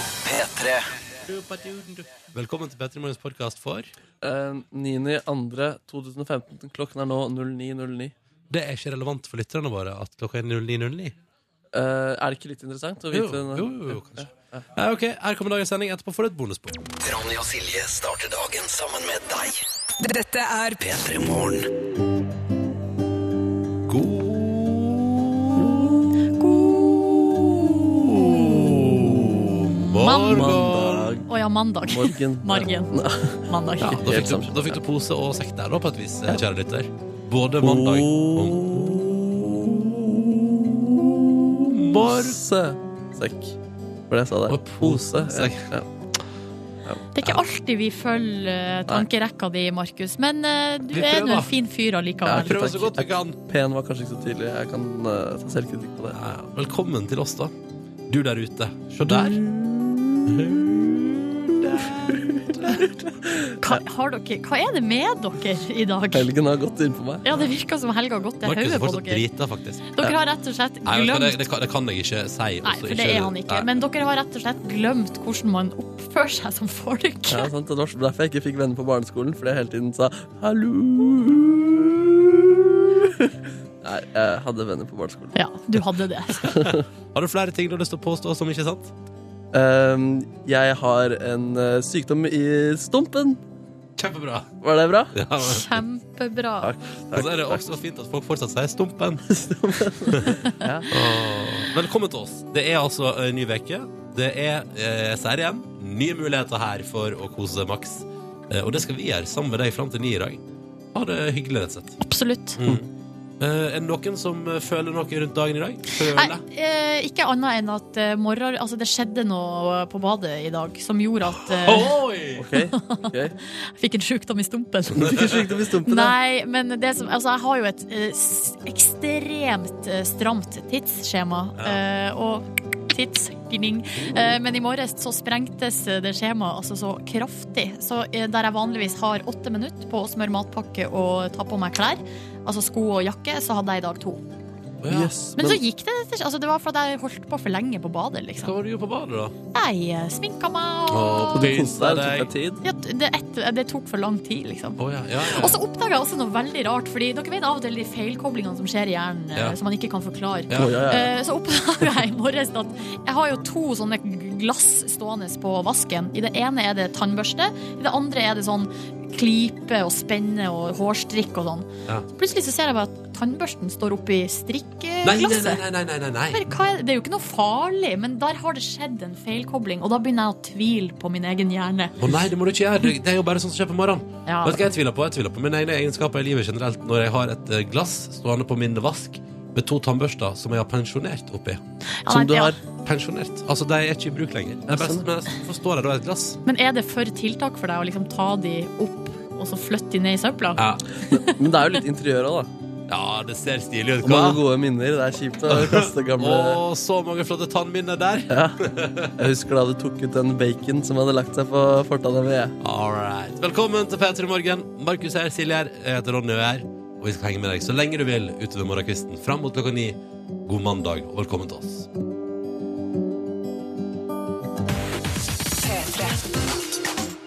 P3 Velkommen til P3 Morgens podkast for Eh, 9.2.2015. Klokken er nå 09.09. Det er ikke relevant for lytterne våre at klokka er 09.09. Eh, er det ikke litt interessant å Jo, vite eh? jo, jo, jo, kanskje. Nei, ok, Her kommer dagens sending. Etterpå får du et bonusbord. Ronny og Silje starter dagen sammen med deg Dette er P3 Morgen Morgen! Mandag, Å ja, mandag. morgen Margen. Mandag. Ja, da, fikk du, da fikk du pose og sekk der, da, på et vis, eh, kjære lytter. Både mandag og Pose sekk. Var det jeg sa der. Og pose, sekk. Ja. Det er ikke alltid vi følger eh, tankerekka di, Markus, men eh, du Vi er nå prøver. en fin fyr Ja, allikevel. prøv. Prøv så godt vi kan. Pen var kanskje ikke så tydelig. Jeg kan eh, ta selvkritikk på det. Ja, ja. Velkommen til oss, da. Du der ute. Se der. Hva, har dere, hva er det med dere i dag? Helgen har gått inn på meg. Ja, det virker som helga har gått til Markus hodet er på fortsatt dere. drita, faktisk. Dere har rett og Nei, vet slett du hva, det, glemt det, kan, det kan jeg ikke si. Nei, også for det er han ikke. Nei. Men dere har rett og slett glemt hvordan man oppfører seg som folk. Ja, sant? Det var derfor jeg ikke fikk venner på barneskolen, fordi jeg hele tiden sa 'hallo'. Nei, jeg hadde venner på barneskolen. Ja, du hadde det. Har du flere ting du har lyst til å påstå som ikke er sant? Ehm, jeg har en eh, sykdom i stumpen. Kjempebra. Var det bra? Ja, men- Kjempebra. Takk. Og så er det også fint at folk fortsatt sier stumpen. Ja. Åh. Velkommen til oss. Det er altså en ny uke. Det er, eh, jeg sier det igjen, nye muligheter her for å kose seg maks. Eh, og det skal vi gjøre sammen med deg fram til ni i dag. Ha det hyggelig, rett og slett. Absolutt. Mm. Eh, er det noen som eh, føler noe rundt dagen i dag? Nei, Føler? eh, ikke annet enn at eh, morgen, altså det skjedde noe på badet i dag som gjorde at eh, Oi! Ok, ok. jeg fikk en sykdom i stumpen. Du fikk en sykdom i stumpen, ja. Nei, men det som, altså, jeg har jo et eh, s- ekstremt eh, stramt tidsskjema. eh, og tidsgning. Eh, men i morges så sprengtes eh, det skjemaet altså så kraftig. Så eh, der jeg vanligvis har åtte minutter på å smøre matpakke og ta på meg klær, altså sko og jakke, så hadde jeg i dag to. Yes, Men, så gikk det. Altså, det var fordi jeg holdt på for lenge på badet, Hva liksom. var det du gjorde på badet, da? Jeg eh, sminka meg Å, og du koste deg, det tok deg tid. ja, det, et, det tok for lang tid, liksom. Å, ja, ja, ja. Og så oppdaga jeg også noe veldig rart, Fordi dere vet av og til de feilkoblingene som skjer i hjernen, eh, Ja. som man ikke kan forklare. Ja. Å, ja, ja. Eh, Så oppdaga jeg i morges at jeg har jo to sånne glass stående på vasken. I det ene er det tannbørste, i det andre er det sånn klype og spenne og hårstrikk og sånn. Ja. Så plutselig så ser jeg bare at tannbørsten står oppi Nei, nei, strikkeglasset. nei, nei, nei, nei, nei. Men hva er det? det er jo ikke noe farlig, men der har det skjedd en feilkobling, og da begynner jeg å tvile på min egen hjerne. Å nei, det må du ikke gjøre. Det er jo bare sånn som skjer på morgenen. Ja. Vet du hva jeg tviler på? Jeg tviler på mine egne egenskaper i livet generelt når jeg har et eh, glass stående på min vask med to tannbørster som jeg har pensjonert oppi. Ja, Som nei, du ja. har. Pensjonert. Altså, de er ikke i bruk lenger. Jeg bare, Sånn. men jeg forstår jeg da er et glass. Men er det for tiltak for deg å liksom ta de opp og så flytte de ned i søpla? Ja, Men det er jo litt interiør òg, da. ja det ser stilig ut. Og mange Hva? gode minner. Det er kjipt å kaste gamle Å, så mange flotte tannminner der. Jeg husker da du tok ut den bacon som hadde lagt seg på fortanna mi. jeg. All right. Velkommen til P3 Morgen. Markus her, Silje her, jeg heter Ronny og jeg er her. Og vi skal henge med deg så lenge du vil utover morgenkvisten fram mot klokka ni. God mandag og velkommen til oss.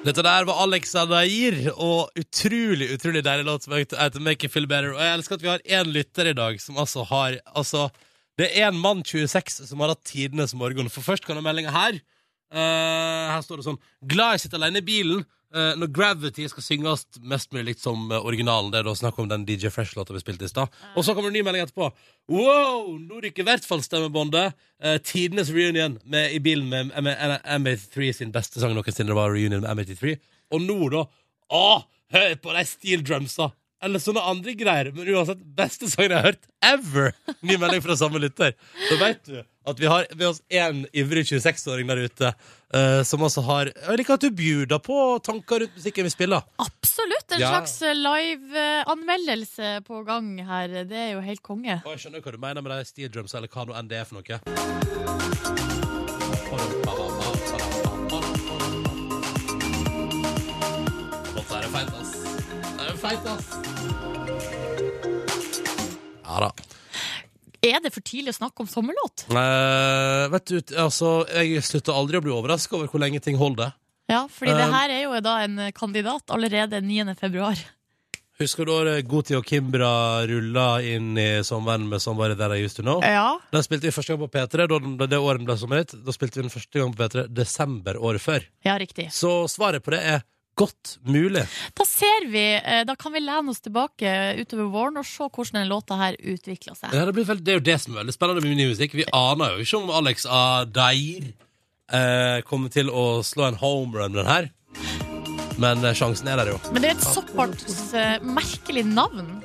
Dette der var Alex Adair og utrolig utrolig deilig låt som heter Make It Feel Better. Og jeg elsker at vi har én lytter i dag som altså har Altså, det er en mann 26 som har hatt tidenes morgen. For først kan du meldinga her. Eh, her står det sånn Glad jeg sitter alene i bilen eh, når Gravity skal synges mest mulig likt som eh, originalen. Det er da snakk om den DJ Fresh-låta vi spilte i stad. Og så kommer det en ny melding etterpå. Wow! Nå rykker i hvert fall stemmebåndet. Eh, tidenes reunion med, i bilen med M- M- M- M83 sin beste sang noensinne. Det var reunion med M83. Og nå, da Å, hør på de steel drumsa! Eller sånne andre greier. Men uansett, beste sangen jeg har hørt ever! Ny melding fra samme lytter. Så veit du at vi har med oss én ivrig 26-åring der ute eh, som altså har Jeg liker at du bjuder på tanker rundt musikken vi spiller. Absolutt! En Ja. slags eh, live-anmeldelse på gang her. Det er jo helt konge. Og jeg skjønner hva du mener med de steel drums, eller hva nå enn det er for noe. Dette er feit, ass. Det er feit, ass. Ja da. Er det for tidlig å snakke om sommerlåt? Eh, vet du, altså, jeg slutter aldri å bli overraska over hvor lenge ting holder. Ja, fordi det Eh. her er jo da en kandidat allerede 9. februar. Husker du da Goti og Kimbra rulla inn i sommeren med 'Somebody That I Used To Know'? Ja. Da spilte vi første gang på P3, da den- da det året den ble sommerhit. Da spilte vi den første gang på P3 desember året før. Ja, riktig. Så svaret på det er godt mulig. Da ser vi, eh, da kan vi lene oss tilbake utover våren og se hvordan denne låta her utvikler seg. Ja, det, blir veldig, det er jo det som er veldig spennende med ny musikk. Vi aner jo ikke om Alex Adair eh, kommer til å slå en homerun med den her. Men eh, sjansen er der jo. Men det er et såpass eh, merkelig navn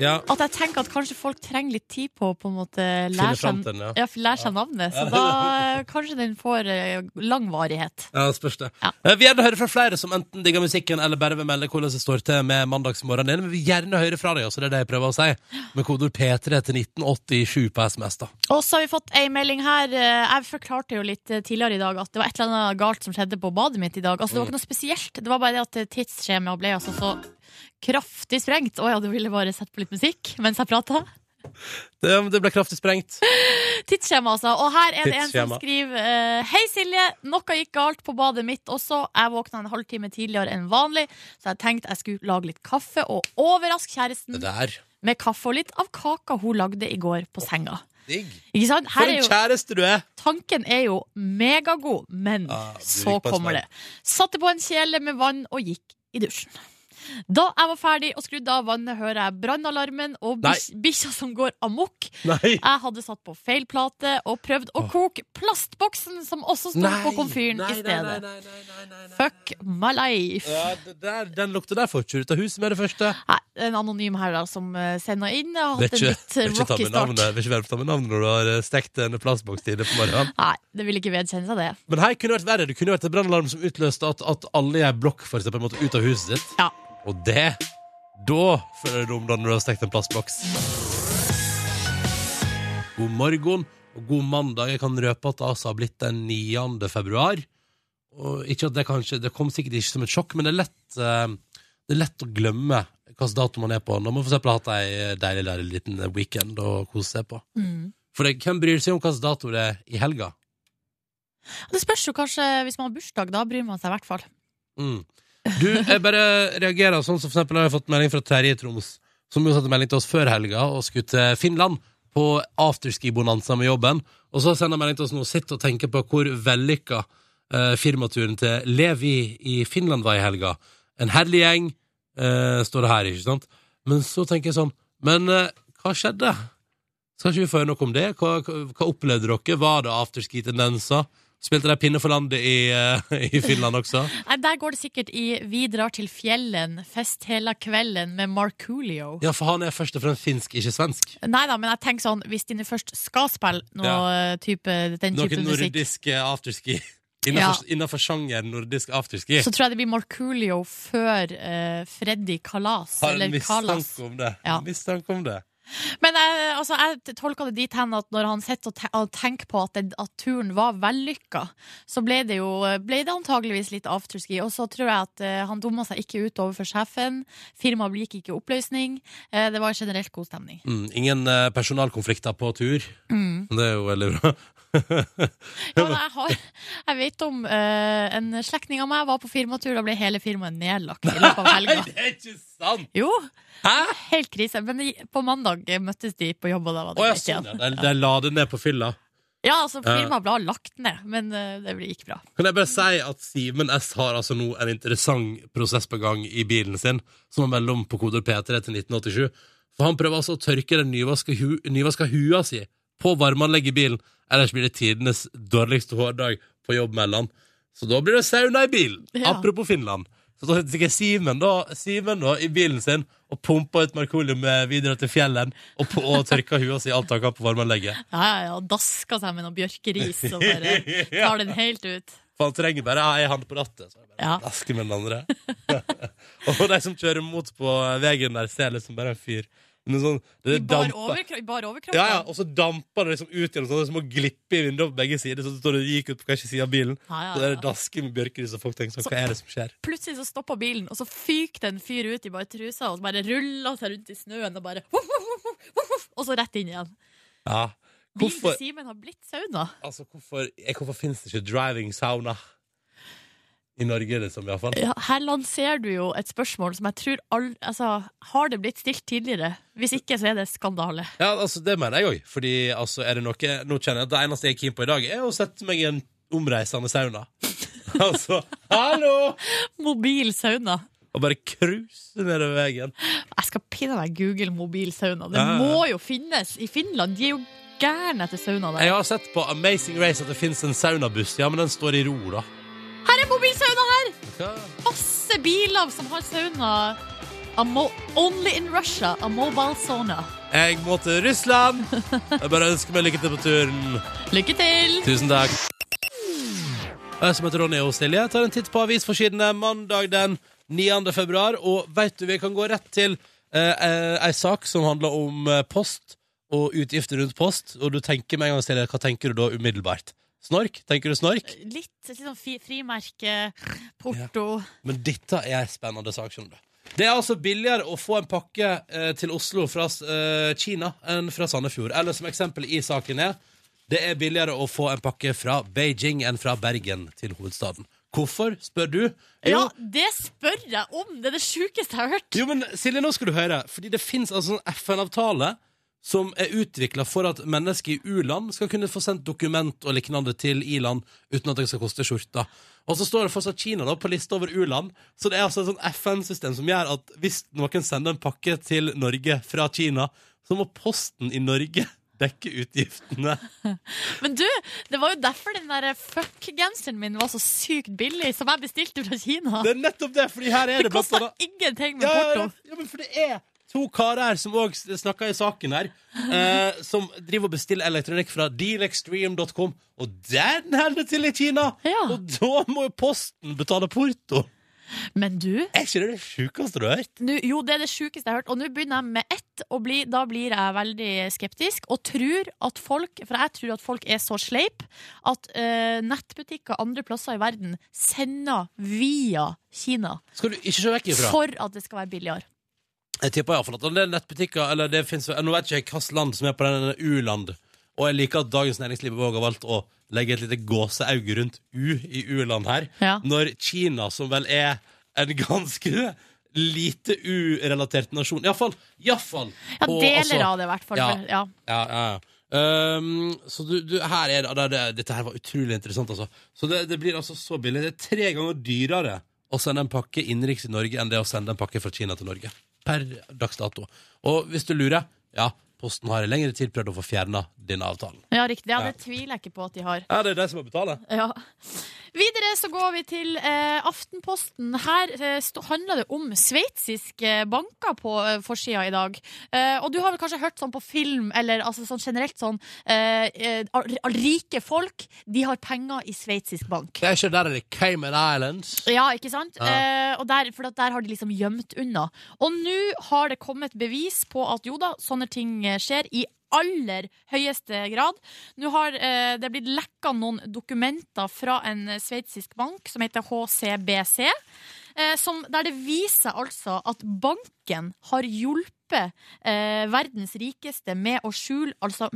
Ja, at jeg tenker at kanskje folk trenger litt tid på å på en måte finne lære fram seg, til den, ja. ja, lære seg navnet. Så da eh, kanskje den får eh, lang varighet. Ja, det spørs det. Ja. Eh, Vi gjerne hører fra flere som enten digger musikken eller bare vil melde hvordan det står til med mandagsmorgenen din. Men vi vil gjerne høre fra deg også, det er det jeg prøver å si. Med kodeord P3 til 1987 på SMS, da. Og så har vi fått ei melding her. eh, Jeg forklarte jo litt eh, tidligere i dag at det var et eller annet galt som skjedde på badet mitt i dag. Altså, det Mm. var ikke noe spesielt. Det var bare det at eh, tidsskjemaet ble altså så kraftig sprengt. Å ja, du ville bare sett på litt musikk mens jeg prata? Det, det ble kraftig sprengt. Tidsskjema, altså. Og her er det en som Tidsskjema. skriver eh, Hei, Silje. Noe gikk galt på badet mitt også. Jeg våkna en halvtime tidligere enn vanlig, så jeg tenkte jeg skulle lage litt kaffe og overraske Det kjæresten der. med kaffe og litt av kaka hun lagde i går på senga. Digg. Ikke sant? For Her er en jo kjæreste du er! Tanken er jo megagod, men Ja, Ah, du så gikk på en kommer smell. det. Satte på en kjele med vann og gikk i dusjen. Da jeg var ferdig og skrudde av vannet, hører jeg brannalarmen og Nei. bis- bikkja som går amok. Nei! Jeg hadde satt på feil plate og prøvd å koke plastboksen som også sto på komfyren i stedet. nei, nei, nei, nei, nei. Fuck my life. Ja, det der, den lukta der får ikke du ut av huset med det første. Nei, en anonym her da, som eh, sender inn, har Vil hatt en ikke, litt eh, vil ikke ta rocky med start. navnet, vil ikke være- ta med navnet når du har eh, stekt en plastboks tidlig på morgenen. Nei, det vil ikke vedkjenne seg det. Men her kunne det vært verre. Det kunne vært en brannalarm som utløste at, at alle i ei blokk for eksempel, måtte ut av huset sitt. Ja. Og det Da føler du om da når du har stekt en plastboks. God morgen og god mandag. Jeg kan røpe at det altså har blitt den 9. februar. Og ikke at det kanskje Det kom sikkert ikke som et sjokk, men det er lett eh, Det er lett å glemme hvilken dato man er på. Når man for eksempel har hatt ei deilig, deilig liten weekend å kose seg på. Mm. For det, hvem bryr seg om hvilken dato det er i helga? Det spørs jo kanskje, hvis man har bursdag, da bryr man seg i hvert fall. Mm. Du, jeg bare reagerer sånn som for eksempel har jeg fått melding fra Terje i Troms, som jo sendte melding til oss før helga og skulle til Finland på afterski-bonanza med jobben. Og så sender han melding til oss nå, sitt og tenker på hvor vellykka eh, firmaturen til Levi i Finland var i helga. En herlig gjeng, eh, står det her, ikke sant? Men så tenker jeg sånn, men eh, hva skjedde? Skal ikke vi få høre noe om det? Hva, hva, hva opplevde dere? Var det afterski-tendenser? Spilte de pinne for landet i, eh, i Finland også? Nei, Der går det sikkert i 'Vi drar til fjellen, fest hela kvelden' med Markoolio. Ja, for han er først og fremst finsk, ikke svensk. Nei da, men jeg tenker sånn, hvis dine først skal spille noe Ja. type, den type Noen musikk, nordiske afterski. Ja. Innenfor, innenfor sjangeren nordisk afterski. så tror jeg det blir Markoolio før eh, Freddy Kalas. Har en Eller Kalas. mistanke om det. Ja. Mistanke om det. Men jeg, altså, jeg tolka det dit hen at når han sitter og te- og tenker på at, det, at turen var vellykka, så ble det jo ble det antageligvis litt afterski. Og så tror jeg at eh, han dumma seg ikke ut overfor sjefen. Firmaet gikk ikke i oppløsning. Eh, det var generelt god stemning. Mm, ingen eh, personalkonflikter på tur. Mm. Det er jo veldig bra. Ja, men jeg, har, jeg vet om eh, en slektning av meg var på firmatur, da ble hele firmaet nedlagt i løpet av helga. det er ikke sant! Jo, Hæ?! helt krise. Men i- på mandag eh, møttes de på jobb, og da var Å det ja, greit sånn, ja. igjen. De, de la det ned på fylla. Ja, altså, firmaet ble lagt ned, men eh, det gikk bra. Kan jeg bare si at Simen S har altså nå en interessant prosess på gang i bilen sin, som er mellom på koder P3 til 1987. For han prøver altså å tørke den nyvaska, hu nyvaska hua si på varmeanlegget i bilen, ellers blir det tidenes dårligste hårdag på jobb mellom. Så da blir det sauna i bilen. Ja. Apropos Finland. Så da sitter sikkert Simen da, Simen da i bilen sin og pumper ut Markolium videre til fjellet og, på- og tørker hua si alt han kan på varmeanlegget. Ja, ja, ja, daska seg med noe bjørkeris og bare tar den helt ut. For han trenger bare ei hand på rattet. Så er det bare Ja. å Laske med den andre. og de som kjører mot på veien der, ser liksom bare en fyr. Men sånn, det I bar, damper. overkro I bar overkropp? Ja, ja, og så damper det liksom ut gjennom sånne små glipp i vinduet på begge sider. Så det står det gikk ut på hver sin side av bilen. Ja, ja, Så det er ja. det daske med bjørkeris, og folk tenker sånn, hva er det som skjer? Plutselig så stoppa bilen, og så fyk det en fyr ut i bare trusa og så bare rulla seg rundt i snøen og bare voff, voff, voff, voff, voff, Og så rett inn igjen. Ja. Bilen Hvorfor, til Simen har blitt sauna. altså, hvorfor, eh, hvorfor finnes det ikke driving sauna i Norge, liksom, iallfall? Ja, her lanserer du jo et spørsmål som jeg tror all, altså, Har det blitt stilt tidligere? Hvis ikke, så er det skandale. Ja, altså, det mener jeg òg. Fordi altså, er det noe Nå kjenner jeg at det eneste jeg er keen på i dag, er å sette meg i en omreisende sauna. altså, hallo! Mobil sauna. Og bare cruise nedover veien. Jeg skal pinne meg google mobil sauna. Det Ja, ja, ja. må jo finnes i Finland. De er jo gærne etter sauna der. Jeg har sett på Amazing Race at det fins en saunabuss. Ja, men den står i ro, da. Her er mobilsauna her! Hva? Masse biler som har sauna. A mo only in Russia, a mobile sauna. Jeg må til Russland! Jeg bare ønsker meg lykke til på turen. Lykke til! Tusen takk. Jeg som heter Ronny og Silje, tar en titt på avisforsidene mandag den 9. februar. Og veit du, vi kan gå rett til eh, eh, ei sak som handler om eh, post og utgifter rundt post. Og du tenker med en gang, Silje, hva tenker du da umiddelbart? Snork? Tenker du snork? Litt, litt sånn fi, frimerke, porto Men dette er en spennende sak, skjønner du. Det er altså billigere å få en pakke eh, til Oslo fra eh, Kina enn fra Sandefjord. Eller som eksempel i saken er det er billigere å få en pakke fra Beijing enn fra Bergen til hovedstaden. Hvorfor, spør du? Ja, det spør jeg om! Det er det sjukeste jeg har hørt. Jo, men Silje, nå skal du høre. Fordi det fins altså en FN-avtale som er utvikla for at mennesker i u-land skal kunne få sendt dokument og lignende til i-land uten at det skal koste skjorta. Og så står det fortsatt Kina da på lista over u-land. Så det er altså et sånn FN-system som gjør at hvis noen sender en pakke til Norge fra Kina, så må posten i Norge dekke utgiftene. Men du, det var jo derfor den der fuck-genseren min var så sykt billig, som jeg bestilte fra Kina. Det er nettopp det, fordi her er Det det blant kosta annet ingenting med ja, ja, porto. ja, ja, men for det er to karer her som òg snakka i saken her, eh, som driver og bestiller elektronikk fra dealextreme.com, og den holder til i Kina! Ja. Og da må jo posten betale porto! Men du, Er ikke det det sjukeste du har hørt? nå, jo, det er det sjukeste jeg har hørt. Og nå begynner jeg med ett, og bli, da blir jeg veldig skeptisk. Og tror at folk, for jeg tror at folk er så sleip, at eh, nettbutikker andre plasser i verden sender via Kina Skal du ikke se vekk ifra? for at det skal være billigere. Jeg tipper i hvert fall at det er nettbutikker Eller det finnes, Nå vet ikke jeg hvilket land som er på denne U-land Og jeg liker at Dagens Næringsliv også har valgt å legge et lite gåseauge rundt U i U-land her Ja. Når Kina, som vel er en ganske lite U-relatert nasjon I hvert fall, i hvert fall Ja, på, deler altså- av det, i hvert fall. ja. for- Ja. ja, ja, ja. Ehm, så du, du, her er det, det, det Dette her var utrolig interessant, altså. Så det, det blir altså så billig. Det er tre ganger dyrere å sende en pakke innenriks i Norge enn det å sende en pakke fra Kina til Norge. Per dags dato. Og hvis du lurer, ja, Posten har i lengre tid prøvd å få fjerna denne avtalen. ja, riktig. Ja, det tviler jeg ikke på at de har. Ja, det er de som må betale. Ja. Videre så går vi til eh, Aftenposten. Her eh, sto- handler det om sveitsiske banker på eh, forsida i dag. Eh, og du har vel kanskje hørt sånn på film, eller altså sånn generelt sånn eh, eh, ar- Rike folk, de har penger i sveitsisk bank. Det er ikke der det er Cayman Islands. Ja, ikke sant? Ja. Eh, og der, for at der har de liksom gjemt unna. Og nå har det kommet bevis på at jo da, sånne ting eh, skjer i aller høyeste grad. Nå har eh, det blitt lekka noen dokumenter fra en eh, sveitsisk bank som heter HCBC, eh, som, der det viser altså at banken har hjulpet eh, verdens rikeste med å skjule altså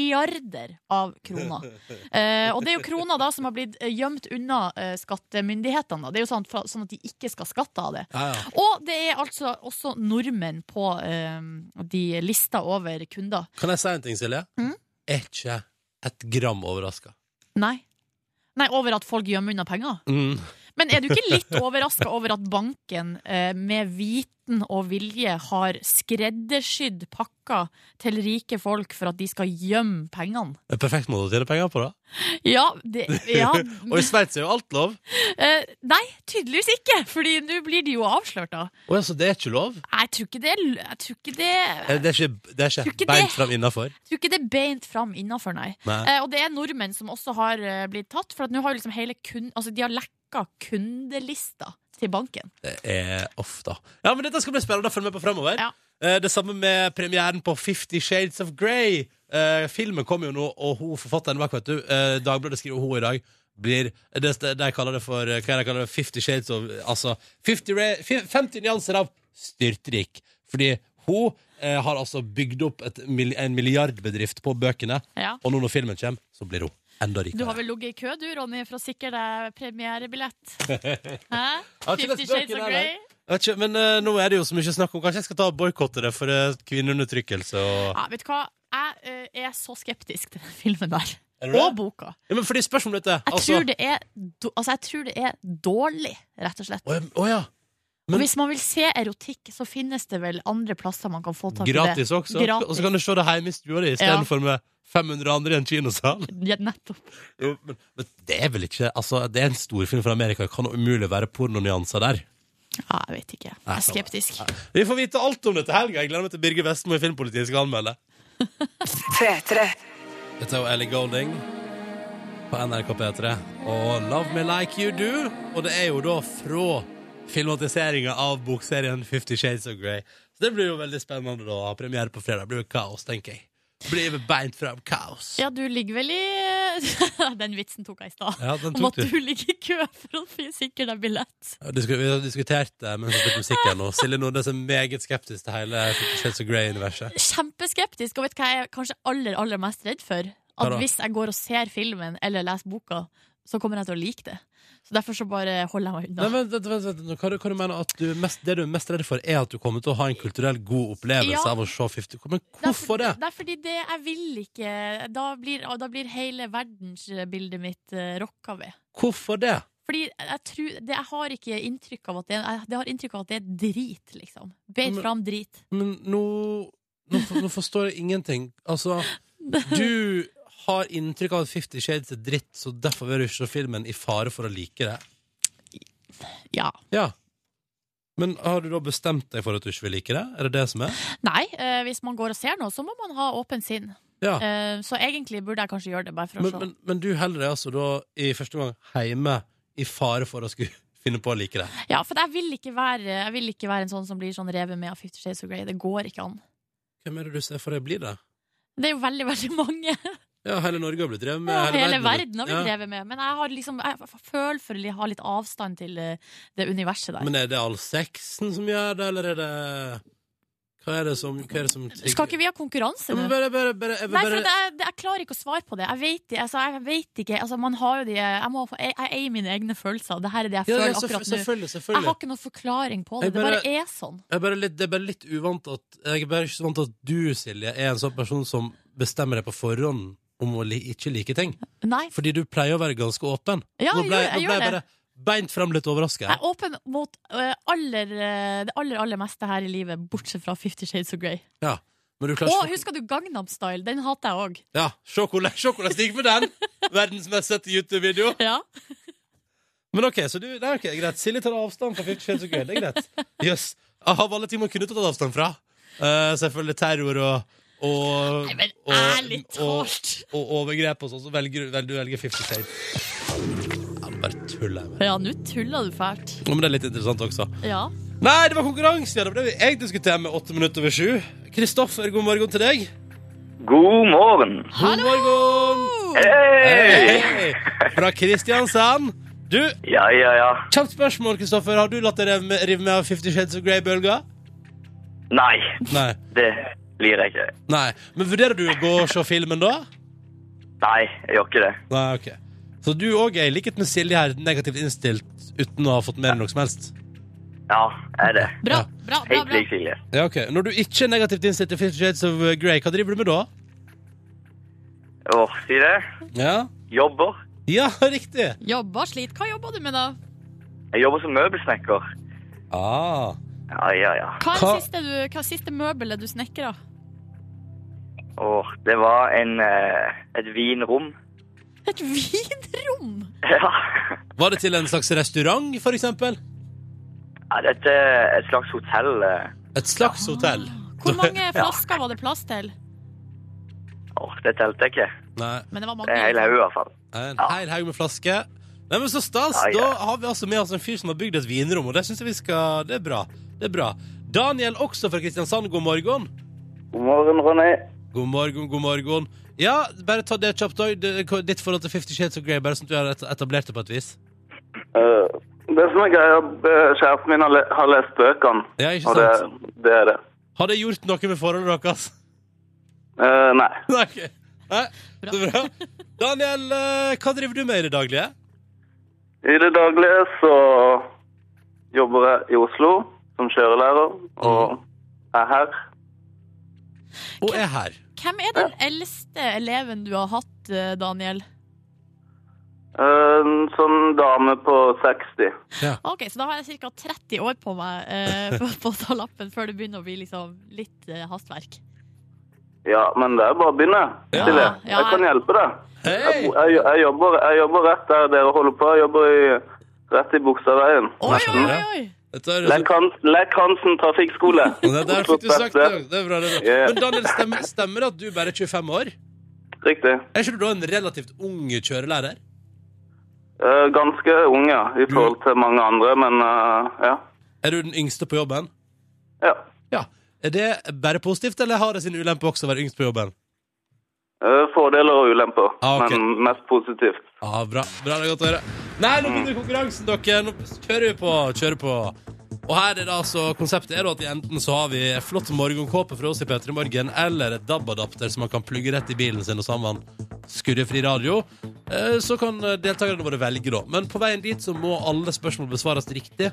milliarder av kroner. Eh, og det er jo kroner da som har blitt eh, gjemt unna eh, skattemyndighetene. Da. Det er jo sånn, for, sånn at de ikke skal skatte av det. Ja, ja. Og det er altså også nordmenn på eh, de lista over kunder. Kan jeg si en ting, Silje? Mm. Er ikke et gram overraska. Nei. Nei, over at folk gjemmer unna penger. Mm. Men er du ikke litt overraska over at banken eh, med viten og vilje har skreddersydd pakker til rike folk for at de skal gjemme pengene? En perfekt måte å tjene penger på, da. Ja, det, ja. Og i Sveits er jo alt lov. Eh, nei, tydeligvis ikke, Fordi nå blir de jo avslørt, da. Å ja, så det er ikke lov? Nei, Jeg tror ikke det, er l- jeg tror ikke det, Eh, Det er ikke, det er Tror ikke ikke det. beint fram innafor? jeg tror ikke det er beint fram innafor, nei. Nei. Eh, og det er nordmenn som også har eh, blitt tatt, for at nå har jo liksom hele kun, altså de har lekka kundelista til banken. Det er ofte. Ja, men dette skal bli spennende å følge med på fremover. Ja. Eh, Det samme med premieren på Fifty Shades of Grey. Eh, filmen kommer jo nå, og hun forfatteren bak, vet du, eh, Dagbladet skriver om hun i dag, blir det, det de kaller det for eh, Hva er det de kaller det? 50 Shades of Altså 50, re, fi- 50 nyanser av styrtrik. Fordi Hun eh, har altså bygd opp et, mil- en milliardbedrift på bøkene, Ja. og nå når filmen kommer, så blir hun enda Du har rikere. vel ligget i kø, du, Ronny, for å sikre deg premierebillett? Hæ? har ikke Fifty lest Shades bøkene of her, Grey? Jeg vet ikke, men eh, nå er det jo så mye snakk om Kanskje jeg skal ta og boykotte det for eh, kvinneundertrykkelse og Ja, vet du hva? Jeg eh, er så skeptisk til den filmen der. Er du det? Og boka. ja, men fordi spørsmålet om dette Jeg, altså- tror det er, do- altså, jeg tror det er dårlig, rett og slett. Å ja, å ja. men- og hvis man vil se erotikk, så finnes det vel andre plasser man kan få tak i det. Gratis også. Gratis. Og så kan du se det hjemme i stua di istedenfor med 500 andre i en kinosal. Ja, nettopp. Jo, men, men det er vel ikke Altså, det er en storfilm fra Amerika. Det kan umulig være pornonyanser der. Ja, jeg vet ikke. Jeg er skeptisk. Vi får vite alt om dette helga. Jeg gleder meg til Birger Vestmo i Filmpolitiet skal anmelde. Dette er jo Ellie Golding på NRK P3 og Love Me Like You Do. Og det er jo da fra filmatiseringa av bokserien Fifty Shades of Grey. Så det blir jo veldig spennende da. å ha Premiere på fredag. Det blir jo kaos, tenker jeg. Det Blir jo beint fram kaos. Ja, du ligger vel i Den vitsen tok jeg i stad. Ja, den Om tok at du. du ligger i kø for å sikre deg billett. Ja, disku- Vi har diskutert det mens vi spilte musikk her nå. Silje Nordnes er meget skeptisk til hele Fifty Shades of Grey-universet. Kjempeskeptisk, og vet du hva jeg er kanskje aller, aller mest redd for? Hva At da? hvis jeg går og ser filmen eller leser boka, så kommer jeg til å like det. Så derfor så bare holder jeg meg Nei, unna. vent, vent, vent, vent. nå. Hva, du- hva du mener at du er mest, Det du er mest redd for, er at du kommer til å ha en kulturell god opplevelse Ja. av å se 50 Men hvorfor det? Det er fordi det jeg vil ikke Da blir, da blir hele verdensbildet mitt eh, rokka ved. Hvorfor det? Fordi jeg, tror, det, jeg har ikke inntrykk av at det, jeg, det har inntrykk av at det er drit, liksom. Beit Men- fram drit. Men nå Nå, for- nå forstår jeg ingenting. Altså, du har inntrykk av at Fifty Shades er dritt, så derfor vil du ikke se filmen i fare for å like det. Ja. Ja. Men har du da bestemt deg for at du ikke vil like det? Er det det som er? Nei, eh, hvis man går og ser noe, så må man ha åpen sinn. Ja. Eh, så egentlig burde jeg kanskje gjøre det, bare for å Men, se. men, men du heller er altså da i første gang hjemme i fare for å skulle finne på å like det. Ja, for jeg vil ikke være, jeg vil ikke være en sånn som blir sånn revet med av Fifty Shades of Grey. Det går ikke an. Hvem er det du ser for deg blir det? Det er jo veldig veldig mange. Ja, hele Norge har blitt drevet med. Hele, verden har har blitt revet med. Men jeg, har liksom, jeg f- føler for å ha litt avstand til eh, det universet Ja. der. Men er det all sexen som gjør det, eller er det Hva er det som, hva er det som Skal ikke vi ha konkurranse ja, men nå? bare, bare, bare, jeg vil Nei, for bare, at jeg, det- jeg klarer ikke å svare på det. Jeg vet, det- altså, jeg vet ikke. Altså, man har jo de Jeg, må, få- jeg, jeg eier mine egne følelser. og Det her er det jeg ja, ja, føler selvfø- akkurat nå. Selvfølgelig. Jeg selvfølgelig. har ikke noen forklaring på det. Jeg Det bare bare- er sånn. Jeg er bare litt, det er bare litt uvant at Jeg er bare ikke så vant til at du, Silje, er en sånn person som bestemmer deg på forhånd om å li, ikke like ting. Nei. Fordi du pleier å være ganske åpen. Ja, nå jeg ble gjør- jeg nå ble gjør jeg bare det. beint frem litt overraska. Jeg er åpen mot eh, aller, eh, det aller, aller meste her i livet, bortsett fra Fifty Shades of Grey. Ja, men du klarer Og ikke husker du Gangnam Style? Den hater jeg òg. Ja, se hvordan, se hvordan det gikk med den! Verdens mest sette YouTube-video. Ja. Men ok, så du, nei, ok, greit. Silje tar avstand fra Fifty Shades of Grey. Det er greit. Jøss. Yes. Av alle ting man kunne tatt avstand fra. Eh, selvfølgelig terror og og, Nei, men og, ærlig og, talt! og overgrep og sånn, så velger du, vel, du velger Fifty Shades. Ja, det bare tuller jeg med. Ja, nå tuller du fælt. Ja, Men det er litt interessant også. Ja. Nei, det var konkurranse! Ja, det var det jeg diskuterte med åtte minutter over sju. Kristoffer, god morgen til deg. God morgen. God morgen! Hei! Hei! Fra Kristiansand. Du, Ja, ja, ja. kjapt spørsmål, Kristoffer. Har du latt deg rive med, rive med av Fifty Shades of Grey-bølga? Nei, Nei. det blir jeg ikke. Nei. Men vurderer du å gå og se filmen da? Nei, jeg gjør ikke det. Nei, ok. Så du òg er, i likhet med Silje, her negativt innstilt uten å ha fått med deg noe som helst? Ja, jeg er det. Bra, Ja. bra, bra. Helt bra. lik Silje. Ja, ok. Når du ikke er negativt innstilt til Fifty Shades of Grey, hva driver du med da? Åh, si det. Ja, Jobber. ja riktig. Jobba slit. Hva jobber du med, da? Jeg jobber som møbelsnekker. Ah. Ja, ja, ja. Hva er det Hva- siste, du, hva er siste møbelet du snekra? Åh, det var en, eh, et vinrom. Et vinrom! Ja. Var det til en slags restaurant, for eksempel? ja, dette er et slags hotell. eh. Et slags hotell? Hvor mange flasker var det plass til? Åh, det telte jeg ikke. Nei. Men det var Det er en hel mange. haug i hvert fall. En hel haug med flasker. Nei, men så stas! Ja, ja. Da har vi altså med oss en fyr som har bygd et vinrom, og det syns jeg vi skal Det er bra. Det er bra. Daniel, også fra Kristiansand, god morgen. God morgen, Ronny. God morgen, god morgen. Ja, bare ta det kjapt òg. Ditt forhold til Fifty Shades of Grey, bare sånn at vi har et- etablert det på et vis. Eh, Det som er greia, eh, kjæresten min har le- har lest bøkene, Ja, ikke og det, sant? det er det. Har det gjort noe med forholdet deres? Eh, nei. Nei, ok. Nei, så bra. Daniel, eh, hva driver du med i det daglige? I det daglige så jobber jeg i Oslo som kjørelærer, Mhm. og er her. Og er her. Hvem er den eldste eleven du har hatt, eh, Daniel? Eh, En sånn dame på 60. Ok, Så da har jeg ca. 30 år på meg eh, på, på å ta lappen før det begynner å bli liksom litt eh, hastverk. Ja, men det er bare å begynne. Ja, Silje. ja. Jeg kan hjelpe deg. Jeg, Hei! jeg, jeg, jobber, jeg jobber rett der dere holder på. Jeg jobber i, rett i Bogstadveien. Oi, oi, oi! Ja. oi. Dette er, Lek Hans- Lek Hansen trafikkskole. det der fikk du sagt det. Det er bra, det er bra. Ja. Men Daniel, stemmer, stemmer det at du bare er 25 år? Riktig. Er ikke du da en relativt ung kjørelærer? Eh, ganske ung, ja, i forhold til mange andre, men eh, ja. Er du den yngste på jobben? ja. Ja. Er det bare positivt, eller har det sin ulempe også å være yngst på jobben? Eh, fordeler og ulemper, Ah, ok. men mest positivt. Ja, bra. bra. Det er godt å høre. Nei, nå begynner konkurransen, dere. Nå kjører vi på. kjører på. Og her er det altså, Konseptet er da at i enten så har vi flott morgenkåpe fra oss i P3 Morgen, eller et DAB-adapter som man kan plugge rett i bilen sin og sammen skurrefri radio. Eh, Så kan deltakerne våre velge, da. Men på veien dit så må alle spørsmål besvares riktig.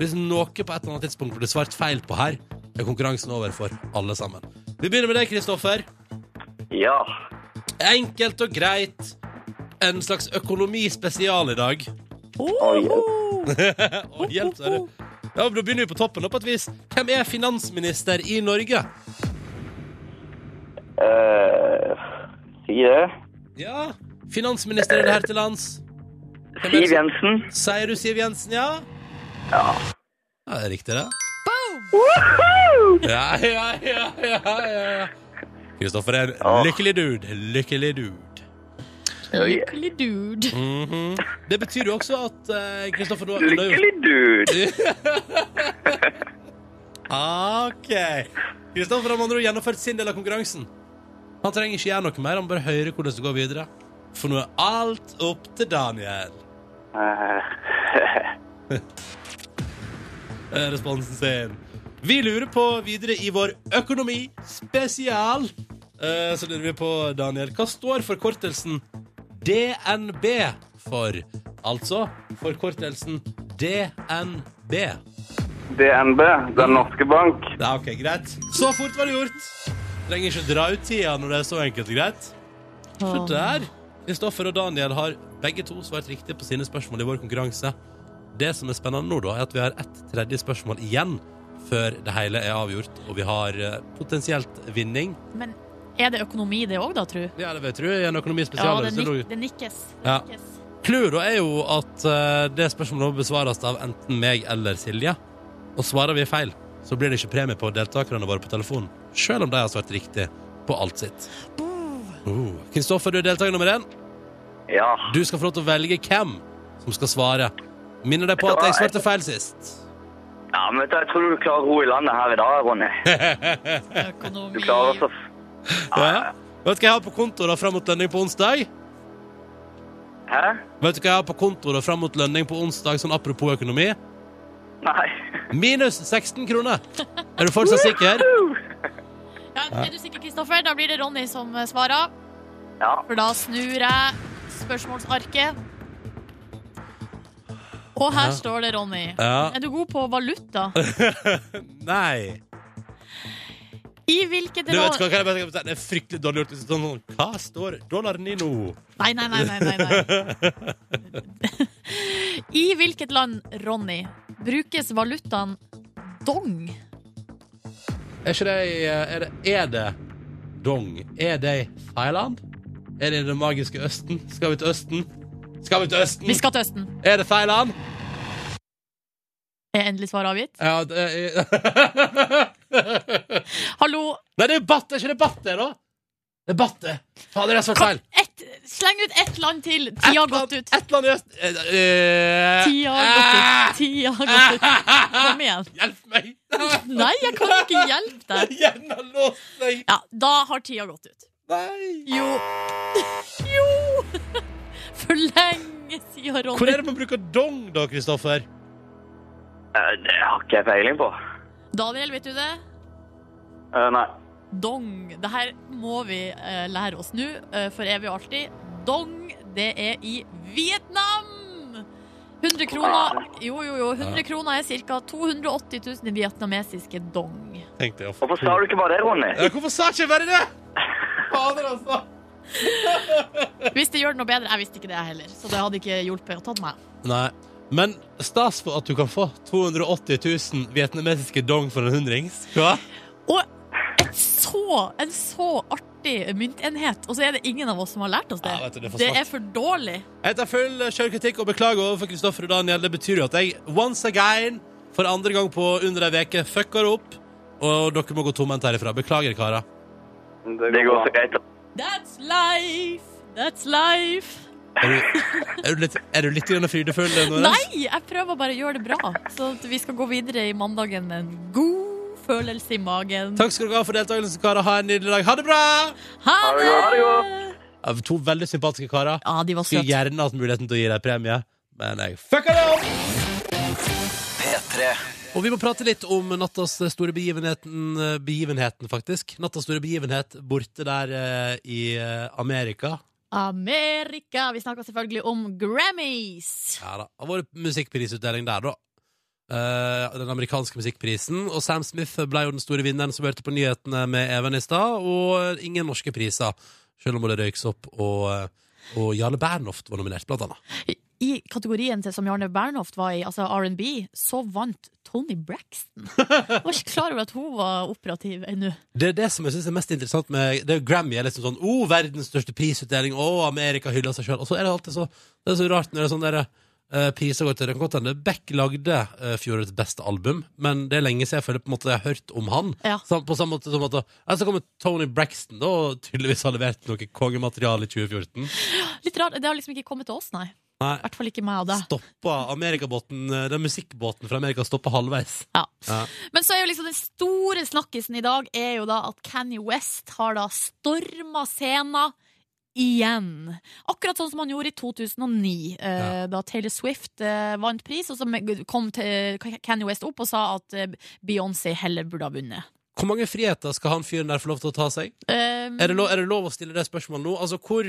Hvis noe på et eller annet tidspunkt blir svart feil på her, er konkurransen over for alle sammen. Vi begynner med deg, Kristoffer. Ja. Enkelt og greit. En slags økonomispesial i dag. Å, hjelp, sa du. Ja, men Da begynner vi på toppen. da, på et vis. Hvem er finansminister i Norge? Eh, si det. Ja, finansminister er det her til lands. Hvem er det Siv som- Jensen. Sier du Siv Jensen, ja? Ja. ja det er riktig, det. Ja, ja, ja, ja, ja, ja. Kristoffer er en lykkelig dude. en Lykkelig dude. Lykkelig dude. Mhm. Det betyr jo også at eh, Kristoffer nå nå er jo- Lykkelig dude. OK. Kristoffer har med andre ord gjennomført sin del av konkurransen. Han trenger ikke gjøre noe mer, han må bare høre hvordan det går videre. For nå er alt opp til Daniel. Eh, Det er eh, responsen sin. Vi lurer på videre i vår økonomi spesial. Eh, Så lurer vi på, Daniel, hva står forkortelsen DNB for? Altså forkortelsen DNB. DNB, Den norske bank. Ja, ok, greit. Så fort var det gjort. Trenger ikke dra ut tida når det er så enkelt og greit. Mm. Se der. Kristoffer og Daniel har begge to svart riktig på sine spørsmål i vår konkurranse. Det som er spennende nå, da, er at vi har ett tredje spørsmål igjen før det hele er avgjort, og vi har eh, potensielt vinning. Men er det økonomi det òg, da, tru? Ja, det vet du, i en Ja, økonomispesial. det, så nik det lå- det nikkes. Det Ja. nikkes. Clouet da er jo at eh, det spørsmålet må besvares av enten meg eller Silje. Og svarer vi feil, så blir det ikke premie på deltakerne våre på telefonen. Selv om de har svart riktig på alt sitt. Oh. Kristoffer, du er deltaker nummer én. Ja. Du skal få lov til å velge hvem som skal svare. Minner deg på at jeg svarte feil sist. ja, men vet du, jeg tror du klarer ro i landet her i dag, Ronny. Du Økonomi klarer også Ja. Vet du hva jeg har på konto da fram mot lønning på onsdag? Hæ? Vet du hva jeg har på konto da fram mot lønning på onsdag, sånn apropos økonomi? Nei. Minus 16 kroner. Er du fortsatt sikker? Ja, er du sikker, Kristoffer? Da blir det Ronny som eh, svarer. Ja. For da snur jeg spørsmålsarket. Og her står det Ronny. Ja. Er du god på valuta? Nei. I hvilket Du vet hva, land kan jeg bare si? Det er fryktelig dårlig gjort. Sånn, sånn, hva står dollaren i nå? Nei, nei, nei. nei, nei, nei. I hvilket land, Ronny, brukes valutaen dong? Er ikke det i- Er det, er det dong? Er det i Thailand? Er det i det magiske Østen? Skal vi til Østen? Skal vi til Østen? Vi skal til Østen. Er det Thailand? Er endelig svar avgitt? Ja, det er... Hallo, Nei, det er Batte! Er ikke det Batte, da? Det er Batte. Fader, jeg har svart feil. ett, sleng ut ett land til. Tida har gått ut. Et eller annet i Øst... Eh, eh, Tida har gått ut. Tida har gått ut. Kom igjen. Hjelp meg! Nei, jeg kan ikke hjelpe deg. Hjernen har låst seg! Ja, da har tida gått ut. Nei! Jo. Jo! For lenge siden, Hvor Ronny. er det man bruker dong, da, Kristoffer? Eh, Det har ikke jeg peiling på. Daniel, vet du det? Eh, nei. Dong. Det her må vi eh, lære oss nå, eh, for evig og alltid. Dong, det er i Vietnam! 100 kroner Jo, jo, jo. 100 kroner er ca. 280 000 i vietnamesiske dong. Tenkte jeg å få Hvorfor sa du ikke bare det, Ronny? ja, Hvorfor sa ikke jeg bare det?! Fader, altså! Hvis det gjør det noe bedre Jeg visste ikke det, jeg heller. Så det hadde ikke hjulpet å tatt meg. Nei. Men stas for at du kan få 280 000 vietnamesiske dong for en hundrings. Hva? Og et så, en så artig myntenhet, og så er det ingen av oss som har lært oss det. Ja, vet du, det er for det svart. er for dårlig. Jeg tar full sjølkritikk og beklager overfor Kristoffer og Daniel. Det betyr jo at jeg once again, for andre gang på under ei uke, fucker opp. Og dere må gå tomhendt herifra. Beklager, karer. Det går så greit. That's life! That's life! Er du, er du litt, er du litt grann frydefull? Nordnes? Nei, jeg prøver bare å gjøre det bra. Så at vi skal gå videre i mandagen med en god følelse i magen. Takk skal dere ha for deltakelsen, karer. Ha en nydelig dag. Ha det bra! Ha Ha det det! godt, ha det Ja, To veldig sympatiske karer. Ja, de var Skulle søte. gjerne hatt muligheten til å gi deg premie, men jeg fucka det opp! P3. Og vi må prate litt om nattas store begivenheten, begivenheten faktisk. Nattas store begivenhet borte der eh, i eh, Amerika. Amerika! Vi snakker selvfølgelig om Grammys. Ja da, Det har vært musikkprisutdeling der, da. Eh, den amerikanske musikkprisen. Og Sam Smith ble jo den store vinneren som hørte på nyhetene med Even i stad. Og eh, ingen norske priser, selv om Ole Røyksopp og, eh, og Jarle Bernhoft var nominert, blant annet. I kategorien til som Jarne Bernhoft var i, altså R&B, så vant Tony Braxton. Jeg var ikke klar over at hun var operativ ennå. Det er det som jeg synes er mest interessant med det er jo Grammy. er liksom sånn, oh, verdens største prisutdeling, oh, Amerika hyller seg sjøl. Og så er det alltid så det er så rart når det er sånn der, eh, priser går til Det kan godt hende Beck lagde eh, fjorårets beste album, men det er lenge siden jeg føler på en måte jeg har hørt om han. Ja. Sam- på samme måte som at ja, Så kommer Tony Braxton da, og tydeligvis har levert noe kongemateriale i 2014. Litt rart, Det har liksom ikke kommet til oss, nei. I Nei, hvert fall ikke meg og deg. stoppa Amerikabåten, eh, den musikkbåten fra Amerika stoppa halvveis. Ja. Ja. Men så er jo liksom den store snakkisen i dag er jo da at Kanye West har da storma scenen igjen. Akkurat sånn som han gjorde i 2009, eh, da Taylor Swift eh, vant pris. Og så me- kom til Kanye West opp og sa at eh, Beyoncé heller burde ha vunnet. Hvor mange friheter skal han fyren der få lov til å ta seg? Eh, Er det, lov, er det lov å stille det spørsmålet nå? Altså, hvor,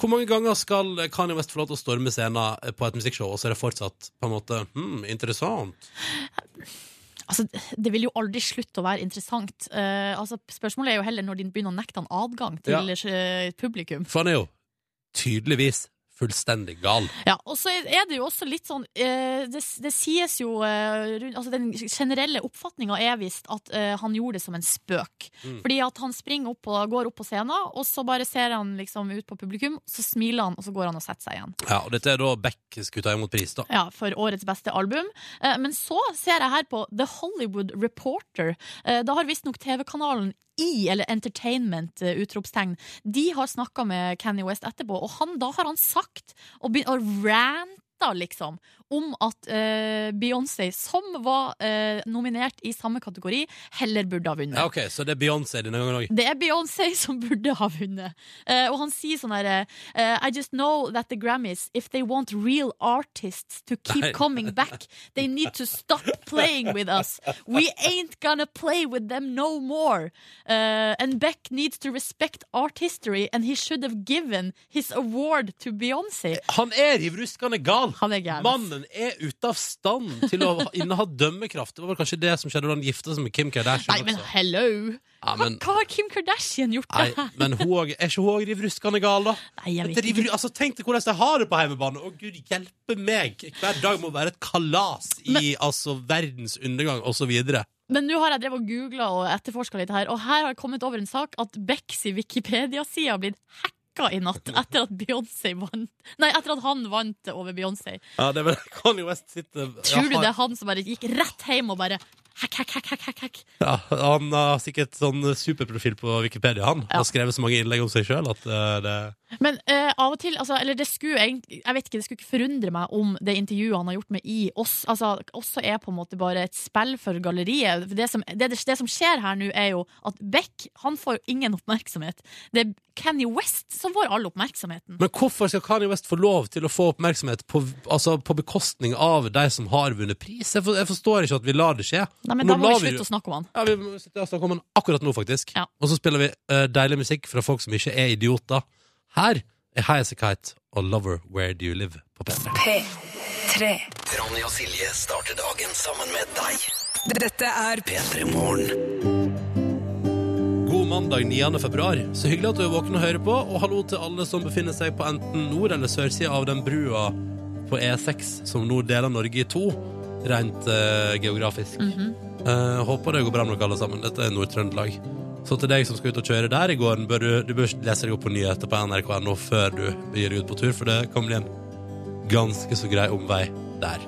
hvor mange ganger skal Kanye West få lov til å storme scenen eh, på et musikkshow, og så er det fortsatt på en måte hmm, interessant? Altså, det vil jo aldri slutte å være interessant. Eh, altså, spørsmålet er jo heller når de begynner å nekte han adgang til eh, publikum. For han er jo tydeligvis fullstendig gal. Ja, og så er det jo også litt sånn eh, det, det sies jo eh, rundt, altså Den generelle oppfatninga er visst at eh, han gjorde det som en spøk. Mm. Fordi at han springer opp og går opp på scenen, og så bare ser han liksom ut på publikum, så smiler han, og så går han og setter seg igjen. Ja, og dette er da Beck skulle ta imot pris, da. Ja, For årets beste album. Eh, men så ser jeg her på The Hollywood Reporter. Eh, da har visstnok TV-kanalen I, eller Entertainment, eh, utropstegn, de har snakka med Kanye West etterpå, og han, da har han sagt og begynt å ranta liksom, om at eh, Beyoncé, som var eh, nominert i samme kategori, heller burde ha vunnet. Ja, ok, Så det er Beyoncé denne gangen òg. Det er Beyoncé som burde ha vunnet. Eh, og han sier sånn herre I just know that the Grammys, if they want real artists to keep Nei. coming back, they need to stop playing with us. We ain't gonna play with them no more. Eh, and Beck needs to respect art history, and he should have given his award to Beyoncé. Han er rivruskende gal! Han er gæren. ass. Mannen er ute av stand til å inneha dømmekraft. Det var vel kanskje det som skjedde da han gifta seg med Kim Kardashian. Nei, men også. hello! ja, Hva, men, hva har Kim Kardashian gjort nei, det her? men hun og- er ikke hun òg rivruskende gal, da? Nei, jeg Dette vet river, altså, tenk deg hvordan de har det på hjemmebane. Å, gud hjelpe meg! Hver dag må være et kalas i altså, verdens undergang, osv. Men nå har jeg drevet og googla og etterforska litt her, og her har jeg kommet over en sak at Becks i Wikipedia-sida har blitt hacka i natt etter at Beyoncé vant Nei, etter at han vant over Beyoncé. Ja, det er vel Kanye West sitter Tror du ja, det er han som bare gikk rett hjem og bare hack, hack, hack, hack, hack, hack? Ja, han har sikkert sånn superprofil på Wikipedia, han. Ja. Har skrevet så mange innlegg om seg sjøl at eh, det Men eh, av og til, altså, eller det skulle egentlig Jeg vet ikke, det skulle ikke forundre meg om det intervjuet han har gjort med I oss, altså, også er på en måte bare et spill for galleriet. For Det som, det, det som skjer her nå, er jo at Beck han får jo ingen oppmerksomhet. Det er Kenny West som får all oppmerksomheten. Men hvorfor skal Kanye West få lov til å få oppmerksomhet på, altså på bekostning av de som har vunnet pris? Jeg, for, jeg forstår ikke at vi lar det skje. Nei, men Nå Da må lar vi slutte å snakke om han. Ja, vi må sitte og snakke om den akkurat nå, faktisk. Ja. Og så spiller vi eh, deilig musikk fra folk som ikke er idioter. Her er Highas a Kite og Lover Where Do You Live på P3. Tre. Ronny og Silje starter dagen sammen med deg. Dette er P3 Morgen. God mandag 9. februar. Så hyggelig at du er våken og hører på, og hallo til alle som befinner seg på enten nord- eller sørsida av den brua på E6 som nå deler Norge i to, rent eh, geografisk. Eh, håper det går bra med dere alle sammen. Dette er Nord-Trøndelag. Så til deg som skal ut og kjøre der i gården, bør du, du bør lese deg opp på nyheter på nrk.no før du begir deg ut på tur, for det kan bli en ganske så grei omvei der.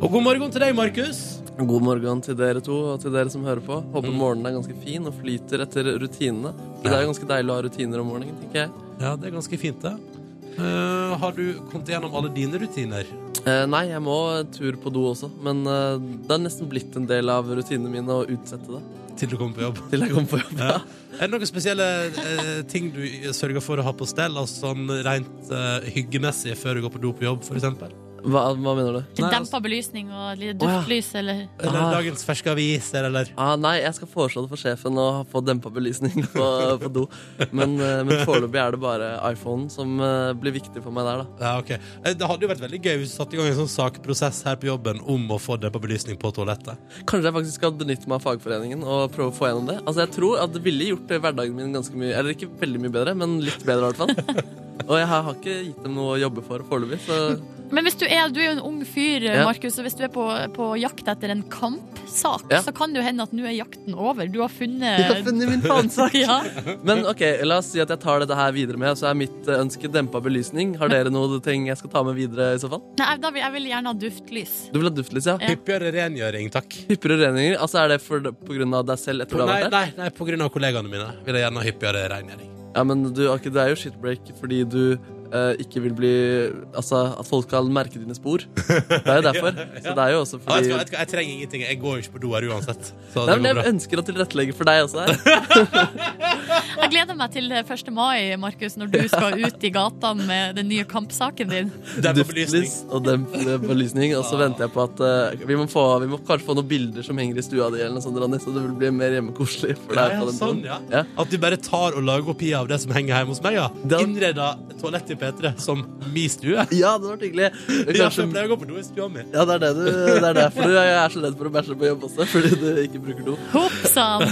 Og god morgen til deg, Markus. God morgen til dere to og til dere som hører på. Mm. Håper morgenen er ganske fin og flyter etter rutinene. For det er jo ganske deilig å ha rutiner om morgenen, tenker jeg. Ja, det er ganske fint, det. Eh, har du kommet gjennom alle dine rutiner? Eh, nei, jeg må en tur på do også, men eh, det er nesten blitt en del av rutinene mine å utsette det Til du kommer på jobb. til jeg kommer på jobb. Ja. Er det noen spesielle eh, ting du sørger for å ha på stell, altså sånn rent eh, hyggemessig før du går på do på jobb, for eksempel? Hva, hva mener du? Nei, altså- Dempa belysning og et lite duftlys, eller Eller Ah. dagens ferske aviser, eller Ah, nei, jeg skal foreslå det for sjefen å få dempa belysning på, på do. Men, eh, men foreløpig er det bare iPhonen som eh, blir viktig for meg der, da. Ja, ok. Eh, Det hadde jo vært veldig gøy hvis du satte i gang en sånn sakprosess her på jobben om å få dempa belysning på toalettet. Kanskje jeg faktisk skal benytte meg av fagforeningen og prøve å få gjennom det. Altså, jeg tror at det ville gjort eh, hverdagen min ganske mye Eller ikke veldig mye bedre, men litt bedre i hvert fall. Og jeg har har ikke gitt dem noe å jobbe for foreløpig, så Men hvis du er, du er jo en ung fyr, Ja. Markus, og hvis du er på, på jakt etter en kampsak, Ja. så kan det jo hende at nå er jakten over. Du har funnet jeg har funnet min fanesak! Ja. Men ok, la oss si at jeg tar dette her videre med, så er mitt eh, ønske dempa belysning. Har dere noe ting jeg skal ta med videre i så fall? Nei, da vil, jeg vil gjerne ha duftlys. Du vil ha duftlys, ja? Ja. Hyppigere rengjøring, takk. Pipper og renninger? Altså, er det for, på grunn av deg selv etter du har Nei, vært der? nei, nei, på grunn av kollegaene mine vil jeg gjerne ha hyppigere rengjøring. Ja, men du, Aki, det er jo shitbreak fordi du eh, ikke vil bli Altså, at folk skal merke dine spor. Det er jo derfor. Så det er jo også Ja, vet fordi du hva, vet du hva, jeg trenger ingenting. Jeg går jo ikke på do her uansett. Så Nei, det men går Jeg bra. ønsker å tilrettelegge for deg også her. Jeg gleder meg til 1. mai, Markus, når du skal ut i gata med den nye kampsaken din. Dempa belysning. Ah. Duftlys og demp eh, belysning. Og så venter jeg på at eh, vi, må få, vi må kanskje få noen bilder som henger i stua di, eller noe sånt, Ronny, så det vil bli mer hjemmekoselig for Ja, deg. ja, på den sånn, tiden. ja. Ja. At du bare tar og lager kopi av det som henger hjemme hos meg. Ja. Da- Innreda toalettet i P3 som mi stue. Ja, det var hyggelig. Ja, for Kanskje, jeg pleier å gå på do i stua mi. ja, det er, det du, det er derfor du jeg er så redd for å bæsje på jobb også, fordi du ikke bruker do. Hopp sann!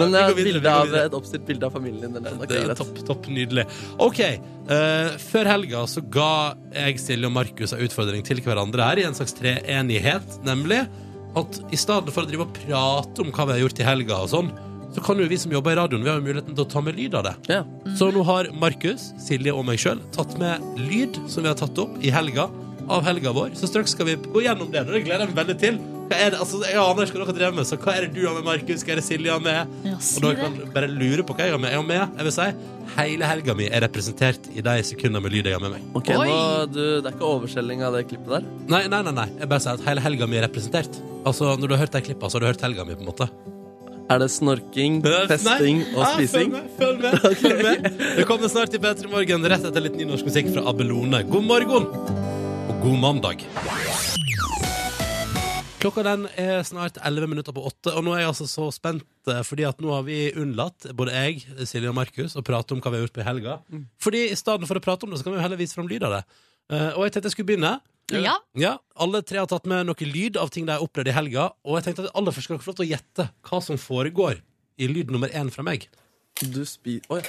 vi jeg har går videre, vi bilde går av- videre. et oppstilt bilde av familien din. Eller, noe, Det er greit. topp, topp, nydelig. OK. eh, før helga så ga jeg Silje og Markus en utfordring til hverandre her i en slags treenighet, nemlig at i stedet for å drive og prate om hva vi har gjort i helga og sånn, så kan jo vi som jobber i radioen, vi har jo muligheten til å ta med lyd av det. Ja. Så nå har Markus, Silje og meg sjøl tatt med lyd som vi har tatt opp i helga. Av helga vår. Så straks skal vi gå gjennom det. og Det gleder jeg meg veldig til. Hva er det, altså, jeg og Anders skal dere drev med, så hva er det du har med, Markus? Hva er det Silje har med? Ja, og si dere det. kan bare lure på hva jeg har med. Jeg har med, jeg vil si, hele helga mi er representert i de sekundene med lyd jeg har med meg. Ok, Oi! nå, du, Det er ikke overskjelling av det klippet der? Nei, nei, nei. nei. Jeg bare sier at hele helga mi er representert. Altså, Når du har hørt de klippa, så har du hørt helga mi, på en måte. Er det snorking, Nei, festing nei, Ah, og ja, spising? Følg med, følg med, følg med. Det kommer snart i P3 Morgen, rett etter litt nynorsk musikk fra Abelone. God morgen og god mandag. Klokka den er snart 11 minutter på åtte, og nå er jeg altså så spent, eh, fordi at nå har vi unnlatt, både jeg, Silje og Markus, å prate om hva vi har gjort på i helga. Mm. Fordi i stedet for å prate om det, så kan vi jo heller vise fram lyd av det. Eh, Og jeg tenkte jeg skulle begynne. Ja. Ja, Alle tre har tatt med noe lyd av ting de har opplevd i helga. Og jeg tenkte at aller først skal dere få lov til å gjette hva som foregår i lyd nummer én fra meg. Du spi... Oi.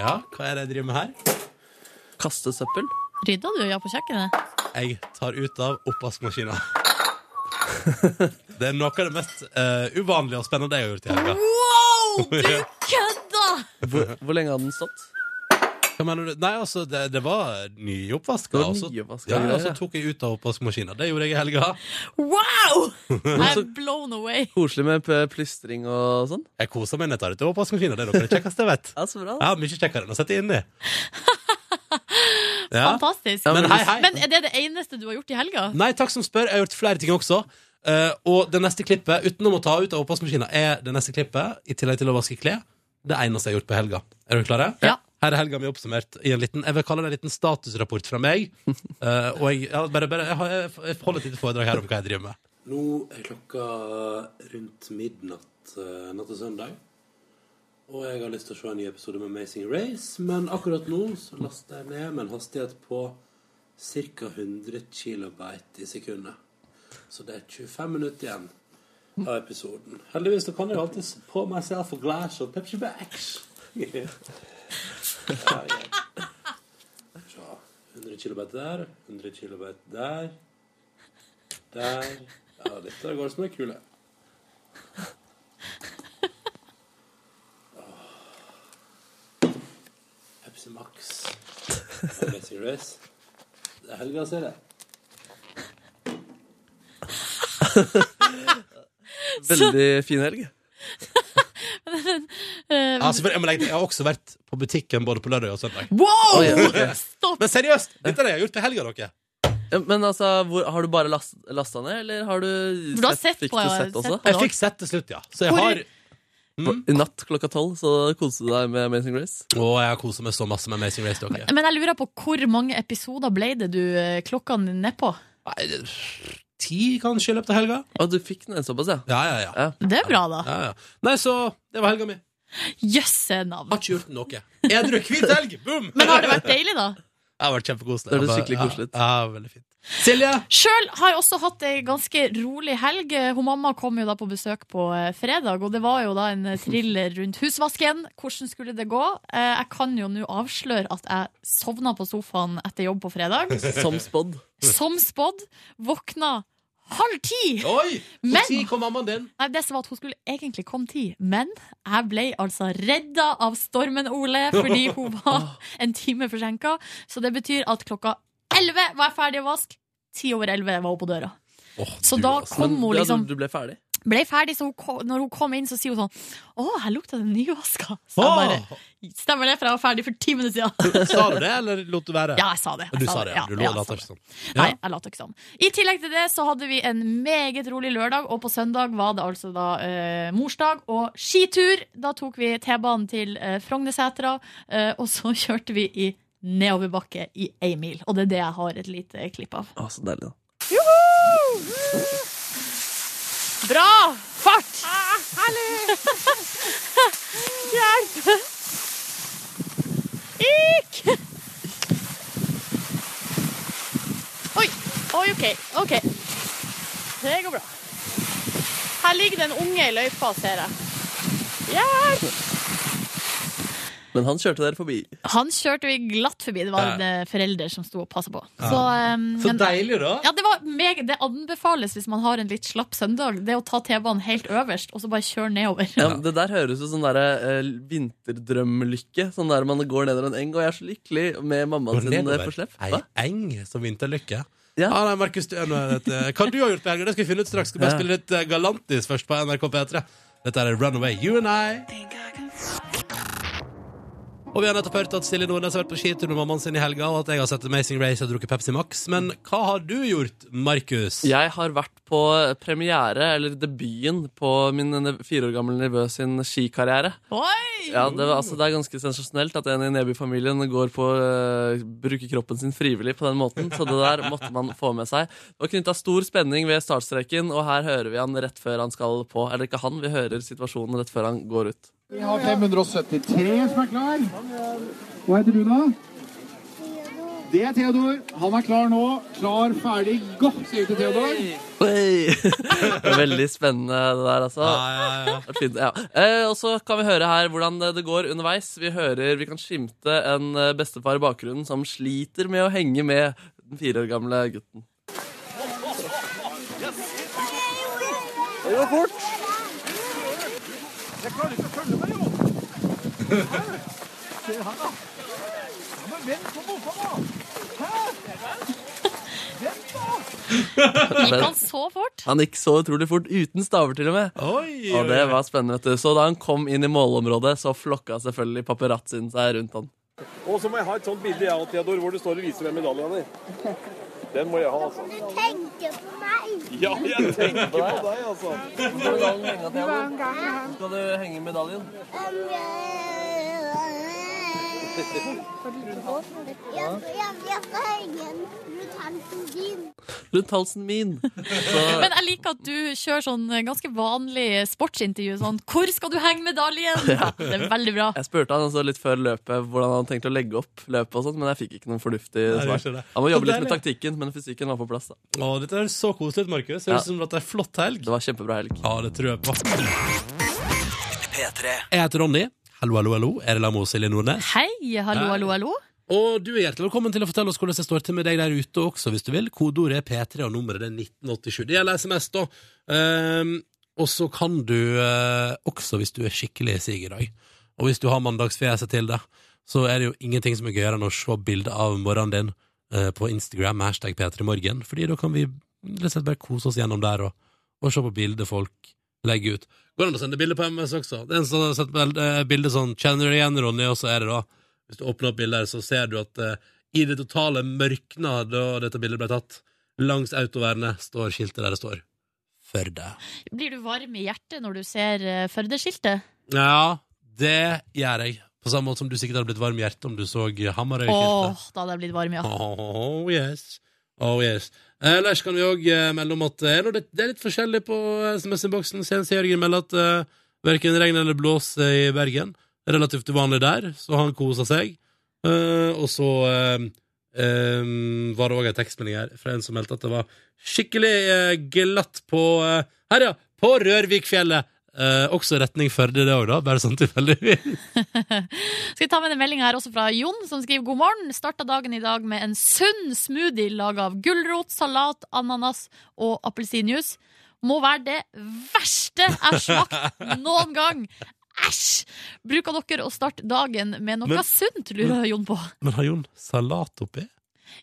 Ja, Hva er det jeg driver med her? Kaste søppel? Rydda du ja på kjøkkenet? Jeg tar ut av oppvaskmaskina. Det er noe av det mest eh, uvanlige og spennende jeg har gjort i helga. Wow, du kødda! Hvor lenge hadde den stått? Hva mener du? Nei, altså, det, det var nyoppvaska. Det var og så- nyoppvaska ja, greier, og så ja. tok jeg ut av oppvaskmaskina. Det gjorde jeg i helga. Wow! I'm blown away. Koselig med p- plystring og sånn. Jeg koser meg når jeg tar ut av oppvaskmaskina. Det er noe av det kjekkeste jeg vet. Ja, så bra. Ja, mye kjekkere enn å sette inni. Ja. Fantastisk. Ja, Men hei, hei. Men er det det eneste du har gjort i helga? Nei, takk som spør. Jeg har gjort flere ting også. Eh, og det neste klippet, utenom å ta ut av oppvaskmaskina, er det neste klippet, i tillegg til å vaske klær, det eneste jeg har gjort på helga. Er dere klare? Ja. Her er helga mi oppsummert i en liten jeg vil kalle det en liten statusrapport fra meg. Eh, og jeg, ja, bare, bare, jeg, har, jeg holder et lite foredrag her om hva jeg driver med. Nå er klokka eh, rundt midnatt eh, natt til søndag. Og jeg har lyst til å se en ny episode med Amazing Race, men akkurat nå så laster jeg ned med en hastighet på ca. 100 kilobyte i sekundet. Så det er 25 minutter igjen av episoden. Heldigvis så kan jeg jo alltid på myself a glass of Pepsi Backs. ja, ja. Så, 100 kilobyte der, 100 kilobyte der. Der. Ja, dette går som en kule. Åh. Pepsi Max. Amazing Race. Det er helga, ser jeg. Veldig fin helg. Eh, Ja, selvfølgelig, jeg, må legge til, jeg har også vært på butikken både på lørdag og søndag. Wow! Oi, ok. Stopp! Men seriøst, dette er det jeg har gjort på helga, dere. Ja, Men altså, hvor, har du bare last, lasta ned, eller har du Du har sett fikk på- du sett også? sett på- Jeg fikk sett til slutt, ja. Så jeg Hvor- har, I natt klokka tolv så koste du deg med Amazing Grace. å, jeg har koset meg så masse med Amazing Race, dere. Men jeg lurer på hvor mange episoder ble det du eh, klokka nedpå? Nei, det- ti kanskje i løpet av helga? Å, du fikk den såpass, ja. Ja, ja, ja. Det er bra, da. ja, ja. Nei, så det var helga mi. Jøsse Har navn. ikke gjort noe. Edru hvit helg! Boom! Men har det vært deilig, da? Det har vært kjempekoselig. Det hørtes Jeg bare- skikkelig koselig ut. Ja, ja, veldig fint. Silje! Sjøl har jeg også hatt ei ganske rolig helg. Hun mamma kom jo da på besøk på eh, fredag, og det var jo da en eh, thriller rundt husvasken. Hvordan skulle det gå? Eh, Jeg kan jo nå avsløre at jeg sovna på sofaen etter jobb på fredag. Som spådd. Som spådd. Våkna halv ti! Oi! Men- Når kom mammaen din? Nei, det som var at Hun skulle egentlig komme ti, men jeg ble altså redda av stormen Ole fordi hun var en time forsinka. Så det betyr at klokka elleve var jeg ferdig å vaske. Ti over elleve var hun på døra. Så da kom hun ja, liksom du, du ble ferdig. Ble ferdig, så hun kom, når hun kom inn, så sier hun sånn Å, her lukta det nyvaska. Så jeg bare, Åh, Stemmer det, for jeg var ferdig for ti minutter siden. Sa du det, eller lot du være? Ja, jeg sa det. jeg Du sa det, ja. Du lå jeg og sa lata det. ikke sånn. Ja. Nei, jeg later ikke sånn. I tillegg til det så hadde vi en meget rolig lørdag, og på søndag var det altså da eh, morsdag og skitur. Da tok vi T-banen til eh, Frognersetra, eh, og så kjørte vi i nedoverbakke i ei mil. Og det er det jeg har et lite klipp av. Å, så deilig, da. Bra! Fart! Hjelp! Ikk! Oi. Oi, OK. OK. Det går bra. Her ligger det en unge i løypa, ser jeg. Hjelp! Men han kjørte dere forbi. Han kjørte vi glatt forbi. Det var Ja. en eh, forelder som sto og passa på. Så, em, Så men- deilig, da. ja, det, var meg, det anbefales hvis man har en litt slapp søndag. Det å ta T-banen helt øverst og så bare kjøre nedover. Ja, men Det der høres ut som sånn uh, vinterdrømlykke. Sånn der man går nedover en eng og jeg er så lykkelig med mammaen sin eh, på slepp. Ei Hva? eng som vinterlykke. Ja. Ah, nei, Markus, du er nå et, eh, hva du har gjort på helga, det skal vi finne ut straks. Skal bare Ja. spille litt eh, Galantis først på NRK P3. Dette er Runaway, You and I. Og vi har nettopp hørt at Silje Nordnes har vært på skitur med mammaen sin i helga, og at jeg har sett Amazing Race og drukket Pepsi Max. Men hva har du gjort, Markus? Jeg har vært på premiere, eller debuten, på min nev- fire år gamle nevø sin skikarriere. Oi! Ja, det, var- altså, det er ganske sensasjonelt at en i Neby-familien går på eh, bruker kroppen sin frivillig på den måten, så det der måtte man få med seg. Det var knytta stor spenning ved startstreken, og her hører vi han rett før han skal på. Eller ikke han, vi hører situasjonen rett før han går ut. Vi har 573 som er klar. Hva heter du, da? Det er Theodor. Han er klar nå. Klar, ferdig, gå, sier vi til Theodor. Oi! Veldig spennende det der, altså. Ah, ja, ja. Det er Fint, ja. eh, og så kan vi høre her hvordan det det går underveis. Vi hører, vi kan skimte en eh, bestefar i bakgrunnen som sliter med å henge med den fire år gamle gutten. Gikk han så fort? Han gikk så utrolig fort, uten staver til og med. Oi, Og det var spennende, vet du. Så da han kom inn i målområdet, så flokka selvfølgelig paparazzoen seg rundt han. Og så må jeg ha et sånt bilde jeg og Theodor, hvor det står og viser hvem medaljen er. Den må jeg ha, altså. Du tenkte på meg. Ja, jeg tenkte på deg, altså. Skal du henge medaljen? um, Rundt halsen min. Så Men jeg liker at du kjører sånn ganske vanlig sportsintervju. Sånn 'Hvor skal du henge medaljen?' Det er veldig bra. jeg spurte han altså litt før løpet hvordan han tenkte å legge opp løpet og sånt, men jeg fikk ikke noen fornuftig Nei, det svar. skjønner jeg. Han må Så jobbe litt med deilig. taktikken, men fysikken var på plass, da. Å, dette høres så koselig ut, Markus. Høres Ja. ut som at det er flott helg. Det var kjempebra helg. Ja, det tror jeg på. P3. Jeg heter Ronny. Hallo, hallo, hallo. Er det Lamo og Silje Nordnes? Hei, hallo, hallo, hallo. Og du er hjertelig velkommen til å fortelle oss hvordan det står til med deg der ute også, hvis du vil. Kodeordet er P3, og nummeret er 1987. Det gjelder SMS, da. Ehm, og så kan du eh, også, hvis du er skikkelig sig i dag, og hvis du har mandagsfjeset til det, så er det jo ingenting som er gøyere enn å se bilde av morgenen din eh, på Instagram med hashtag P3morgen, fordi da kan vi rett og slett bare kose oss gjennom der og, og se på bilder folk legger ut. Går det an å sende bilder på MS også? Det er en sånn, sett vel, eh, bilde sånn 'Kjenner du deg igjen, Ronny?' og så er det da hvis du åpner opp bildet her, så ser du at eh, i det totale mørkna da dette bildet ble tatt, langs autovernet står skiltet der det står Førde. Blir du varm i hjertet når du ser eh, Førde-skiltet? Ja, det gjør jeg. På samme måte som du sikkert hadde blitt varm i hjertet om du så Hamarøy-skiltet. Åh, da hadde jeg blitt varm, ja. Oh yes. Oh yes. Ellers kan vi òg melde om at eh, det det er litt forskjellig på eh, SMS-innboksen. Senest Jørgen melder at uh, verken regn eller blås eh, i Bergen. Relativt uvanlig der, så han koser seg. Eh, og så eh, eh, var det òg en tekstmelding her fra en som meldte at det var skikkelig eh, glatt på eh, Her, ja! På Rørvikfjellet! Eh, også retning Førde, det òg, da. Bare sånn tilfeldigvis. Skal vi ta med en melding her også fra Jon, som skriver god morgen. Starta dagen i dag med en sunn smoothie laga av gulrot, salat, ananas og appelsinjuice. Må være det verste jeg smakt noen gang. Æsj! Bruker dere å starte dagen med noe Men- sunt, lurer Jon på. Men har Jon salat oppi?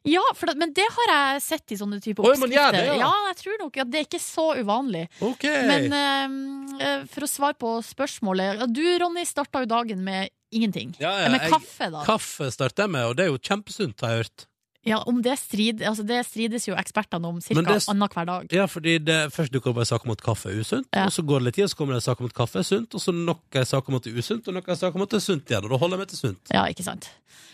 Ja, for, det- men det har jeg sett i sånne typer Oi, man gjør det, oppskrifter. ja. Ja, jeg tror nok at det er ikke så uvanlig. OK! Men eh, eh, for å svare på spørsmålet Du, Ronny, starta jo dagen med ingenting. Ja, Eh, ja, med jeg- kaffe, da. Kaffe starter jeg med, og det er jo kjempesunt, har jeg hørt. Ja, om det, strid, altså det strides jo ekspertene om Men cirka det- annenhver dag. Ja, fordi det, Først dukker opp en sak om at kaffe er usunt, Ja. og så går det litt tid, og så kommer det en sak om at kaffe er sunt, og så nok en sak om at det er usunt, og nok en sak om at det er sunt igjen. Og da holder jeg meg til sunt. Ja, ikke sant.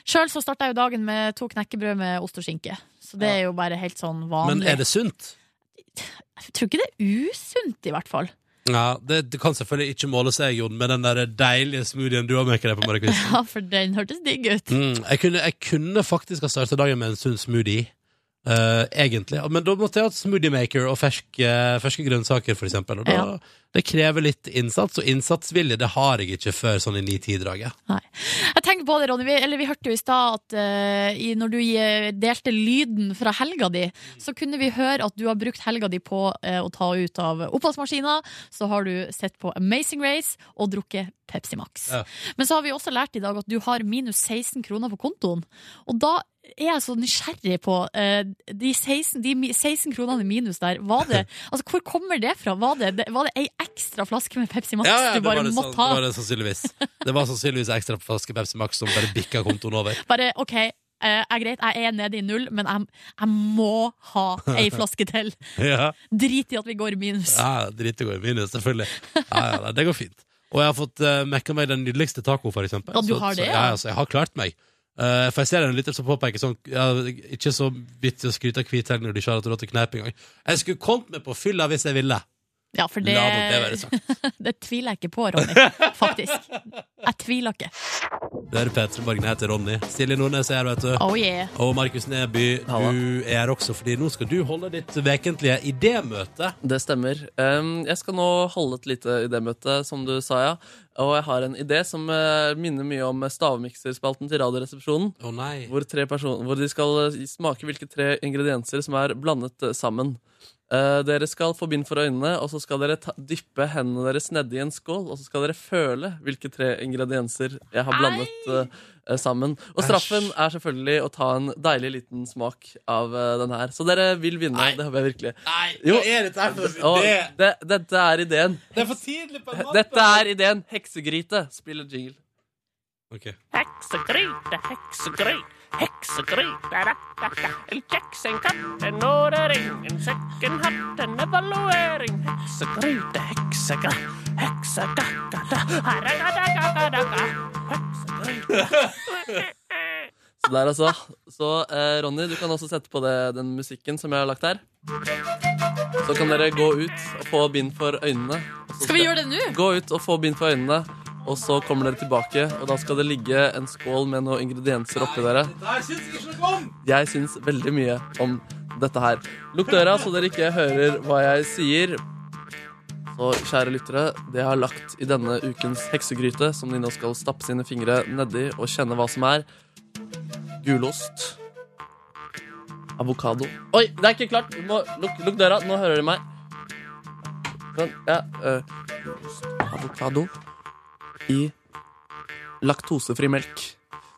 Sjøl så starta jeg jo dagen med to knekkebrød med ost og skinke. Så det er jo bare helt sånn vanlig. Men er det sunt? Jeg tror ikke det er usunt, i hvert fall. Ja, det, det kan selvfølgelig ikke måle seg, Jon, med den der deilige smoothien du har med deg på morgenkvisten. Ja, for den hørtes digg ut. Mm, jeg, kunne, jeg kunne faktisk ha startet dagen med en sunn smoothie. eh, egentlig. Men da måtte jeg hatt smoothiemaker og ferske, ferske grønnsaker, for eksempel. Og da, Ja. Det krever litt innsats, og innsatsvilje det har jeg ikke før sånn i ni-ti-draget. Jeg tenkte på det, Ronny, vi, eller vi hørte jo i stad at eh, i, når du eh, delte lyden fra helga di, så kunne vi høre at du har brukt helga di på eh, å ta ut av oppvaskmaskina. Så har du sett på Amazing Race og drukket Pepsi Max. Ja. Men så har vi også lært i dag at du har minus 16 kroner på kontoen. Og da er jeg så nysgjerrig på eh, de 16, de mi- 16 kronene i minus der. Var det, altså, hvor kommer det fra? Var det, det- var det ei ekstra flaske med Pepsi Max Ja, ja, du det bare var det, måtte sann- ha? det var det sannsynligvis. Det var sannsynligvis ekstra på flaske Pepsi Max som bare bikka kontoen over. Bare OK, eh, er greit, jeg er nede i null, men jeg, jeg må ha ei flaske til. Ja, Drit i at vi går i minus. ja Drit i går i minus, selvfølgelig. Ja, ja, nei, det går fint. Og jeg har fått uh, mekka meg den nydeligste taco, for eksempel. Ja, du Så- har så, det, ja. ja. ja, så jeg har klart meg. Eh, for jeg ser en lytter som påpeker sånn ja, Ikke så vittig å skryte av hvithelg når du ikke har hatt råd til kneip engang. Jeg skulle kommet meg på fylla hvis jeg ville. Ja, for det, La nå det være sagt. det tviler jeg ikke på, Ronny. Faktisk. Jeg tviler ikke. Det er P3 Morgen. Jeg heter Ronny. Silje Nordnes er her, vet du. Oh yeah. Og Markus Neby, du er her også, fordi nå skal du holde ditt vekentlige idémøte. Det stemmer. Ehm, jeg skal nå holde et lite idémøte, som du sa, ja. Og jeg har en idé som eh, minner mye om stavmikserspalten til Radioresepsjonen. Å nei. Hvor, tre person- hvor de skal eh, smake hvilke tre ingredienser som er blandet eh, sammen. Eh, Eh, dere skal få bind for øynene, og så skal dere ta, dyppe hendene deres nedi en skål. Og så skal dere føle hvilke tre ingredienser jeg har blandet eh, sammen. Og straffen er selvfølgelig å ta en deilig liten smak av eh, den her. Så dere vil vinne. Det håper jeg virkelig. Nei, Jo. hva er dette her for en Og idé? det, dette er ideen. Det er for tidlig på en måte. Dette er ideen. Heksegryte. Spiller jingle. Ok. Heksegryte, heksegryte, heksegryte da, da, da. En kjeks, en katt, en årering, en sekk, en hatt, en evaluering. Heksegryte, heksegryte, heksegryte Herregadagadagaga. Så der altså. Så eh, Ronny, du kan også sette på det, den musikken som jeg har lagt her. Så kan dere gå ut og få bind for øynene. Og så Skal vi gjøre det nå? Gå ut og få bind for øynene, og så kommer dere tilbake. Og da skal det ligge en skål med noen ingredienser oppi dere. Der syns jeg ikke noe om! Jeg syns veldig mye om dette her. Lukk døra, så dere ikke hører hva jeg sier. Så, kjære lyttere, det jeg har lagt i denne ukens heksegryte, som de nå skal stappe sine fingre nedi og kjenne hva som er Gulost. Avokado. Oi, det er ikke klart! Du må lukk, lukk døra. Nå hører de meg. Men, ja, øh, gulost, avokado i laktosefri melk.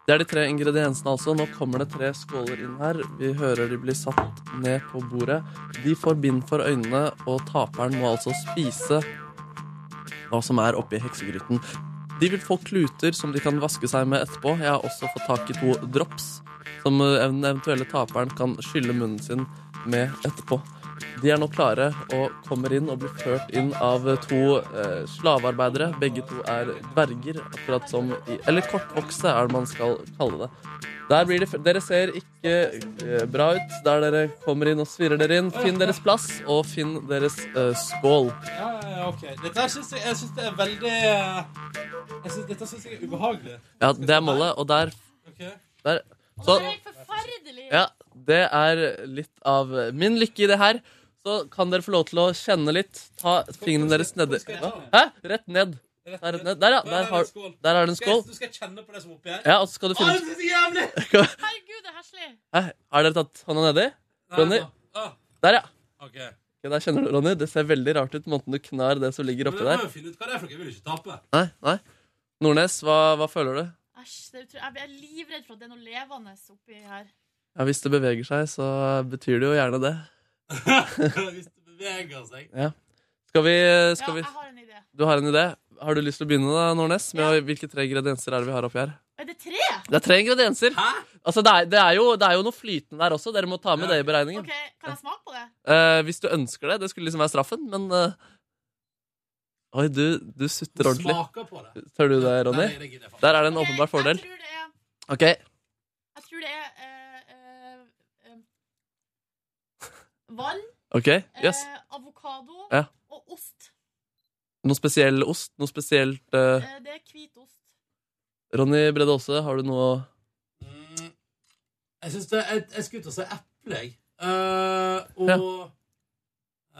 Det er de tre ingrediensene, altså. Nå kommer det tre skåler inn her. Vi hører de blir satt ned på bordet. De får bind for øynene, og taperen må altså spise hva som er oppi heksegryten. De vil få kluter som de kan vaske seg med etterpå. Jeg har også fått tak i to drops som eh, den eventuelle taperen kan skylle munnen sin med etterpå. De er nå klare og kommer inn og blir ført inn av to eh, slavearbeidere. Begge to er dverger, akkurat som i Eller kortvokste, er det man skal kalle det. Der blir det, f- dere ser ikke eh, bra ut der dere kommer inn og svirrer dere inn. Finn deres plass, og finn deres eh, skål. Ja, ja, ja, ok. Dette her syns jeg, jeg synes det er veldig eh, jeg synes, Dette syns jeg er ubehagelig. Ja, det er målet, og der, Ok. der. Så Det er helt forferdelig. Ja, det er litt av min lykke i det her. Så kan dere få lov til å kjenne litt. Ta fingrene deres nedi Hæ? Rett ned. Der, rett ned. der ja. Der, har, der er Skal det en jeg, skål. nå skal jeg kjenne på det som er oppi her. Ja, og så skal du Å, det finne syns jeg er jævlig! Herregud, det er heslig. Hæ? Har dere tatt hånda nedi? Ronny? Ah, Der, ja. ok. Ok, der kjenner du, Ronny. Det ser veldig rart ut, måten du knar det som ligger Men oppi jeg må der. jo finne ut hva det er for noe. Jeg vil jo ikke tape. Nei, nei. Nordnes, hva, hva føler du? Æsj, det er utro- jeg er livredd for at det er noe levende oppi her. Ja, Hvis det beveger seg, så betyr det jo gjerne det. Hvis det beveger seg. Skal vi, Ja, skal vi jeg har en idé. Du har en idé? Har du lyst til å begynne, da, Nordnes? Med å- hvilke tre ingredienser er det vi har oppi her? Er det tre? Det er tre ingredienser. Hæ? Altså, det er, det, er jo, det er jo noe flytende der også. Dere må ta med det i beregningen. Ok, Kan jeg smake på det? Eh, hvis du ønsker det. Det skulle liksom være straffen, men eh, Oi, du, du sutter Du ordentlig. smaker på det. Tør du det, Ronny? Nei, det gidder jeg faen. Der er det en Ok, åpenbar fordel. Jeg tror det er, Ok, jeg tror det er eh, eh, eh, vann, ok, eh, yes. avokado Ja. og ost. Noe spesiell ost? Noe spesielt eh, Eh, det er hvit ost. Ronny Brede Aase, har du noe Mm. Jeg syns det Jeg, jeg skulle ut og si eple, jeg. Eh, og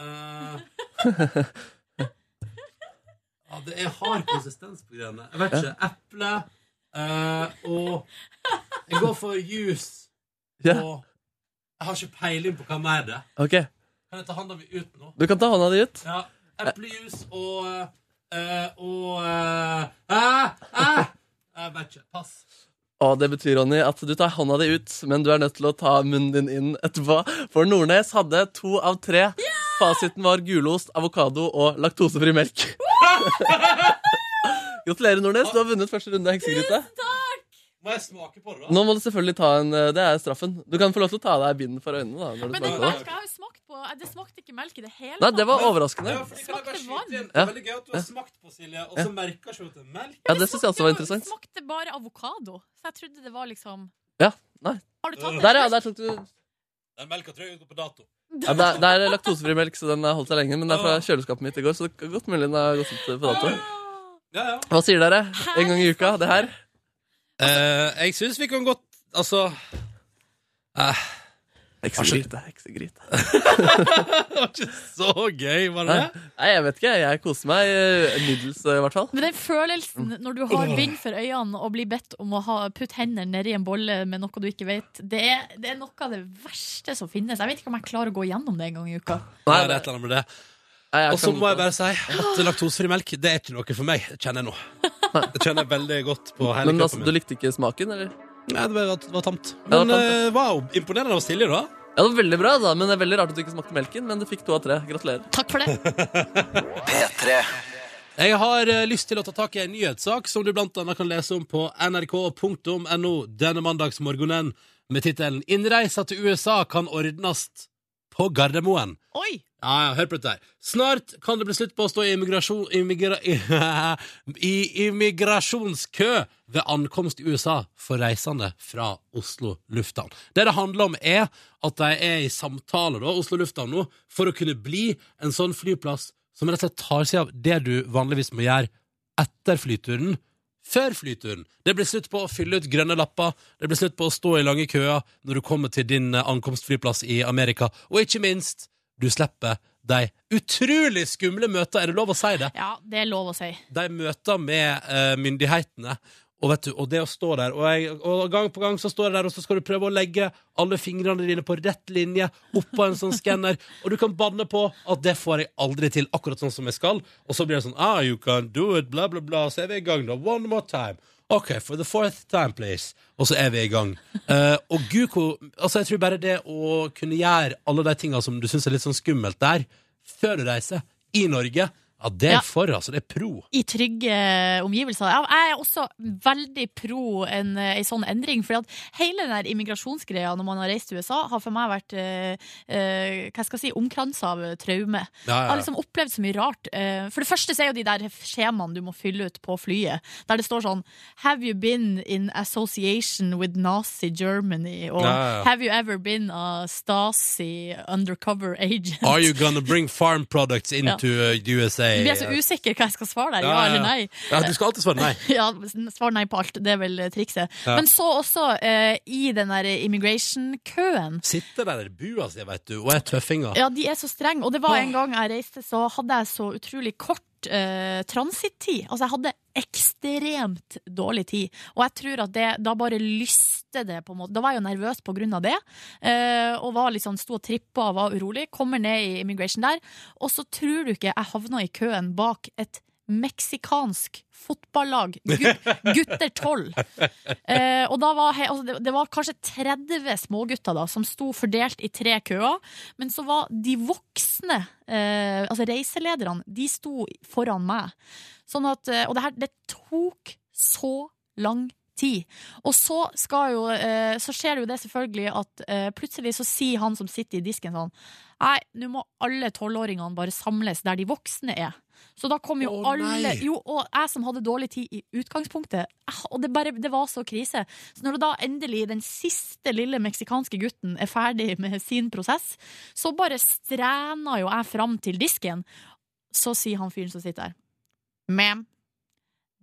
eh, ja, det er hard konsistens på greiene. Jeg vet ikke. Eple eh, og Jeg går for juice Ja. og Jeg har ikke peiling på hva mer det er. Ok, Kan jeg ta hånda mi ut nå? du kan ta hånda di ut. Ja. Eplejus og eh, Og eh, eh, eh. Jeg vet ikke. Pass. Og det betyr, Ronny, at du tar hånda di ut, men du er nødt til å ta munnen din inn etterpå. For Nordnes hadde to av tre. Fasiten var gulost, avokado og laktosefri melk. Gratulerer, Nordnes. Du har vunnet første runde av heksegryte. Må jeg smake på det, da? Nå må du selvfølgelig ta en eh, Det er straffen. Du kan få lov til å ta av deg binden for øynene. da når du Men det, smaker på der det. skal jeg jo smakt på. Eh, Det smakte ikke melk i det hele Nei, det var Ja, overraskende. for det kan jeg bare skyte Smakte inn. vann. Det er veldig gøy at du har smakt på, Silje, og så merker ikke du at det er melk. Ja, Det syns jeg også var interessant. Det smakte bare avokado. Så jeg trodde det var liksom Ja, nei. Har du tatt det? Der, ja. Der tok du ja, Den melka tror jeg går på dato. det, er, det er laktosefri melk, så den har holdt seg lenge. Men det er fra kjøleskapet mitt i går, så det er godt mulig den har gått ut på dato. Ja, ja. Hva sier dere? En gang i uka, det her? Eh, jeg syns vi kan godt Altså Heksegryte, heksegryte. det var ikke så gøy, var det det? Nei, jeg vet ikke. Jeg koser meg eh, middels, eh, i hvert fall. Men den følelsen Mm. når du har bind for øynene og blir bedt om å ha, putte hendene nedi en bolle med noe du ikke vet, det er, det er noe av det verste som finnes. Jeg vet ikke om jeg klarer å gå gjennom det en gang i uka. Nei, det er et eller annet med det. Og så må jeg bare si at laktosefri melk det er ikke noe for meg, kjenner jeg nå. Det kjenner jeg veldig godt på hele Men altså, kroppen du min. likte ikke smaken, eller? Nei, det var, det var tamt. Ja, det Men var eh, wow, imponerende av Silje, da. Ja, det var veldig bra, da, men det er veldig rart at du ikke smakte melken. Men du fikk to av tre. Gratulerer. Takk for det. P3. Jeg har eh, lyst til å ta tak i en nyhetssak som du blant annet kan lese om på nrk.no denne mandagsmorgenen med tittelen 'Innreisa til USA kan ordnast på Gardermoen'. Oi! Ja, ja, hør på dette her. Snart kan det bli slutt på å stå i, immigrasjon, immigra, i immigrasjonskø ved ankomst i USA for reisende fra Oslo lufthavn. Det det handler om, er at de er i samtale, da, Oslo lufthavn nå, for å kunne bli en sånn flyplass som rett og slett tar seg av det du vanligvis må gjøre etter flyturen, før flyturen. Det blir slutt på å fylle ut grønne lapper, det blir slutt på å stå i lange køer når du kommer til din eh, ankomstflyplass i Amerika, og ikke minst, du slipper de utrolig skumle møter, er det lov å si det? Ja, det er lov å si. De møter med eh, myndighetene, og, vet du, og det å stå der og, jeg, og gang på gang så står jeg der, og så skal du prøve å legge alle fingrene dine på rett linje oppå en sånn skanner, og du kan banne på at det får jeg aldri til akkurat sånn som jeg skal, og så blir det sånn ah, you can do it, bla, bla, bla, så er vi i gang, da. One more time. OK, for the fourth time, please. Og så er vi i gang. Eh, og gud, hvor- altså jeg tror bare det å kunne gjøre alle de tinga som du syns er litt sånn skummelt der, før du reiser, i Norge, ja, det er Ja. for, altså. Det er pro. I trygge eh, omgivelser. Ja, Jeg er også veldig pro en, en sånn endring. For hele den der immigrasjonsgreia når man har reist til USA, har for meg vært eh, eh, hva skal jeg si, omkransa av traume. Ja, ja, ja. Jeg har liksom opplevd så mye rart. Eh, for det første så er jo de der skjemaene du må fylle ut på flyet, der det står sånn Have you been in association with Nazi Germany? Og Ja, ja. Have you ever been a Stasi undercover agent? Are you gonna bring farm products into Ja. uh, USA? Jeg blir så usikker hva jeg skal svare der, ja, eller nei. Ja, du skal alltid svare nei. Ja, svar nei på alt. Det er vel trikset. Ja. Men så også eh, i den der immigration-køen. Sitter der i bua si, vet du, og er tøffinger. Ja, de er så strenge. Og det var en gang jeg reiste, så hadde jeg så utrolig kort eh, transittid. Altså, jeg hadde ekstremt dårlig tid. Og jeg tror at det da bare lyste det, på en måte. Da var jeg jo nervøs på grunn av det, eh, og var liksom, sto og trippa og var urolig. Kommer ned i immigration der, og så tror du ikke jeg havna i køen bak et meksikansk fotballag, gut, gutter tolv. Eh, og da var, he- altså, det, det var kanskje 30 smågutter da, som sto fordelt i tre køer. Men så var de voksne, eh, altså reiselederne, de sto foran meg. Sånn at, eh, og det her det tok så lang tid. Og så, skal jo, eh, så skjer det jo det selvfølgelig at eh, plutselig så sier han som sitter i disken sånn Nei, nå må alle tolvåringene bare samles der de voksne er. Så da kom jo Å, alle nei. Jo, og jeg som hadde dårlig tid i utgangspunktet. ah, Og det, bare, det var så krise. Så når da endelig den siste lille meksikanske gutten er ferdig med sin prosess, så bare strena jo jeg fram til disken. Så sier han fyren som sitter der, ma'am,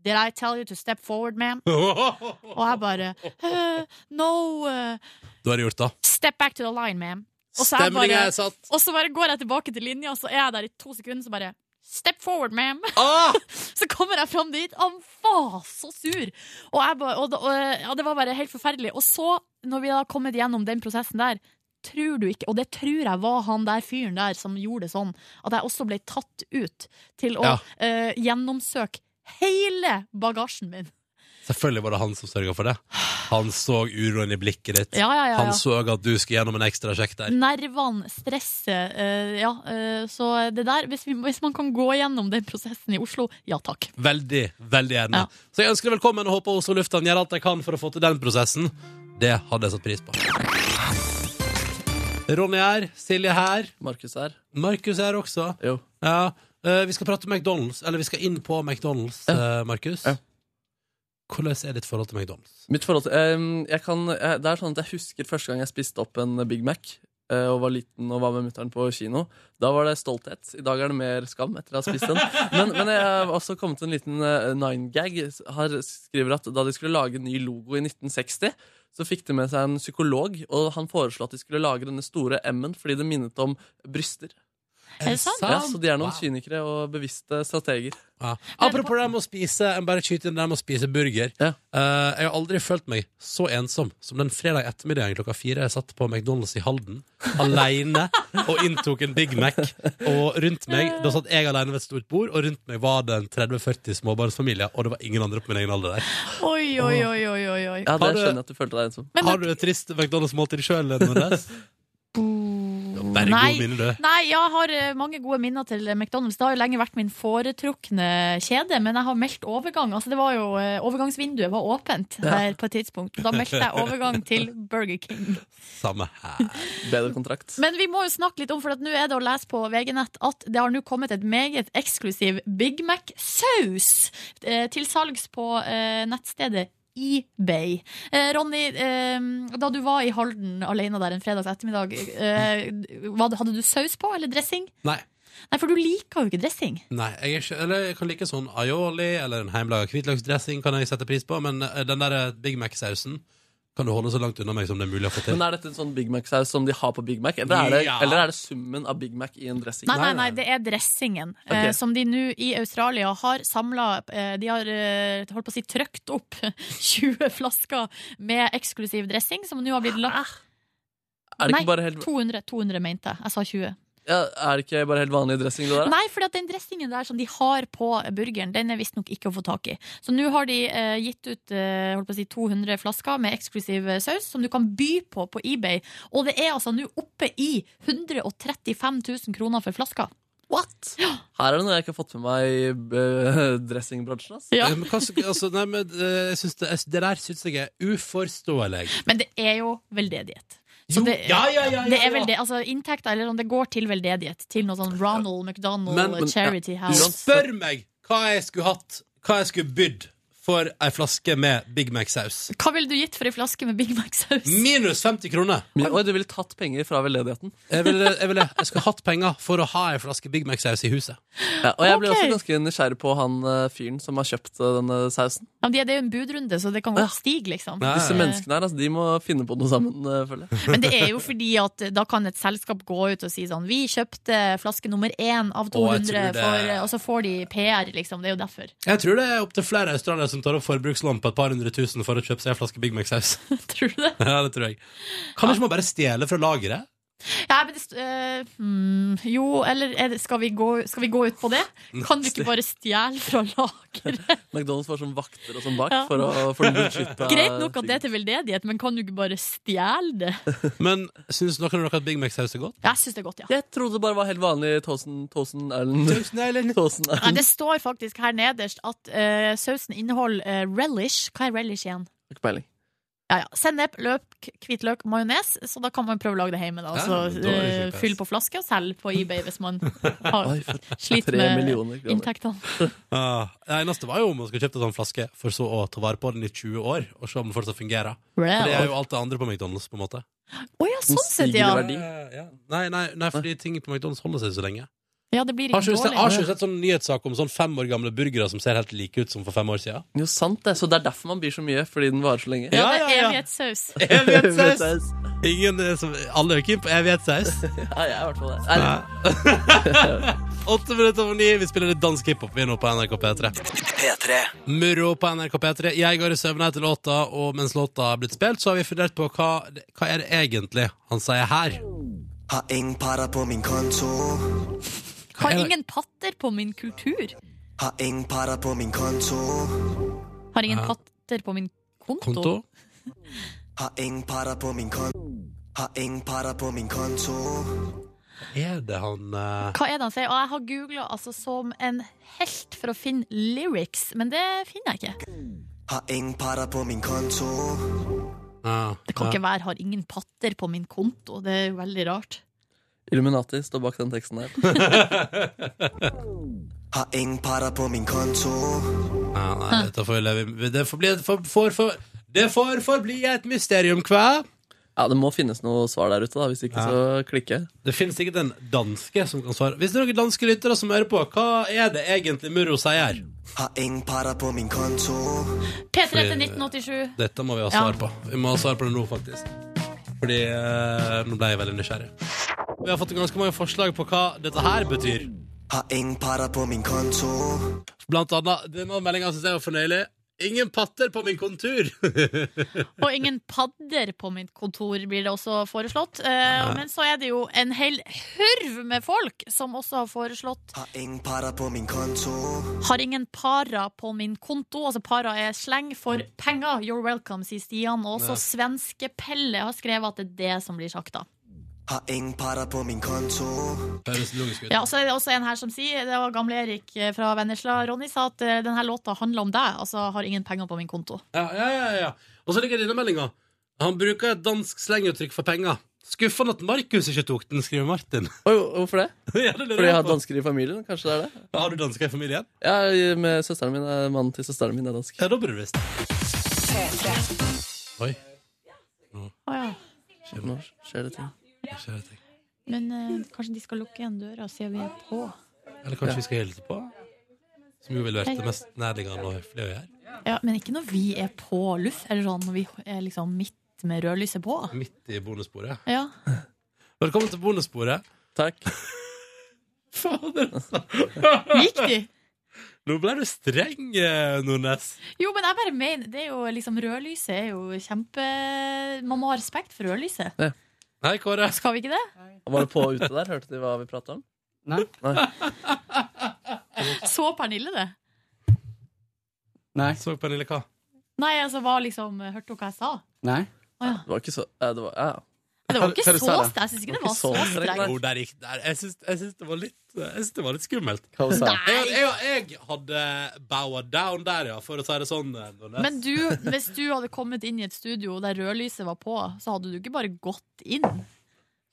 did I tell you to step forward, ma'am? Og jeg bare «Eh, No, eh, Du har det gjort, da. step back to the line, ma'am. Og så, er jeg Stemningen bare, er satt. og så bare går jeg tilbake til linja, og så er jeg der i to sekunder, så bare Step forward, ma'am! Ah! Så kommer jeg fram dit. Han var så sur! Og, jeg bare, og, da- og ja, det var bare helt forferdelig. Og så, når vi da har kommet gjennom den prosessen der, tror du ikke Og det tror jeg var han der fyren der som gjorde det sånn, at jeg også ble tatt ut til å Ja. eh, gjennomsøke hele bagasjen min. Selvfølgelig var det han som sørga for det. Han så uroen i blikket ditt. Ja, ja, ja, ja. Han så at du skulle gjennom en ekstra sjekk der. Nervene, stresset. eh, ja, eh, så det der hvis, vi, hvis man kan gå gjennom den prosessen i Oslo, ja takk. Veldig, veldig gjerne. Så jeg ønsker deg velkommen og håper Oslo Lufthavn gjør alt de kan for å få til den prosessen. Det hadde jeg satt pris på. Ronny er, Silje her. Markus er. Markus er også. Ja. eh, vi skal prate om McDonald's, eller vi skal inn på McDonald's, eh, Markus. Hvordan er ditt forhold til McDonald's? Mitt forhold til, eh, jeg kan, eh, det er sånn at jeg husker første gang jeg spiste opp en Big Mac. eh, og var liten og var med mutter'n på kino. Da var det stolthet. I dag er det mer skam etter å ha spist den. Men, men jeg har også kommet til en liten eh, nine gag. Her skriver at da de skulle lage en ny logo i 1960, så fikk de med seg en psykolog, og han foreslo at de skulle lage denne store M-en fordi det minnet om bryster. Er det sant? Ja, så de er noen Wow. kynikere og bevisste strateger. Ja. Apropos det med å spise Jeg må bare skyter inn det med å spise burger. Eh, jeg har aldri følt meg så ensom som den fredag ettermiddagen klokka fire jeg satt på McDonald's i Halden alene og inntok en Big Mac. Og rundt meg Da satt jeg alene ved et stort bord, og rundt meg var det en 30-40 småbarnsfamilier, og det var ingen andre på min egen alder der. Oi, oi, oi, oi, oi, oi. Ja, det skjønner jeg at du følte deg ensom. Har du et trist McDonald's-måltid sjøl, Nordnes? Bare Nei. gode minner, du. Nei, jeg har eh, mange gode minner til McDonald's. Det har jo lenge vært min foretrukne kjede, men jeg har meldt overgang. Altså, det var jo, eh, overgangsvinduet var åpent Ja. der på et tidspunkt. Da meldte jeg overgang til Burger King. Samme her. Bedre kontrakt. Men vi må jo snakke litt om, for at nå er det å lese på VG-nett at det har nå kommet et meget eksklusiv Big Mac-saus eh, til salgs på eh, nettstedet eBay. Eh, Ronny, eh, da du var i Halden alene der en fredags ettermiddag, eh, hva- hadde du saus på, eller dressing? Nei. Nei, for du liker jo ikke dressing. Nei, jeg, er ikke, eller jeg kan like sånn aioli eller en hjemmelaga hvitløksdressing kan jeg sette pris på, men eh, den der eh, Big Mac-sausen kan du holde så langt unna meg som det er mulig å få til. Men er dette en sånn Big Mac-saus som de har på Big Mac? Eller er, det, Ja. eller er det summen av Big Mac i en dressing? Nei, nei, nei, det er dressingen Ok. eh, som de nå i Australia har samla eh, De har eh, holdt på å si trøkt opp 20 flasker med eksklusiv dressing, som nå har blitt lagt Er det Nei, ikke bare helt, 200, 200 mente jeg. Jeg sa 20. ja, er det ikke bare helt vanlig dressing, det der? da? Nei, for den dressingen der som de har på burgeren, den er visstnok ikke å få tak i. Så nå har de eh, gitt ut eh, holdt på å si 200 flasker med eksklusiv eh, saus, som du kan by på på eBay. Og det er altså nå oppe i 135 000 kroner for flaska. What?! Her er det noe jeg ikke har fått med meg i eh, dressingbransjen. ass. Eh, Men, hva skal- altså, nei, men eh, jeg synes det, jeg- det der syns jeg er uforståelig. Men det er jo veldedighet. Så Jo, det, ja, ja, ja, ja, det er ja. vel det, altså Inntekter eller om det går til veldedighet. Til noe sånn Ronald McDonald Men- men- Charity ja. House. Spør meg hva jeg skulle hatt, hva jeg skulle bydd for ei flaske med Big Mac-saus. Hva ville du gitt for ei flaske med Big Mac-saus? Minus 50 kroner. Oi, du ville tatt penger fra veldedigheten? Jeg, ville, jeg, ville, jeg skulle hatt penger for å ha ei flaske Big Mac-saus i huset. Ja, og jeg ble Ok. også ganske nysgjerrig på han eh, fyren som har kjøpt eh, denne sausen. Ja, men det det er jo en budrunde, så det kan godt stige, liksom. Disse Eh, menneskene her, altså, de må finne på noe sammen, eh, føler jeg. Men det er jo fordi at da kan et selskap gå ut og si sånn Vi kjøpte flaske nummer én Å, av jeg 200, tror det- for, og så får de PR, liksom. Det er jo derfor. Jeg tror det er opptil flere australiere som tar opp forbrukslån på et par hundre tusen for å kjøpe seg en flaske Big Mac-saus. tror du det? Ja, det tror jeg. Kan ikke man bare stjele fra lageret? Ja, men det, st- eh, hmm, jo, eller er det, skal, vi gå, skal vi gå ut på det? Kan vi ikke bare stjele fra lageret? McDonald's var som vakter og som bak Ja. for eh, å få beskytta Greit nok at det er til veldedighet, men kan du ikke bare stjele det? Men syns noen av dere at Big Mac-saus er godt? Jeg syns det er godt, ja. Jeg trodde det bare var helt vanlig Tåsen Tåsen Erlend. Tåsen Erlend. Nei, det står faktisk her nederst at eh, sausen inneholder eh, relish. Hva er relish igjen? Ikke peiling. Ja, ja. Sennep, løk, k- hvitløk, majones. Så da kan man prøve å lage det hjemme. Da. Ja, Så, men da er det eh, kjempeass. fyll på flaske og selg på eBay hvis man Oi, har, for sliter tre med millioner kroner. inntektene. Ja, det eneste var jo om man skulle kjøpt en sånn flaske for så å ta vare på den i 20 år, og se om den fortsatt fungerer. For Wow. det er jo alt det andre på McDonald's, på en måte. Å ja, sånn sett, stiger ja. i Nei, nei, nei fordi ting på McDonald's holder seg så lenge. Ja, det blir Har ikke ikke du sett, har ikke du dårlig. sett sånn nyhetssak om sånn fem år gamle burgere som ser helt like ut som for fem år siden? Jo, sant det. Så det er derfor man blir så mye, fordi den varer så lenge. Ja, det er evighetssaus. Evighetssaus! Ingen eh, som, alle er keen på evighetssaus. Ja, jeg er i hvert fall det. Nei. Åtte minutter over ni, vi spiller litt dansk hiphop vi er nå på NRK P3. P3. Murro på NRK P3. Jeg går i søvne etter låta, og mens låta har blitt spilt, så har vi fundert på hva, hva er det egentlig han sier her. Har ingen para på min konto. Har ingen patter på min kultur. Har ingen para på min konto. Har ingen Ja. patter på min konto. Har ingen para på min konto. Har ingen para på min konto. Er det han eh, Hva er det han sier? Og jeg har googla altså, som en helt for å finne lyrics, men det finner jeg ikke. Har ingen para på min konto. ah, Det kan ikke være 'har ingen patter på min konto'. Det er jo veldig rart. Illuminati står bak den teksten der. Har ingen para på min konto. Ja, ah, nei, dette får vi leve i. Det får, bli, det får, får, får, det får forbli et mysterium, hva? Ja, Det må finnes noe svar der ute, da, hvis ikke så klikker jeg. Det finnes sikkert en danske som kan svare. Hvis det er noen danske lyttere som hører på, hva er det egentlig Murro sier? Har ingen para på min konto. P3 til 1987. Dette må vi ha Ja. svar på. Vi må ha svar på det nå, faktisk. Fordi eh, Nå ble jeg veldig nysgjerrig. Vi har fått ganske mange forslag på hva dette her betyr. Har ingen para på min konto. Blant annet denne meldinga syns jeg var fornøyelig. Ingen patter på min kontur! Og ingen padder på mitt kontor blir det også foreslått. Eh, Ja. Men så er det jo en hel hurv med folk som også har foreslått Har ingen para på min konto. Har ingen para på min konto. Altså para er sleng for penger. You're welcome, sier Stian. Og Ja. også svenske Pelle har skrevet at det er det som blir sagt, da. Har ingen para på min konto. Høres logisk Ja, og så er det også en her som sier, det var gamle Erik eh, fra Vennesla, Ronny sa at eh, denne låta handler om deg, altså har ingen penger på min konto. Ja, ja, ja, ja. Og så ligger denne meldinga. Han bruker et dansk slenguttrykk for penger. Skuffende at Markus ikke tok den, skriver Martin. Oi, hvorfor det? ja, det lurer Fordi jeg har på. dansker i familien? Kanskje det er det? Har du dansker i familien? Ja, med søsteren min, eh, Mannen til søsteren min er dansk. Ja, da burde du visst Oi. Å ja. Nå skjer det ting. Skjer det ting. Men eh, kanskje de skal lukke igjen døra siden vi er på. Eller kanskje Ja. vi skal hilse på? Som jo ville vært det mest nærliggende og høflige å gjøre. Ja, men ikke når vi er på luft, eller sånn når vi er liksom midt med rødlyset på. Midt i bonussporet. Ja. Velkommen til bonussporet. Takk. Fader, altså. Gikk de? Nå ble du streng, eh, Nordnes. Jo, men jeg bare mener, det er jo liksom rødlyset er jo kjempe... Man må ha respekt for rødlyset. Hei, Kåre. Skal vi ikke det? Var det på ute der? Hørte de hva vi prata om? Nei. Så Pernille det? Nei. Så Pernille hva? Nei, altså, var liksom, hørte hun hva jeg sa? Nei. Å ja. Det var ikke så ja, det var, ja. Men det var ikke så sterkt. Jeg synes ikke det var så Nei. Jo, strengt. der gikk der. Jeg syns, jeg syns det var litt eh, Jeg syns det var litt skummelt. Hva sa jeg? Jeg, jeg, jeg hadde bowa down der, ja, for å si det sånn. eh, Nordnes. Men du, hvis du hadde kommet inn i et studio der rødlyset var på, så hadde du ikke bare gått inn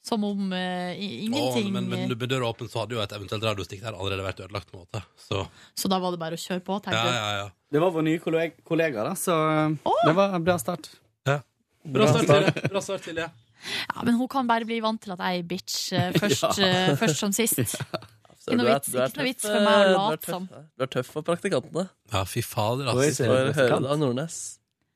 som om eh, i- ingenting Å, men, men med døra åpen så hadde jo et eventuelt radiostikk der allerede vært ødelagt. på en måte Så Så da var det bare å kjøre på, ja, tenkte du. ja, ja. Det var vår nye kollega, kollega da, så det var en bra start. Bra start, Silje. Bra start, Silje. Ja, men hun kan bare bli vant til at jeg er ei bitch eh, først, Ja. eh, først som sist. Så Ikke noe du er- vits, du er ikke noe tøff, vits for meg å eh, du er late tøff, som. eh. Du er tøff for praktikantene. Ja, fy fader, altså. Vi får høre det av Nordnes.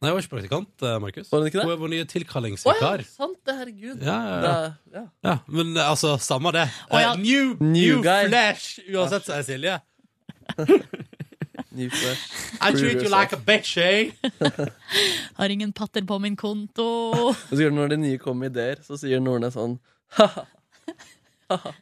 Nei, jeg var ikke praktikant, eh, Markus. Var hun ikke det? Hun er vår nye tilkallingsvikar. sant det, herregud. Ja, ja, ja. Det er- ja. Ja, men eh, altså, samme det. Å, ja. Eh, New, New new guy. flesh, uansett, sier Silje. Ny flash. I treat you like a bitch, eh? Har ingen patter på min konto. Og så gjør det når de nye kommer med ideer, så sier Nordnes sånn «Haha, haha».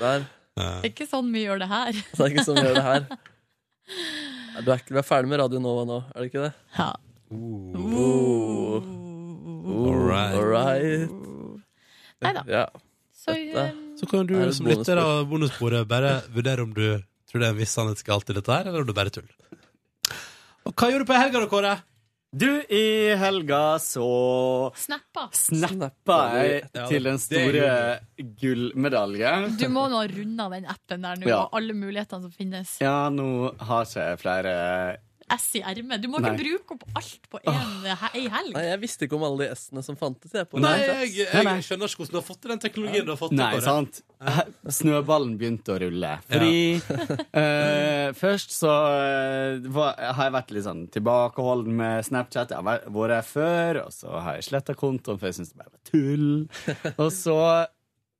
Der. Det er ikke sånn vi gjør det her. Så det er ikke sånn vi gjør det her. Ja, Du er, ikke, du er ferdig med Radio Nova nå, er det ikke det? Ja. Oh. Oh, All right. all right. Nei da. Ja. Så Dette- eh, Så kan du Er det som bonusspor? lytter av bonussporet bare vurdere om du tror det er en viss sannhetsgalt i dette her, eller om det bare er tull. Og hva gjorde du på helga, da, Kåre? Du, i helga så snappa. snappa jeg Ja, til den det store gjorde gullmedalje. Du må nå ha runda den appen der nå, Ja. og alle mulighetene som finnes. Ja, nå har ikke jeg flere S i ermet. Du må ikke Nei. bruke opp alt på en- he- ei helg. Nei, jeg visste ikke om alle de S-ene som fantes. Jeg, på Nei, den jeg, plass. Nei, jeg nei. skjønner ikke hvordan du har fått til den teknologien du har fått til. Nei, Kåre. sant? Snøballen begynte å rulle. Fordi eh, først så eh, var, har jeg vært litt sånn tilbakeholden med Snapchat. Jeg har vært- vært her før, og så har jeg sletta kontoen, for jeg syns det bare var tull. Og så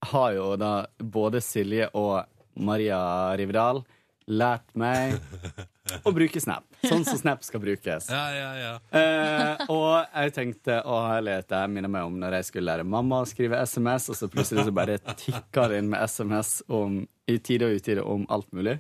har jo da både Silje og Maria Rivedal lært meg å bruke Snap. Sånn som Snap skal brukes. Ja, ja, ja. Eh, og jeg tenkte å herlighet, det her minner meg om når jeg skulle lære mamma å skrive SMS, og så plutselig så bare tikka det inn med SMS om, i tide og utide om alt mulig.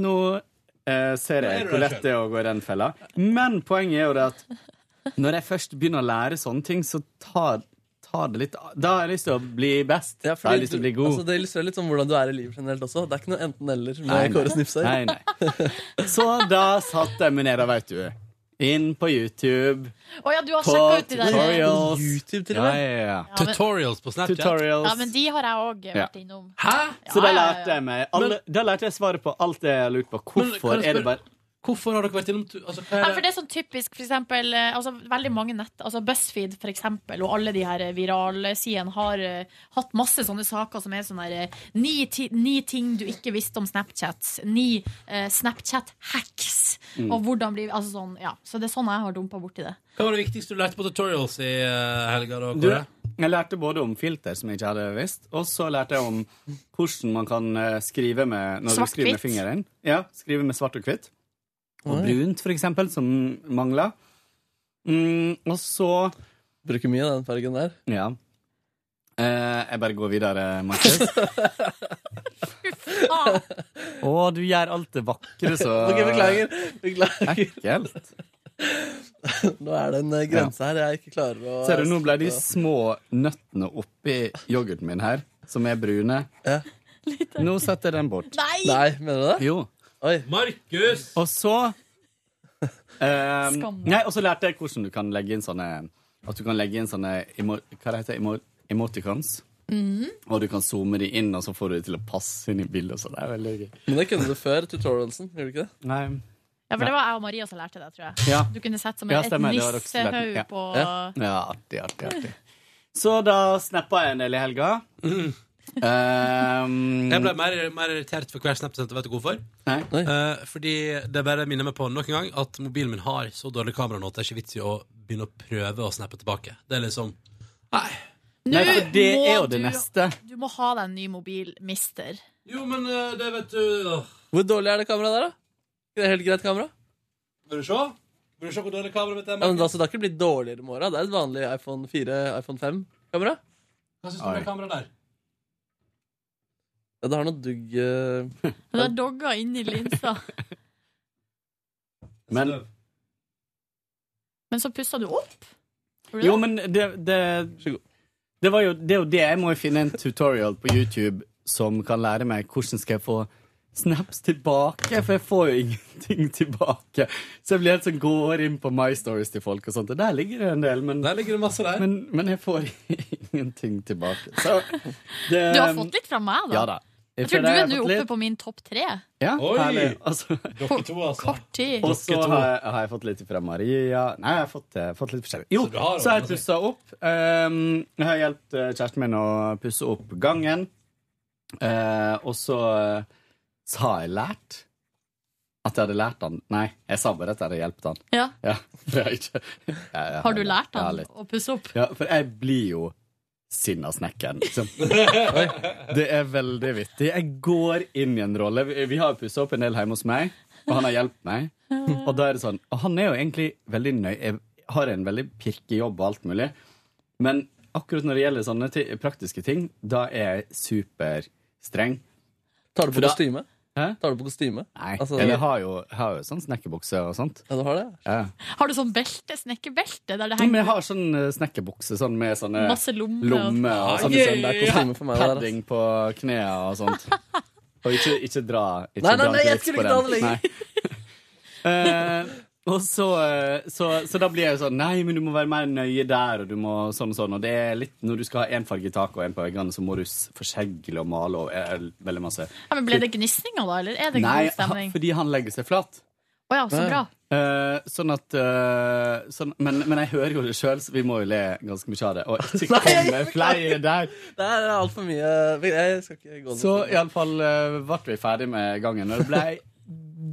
Nå eh, ser Nå er jeg du hvor der lett det er å gå i den fella. Men poenget er jo det at når jeg først begynner å lære sånne ting, så tar, tar det litt Da har jeg lyst til å bli best. Ja, da har fordi jeg lyst til å du- bli god. Altså, det illustrerer litt om hvordan du er i livet generelt også. Det er ikke noe enten-eller Nei, med nei. Kåre Snipser. Nei, nei. Så da satt jeg meg ned, da, veit du. Inn på YouTube. Å ja, du har På sjekka ut de der ja, tutorials. YouTube til og ja, med. ja, ja. men- Tutorials på Snapchat. Tutorials. men de har jeg òg vært innom. Hæ? Så Ja, da ja, ja. lærte jeg meg alle, Da lærte jeg svaret på alt det jeg har lurt på. Men kan Hvorfor jeg er det spørre- bare Hvorfor har dere vært innom tu- altså, hva Nei, er for det er sånn typisk, for eksempel, eh, altså, veldig mange nett, altså BuzzFeed for eksempel, og alle de her eh, viralsidene har eh, hatt masse sånne saker som er sånn her eh, ni, ti, ni ting du ikke visste om Snapchat, ni eh, Snapchat-hacks, Mm. og hvordan blir, altså sånn, ja, så det er sånn jeg har dumpet borti det. Hva var det viktigste du lærte på tutorials i eh, helga? da, Du, Kåre? jeg lærte både om filter, som jeg ikke hadde visst, og så lærte jeg om hvordan man kan eh, skrive med når Svart-hvitt. du skriver med fingeren. Ja, skrive med svart og hvitt. Og Oi. brunt, for eksempel, som mangler. Mm, og så Bruker mye den fargen der. Ja. Eh, jeg bare går videre, Markus. Ah! Å, du gjør alt det vakre, så Ok, beklager. Beklager. Ekkelt. Nå er det en eh, grense her jeg ikke klarer å Ser du, nå ble de små nøttene oppi yoghurten min her, som er brune. Nå setter jeg den bort. Nei! Nei, mener du det? Jo. Markus! Og så eh, Skam. Nei, og så lærte jeg hvordan du kan legge inn sånne At du kan legge inn sånne emo, Hva det heter emo, emoticons. Og du kan zoome de inn, og så får du de til å passe inn i bildet. og Så det er veldig gøy. Men det kunne du før tutorialsen, gjorde du ikke det? Nei. Ja, for det var jeg og Maria som lærte det, tror jeg. Ja. Du kunne sett som Ja, et stemmer, det var dere som lærte det. nissehaug Ja. på... Ja. Ja, artig, artig, artig. Så da snappa jeg en del i helga. Ehm, Jeg ble mer, mer irritert for hver snap du sendte. Vet du hvorfor? Eh, fordi det bare minner meg på nok en gang at mobilen min har så dårlig kamera nå at det er ikke vits i å begynne å prøve å snappe tilbake. Det er liksom Nei. Nei, for det Nå er jo må det du- neste. Du må ha deg en ny mobil, mister. Jo, men eh, det vet du... Hvor dårlig er det kameraet der, da? Det er helt greit kamera? Vil du se? Vil du se hvor dårlig kameraet mitt er? Ja, men altså, det har ikke blitt dårligere med åra. Det er et vanlig iPhone 4, iPhone 5-kamera. Hva syns du om det kameraet der? Ja, det har noe dugg eh, Du har dogga inn i linsa. Men Men så pusset du opp. Gjorde du Jo, det? men det det, det, var jo, det er jo det jeg må jo finne en tutorial på YouTube som kan lære meg hvordan skal jeg få snaps tilbake, for jeg får jo ingenting tilbake. Så jeg blir helt sånn går inn på My Stories til folk og sånt, og der ligger det en del, men, Men, men jeg får ingenting tilbake. Så det- Du har fått litt fra meg, da. ehm, Ja da. Jeg tror du er nå oppe på min topp tre. ja, Oi! herlig. Altså, Dere to, altså. Ti. og så Dere to. har, jeg- har jeg fått litt fra Maria. Nei, jeg har fått, eh, fått litt forskjellig. Jo, Så du har så har jeg ordnet pussa opp. Um, jeg har hjulpet eh, kjæresten min å pusse opp gangen. Eh, og så, eh, så har jeg lært at jeg hadde lært han Nei, jeg sa bare at jeg hadde hjulpet han. Ja. for jeg har ikke jeg, jeg Har du lært jeg har han litt. å pusse opp? Ja, for jeg blir jo sinna snekkeren. Liksom. Det er veldig vittig. Jeg går inn i en rolle. Vi vi har pussa opp en del hjemme hos meg, og han har hjulpet meg. Og da er det sånn Og han er jo egentlig veldig nøy Jeg har en veldig pirkejobb og alt mulig, men akkurat når det gjelder sånne ti praktiske ting, da er jeg superstreng. Tar du For på da- kostyme? Tar du på kostyme? Nei. Altså- Eller jeg har jo, jeg har jo sånn snekkerbukse og sånt. Ja, du har det? Ja. Har du sånn belte, snekkerbelte, der det Men jeg henger har sånn eh, snekkerbukse sånn med sånne Masse lommer. lommer og sånn, Ah, sånn yeah, der, yeah, yeah. kostyme for meg, der, altså. padding på knærne og sånt. Og ikke, ikke dra ikke Nei, nei, dra nei, jeg dritt skulle på ikke den. dra det lenger. Nei. Eh, og så, eh, så, så da blir jeg jo sånn Nei, men du må være mer nøye der, og du må sånn og sånn. Og det er litt Når du skal ha én farge i taket og én på veggene, så må du s- forsegle og male og eh, veldig masse. Ja, men Ble det gnisninger, da? Eller er det Nei, god stemning? han- fordi han legger seg flat. Å ja, så bra. Eh, sånn at eh, sånn, men, men jeg hører jo det sjøl, så vi må jo le ganske mye av det. Og ikke kom med flere der. Det er altfor mye Jeg skal ikke gå ned. Så iallfall uh, ble vi ferdig med gangen, og det ble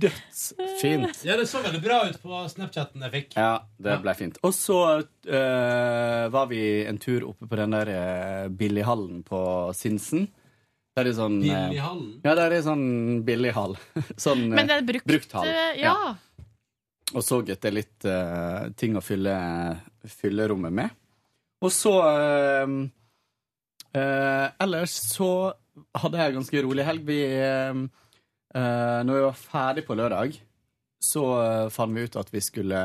dødsfint. Ja, det så veldig bra ut på Snapchatten jeg fikk. Ja, det ble fint. Og så eh, var vi en tur oppe på den der eh, billighallen på Sinsen. Der er sånn eh, Billighallen? Ja, der er sånn billighall. sånn eh, Men det er brukt, brukthall. eh, Ja. og så etter litt eh, ting å fylle, fylle rommet med. Og så eh, eh, Ellers så hadde jeg en ganske rolig helg. Vi eh, eh, Når vi var ferdig på lørdag, så eh, fant vi ut at vi skulle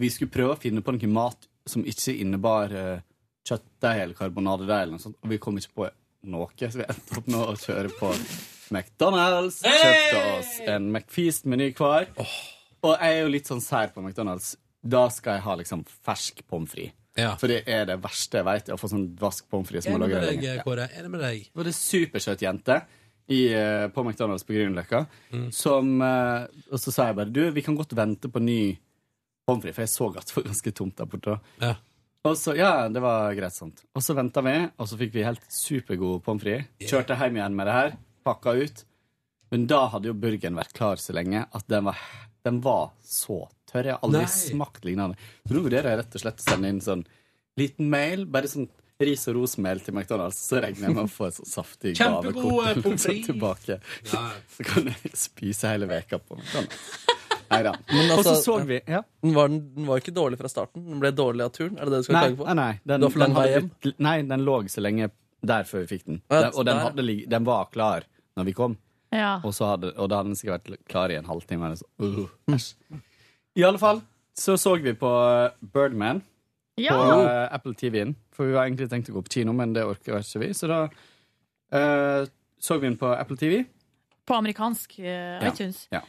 Vi skulle prøve å finne på noe mat som ikke innebar eh, kjøttdeig eller karbonadedeig, eller noe sånt, og vi kom ikke på noe, så vi endte opp med å kjøre på McDonald's. Kjøpte oss en McFeast-meny hver. Og jeg er jo litt sånn sær på McDonald's. Da skal jeg ha liksom fersk pommes frites. For det er det verste jeg veit, å få sånn vask pommes frites som Enig har med laget det deg, eh, lenge. Kåre. Enig med deg. Det var det supersøt jente i, eh, på McDonald's på Grünerløkka. som, eh, Og så sa jeg bare Du, vi kan godt vente på ny pommes frites, for jeg så at det var ganske tomt der borte. da. Ja. Og så, ja, det var greit, sant. Og så venta vi, og så fikk vi helt supergode pommes frites. Kjørte hjem igjen med det her, pakka ut. Men da hadde jo burgeren vært klar så lenge at den var, den var så tørr. Jeg har aldri Nei. smakt lignende. Så nå vurderer jeg rett og slett å sende inn sånn liten mail, bare sånn ris- og rosmail til McDonald's, så regner jeg med å få et sånn saftig Kjempegode gavekort sånn pommes frites. tilbake. eh, Ja. Så kan jeg spise hele veka på McDonald's. Nei da. Men og så altså- så vi ja. Den var, den var jo ikke dårlig fra starten. Den ble dårlig av turen. Er det det du skal Nei, klage på? nei, nei. Den, du har for lang den vei hadde hjem. blitt- Nei, den lå så lenge der før vi fikk den. Ja, Den- og den, der. hadde, lig- den var klar når vi kom. Ja. Og, så hadde, og da hadde den sikkert vært klar i en halvtime. Eller så. Uh, æsj. I alle fall så så vi på eh, Birdman Ja. på eh, Apple TV-en. For vi var egentlig tenkt å gå på kino, men det orker vi ikke vi. Så da eh, så vi den på Apple TV. På amerikansk eh, iTunes. Ja.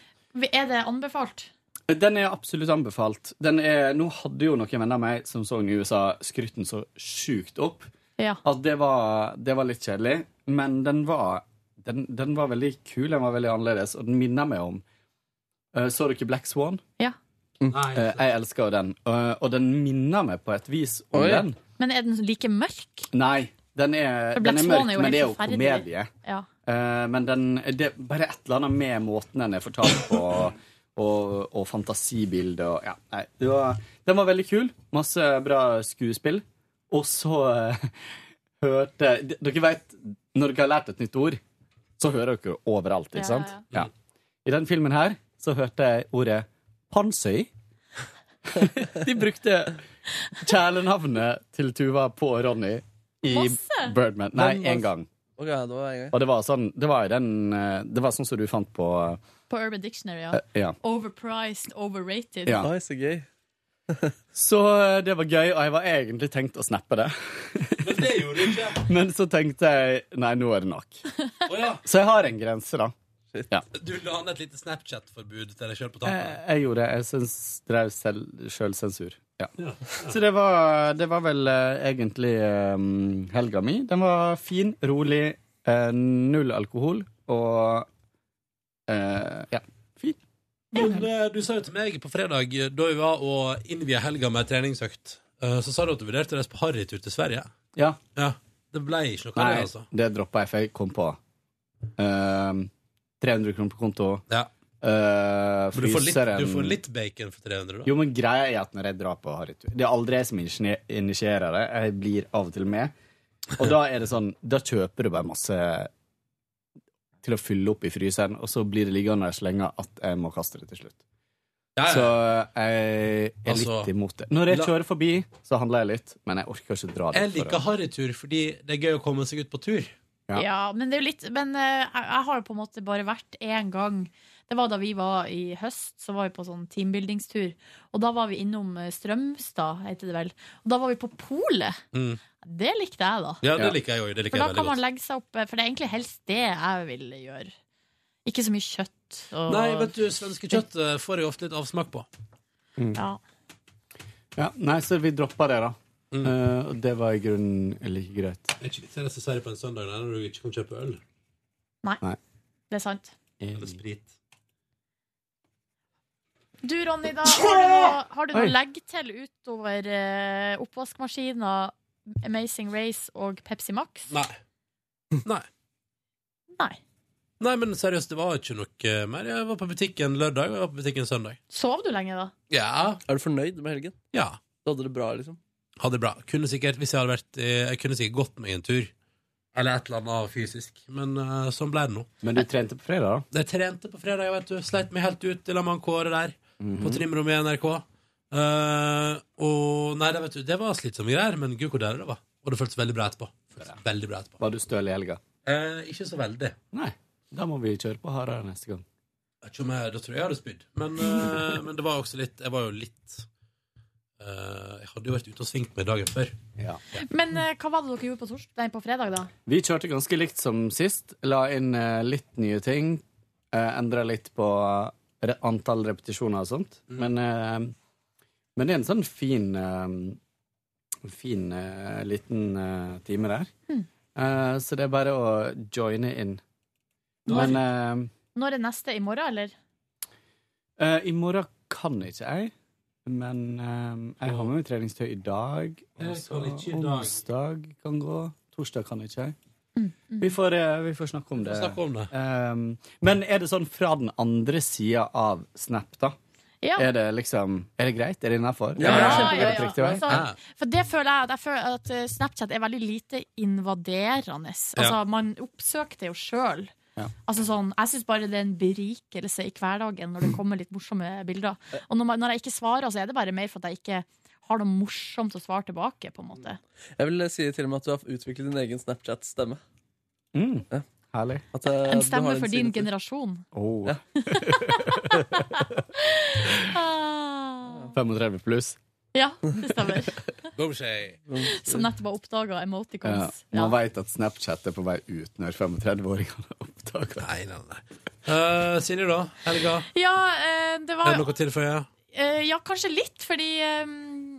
Er det anbefalt? Den er absolutt anbefalt. Den er, nå hadde jo noen venner av meg som så den i USA, skrytt den så sjukt opp. Ja. At det var, det var litt kjedelig. Men den var, den, den var veldig kul, den var veldig annerledes, og den minner meg om eh, Så dere Black Swan? Ja. Eh, jeg elsker jo den. Eh, og den minner meg på et vis om Oi. den. Men er den like mørk? Nei, den er, For Black den er Swan mørk, er jo men helt det er jo forferdelig. komedie. Ja. Eh, men den, det er bare et eller annet med måten den er fortalt på, og, og fantasibildet og ja, nei, det var, Den var veldig kul. Masse bra skuespill. Og så eh, hørte d- Dere vet, når dere har lært et nytt ord, så hører dere overalt, Ja, ikke sant? Ja. I den filmen her så hørte jeg ordet pansøy. De brukte kjælenavnet til Tuva på Ronny i Masse. Birdman. Nei, Men- én gang. Ok, det var en gang. Og det var sånn Det var, jo den, eh, det var sånn som du fant på På Urban Dictionary, ja. eh, Ja. Overpriced, overrated. ja. så gøy. så eh, det var gøy, og jeg var egentlig tenkt å snappe det. Men så tenkte jeg nei, nå er det nok. Å ja. Så jeg har en grense, da. Ja. Du la an et lite Snapchat-forbud til deg sjøl på Jeg, tampen. jeg gjorde det. Jeg syns drev selv- sjølsensur. Ja. Ja. Så det var, det var vel eh, egentlig eh, helga mi. Den var fin, rolig, eh, null alkohol og eh, Ja. Men eh, du sa jo til meg på fredag, eh, da vi var og innvia helga med ei treningsøkt, eh, så sa du at du vurderte å reise på harrytur til Sverige. ja. Ja. Det ble ikke noe av Nei, det, altså. det droppa jeg, for jeg kom på ehm, 300 kroner på konto. Ja. eh, For du får, litt, fryseren- du får litt bacon for 300, da. Jo, men greia er at når jeg drar på harrytur Det er aldri jeg som initierer initierer det. Jeg blir av og til med. Og da er det sånn Da kjøper du bare masse til å fylle opp i fryseren, og så blir det liggende der så lenge at jeg må kaste det til slutt. Ja, ja. Så eh, jeg er Altså, litt imot det. Når jeg la- kjører forbi, så handler jeg litt, men jeg orker ikke dra dit. Jeg liker harrytur fordi det er gøy å komme seg ut på tur. Ja. men det er jo litt Men eh, jeg jeg har jo på en måte bare vært én gang. Det var da vi var i høst, så var vi på sånn teambuildingstur. Og da var vi innom eh, Strømstad, heter det vel. Og da var vi på polet. Mm. Det likte jeg, da. Ja, det liker jeg òg. Det liker for da jeg kan veldig man godt. legge seg opp eh, For det er egentlig helst det jeg vil gjøre. Ikke så mye kjøtt. Og... Nei, vet du, svenske kjøtt eh, får jeg ofte litt avsmak på. Mm. Ja. Ja, nei, så vi droppa det, da. Mm. Eh, og det var i grunnen like greit. Det er ikke litt seriøst å si det på en søndag nei, når du ikke kan kjøpe øl. Nei. Nei. Det er sant. Eller sprit. Du, Ronny, da har du noe, har du noe Oi. legg til utover eh, oppvaskmaskiner, Amazing Race og Pepsi Max? Nei. Nei. Nei. Nei, men seriøst, det var ikke noe mer. Jeg var på butikken lørdag, og jeg var på butikken søndag. Sov du lenge, da? Ja. Er du fornøyd med helgen? Ja. Du hadde det bra, liksom? Hadde det bra. Kunne sikkert, hvis jeg hadde vært eh, Jeg kunne sikkert gått meg en tur. Eller et eller annet fysisk. Men eh, sånn ble det nå. Men du trente på fredag, Jeg trente på fredag, jeg vet du. Sleit meg helt ut i lag med han Kåre der. På trimrommet i NRK. Eh, og nei, det, vet du, det var slitsomme greier, men gud hvor deilig det var. Og det føltes veldig bra etterpå. Føltes Veldig bra etterpå. Var du støl i helga? Eh, ikke så veldig. Nei. Da må vi kjøre på hardere neste gang. Vet ikke om jeg, da tror jeg jeg hadde spydd. Men, eh, men det var også litt Jeg var jo litt eh, Jeg hadde jo vært ute og svingt meg dagen før. Men eh, hva var det dere gjorde på, tors nei, på fredag, da? Vi kjørte ganske likt som sist. La inn eh, litt nye ting. Uh, Endra litt på eh, re antall repetisjoner og sånt. Mm. Men, eh, men det er en sånn fin eh, Fin eh, liten eh, time der. Eh, så det er bare å joine inn. Men Når er neste? I morgen, eller? eh, eh, i morgen kan ikke jeg. Men eh, jeg har med meg treningstøy i dag. Jeg så kan ikke i dag. Onsdag kan gå. Torsdag kan ikke jeg. Mm. Vi, får, eh, vi får snakke om det. snakke om det. Ehm, men er det sånn fra den andre sida av Snap, da? Ja. Er det liksom Er det greit? Er det innafor? Ja, ja, ja, ja. Riktig vei? Altså, for det føler jeg, at jeg føler at eh, Snapchat er veldig lite invaderende. Altså, Ja. Man oppsøker det jo sjøl. Ja. Altså sånn, jeg syns bare det er en berikelse i hverdagen når det kommer litt morsomme bilder. Og når, man, når jeg ikke svarer, så er det bare mer for at jeg ikke har noe morsomt å svare tilbake. på en måte Jeg vil si til og med at du har utviklet din egen Snapchat-stemme. Ja. Mm. Herlig. At, eh, du har En stemme for din signatur. generasjon. Oh. Ja. 35 pluss. Ah. Ja, det stemmer. Boomshay. Som nettopp har oppdaga Ja. emoticons. Eh, Man vet veit at Snapchat er på vei ut når 35-åringene oppdager det. Nei, nei, nei. Eh, Silje, da? Helga? Ja, eh, det var Er det noe å tilføye? Eh, ja, kanskje litt, fordi eh,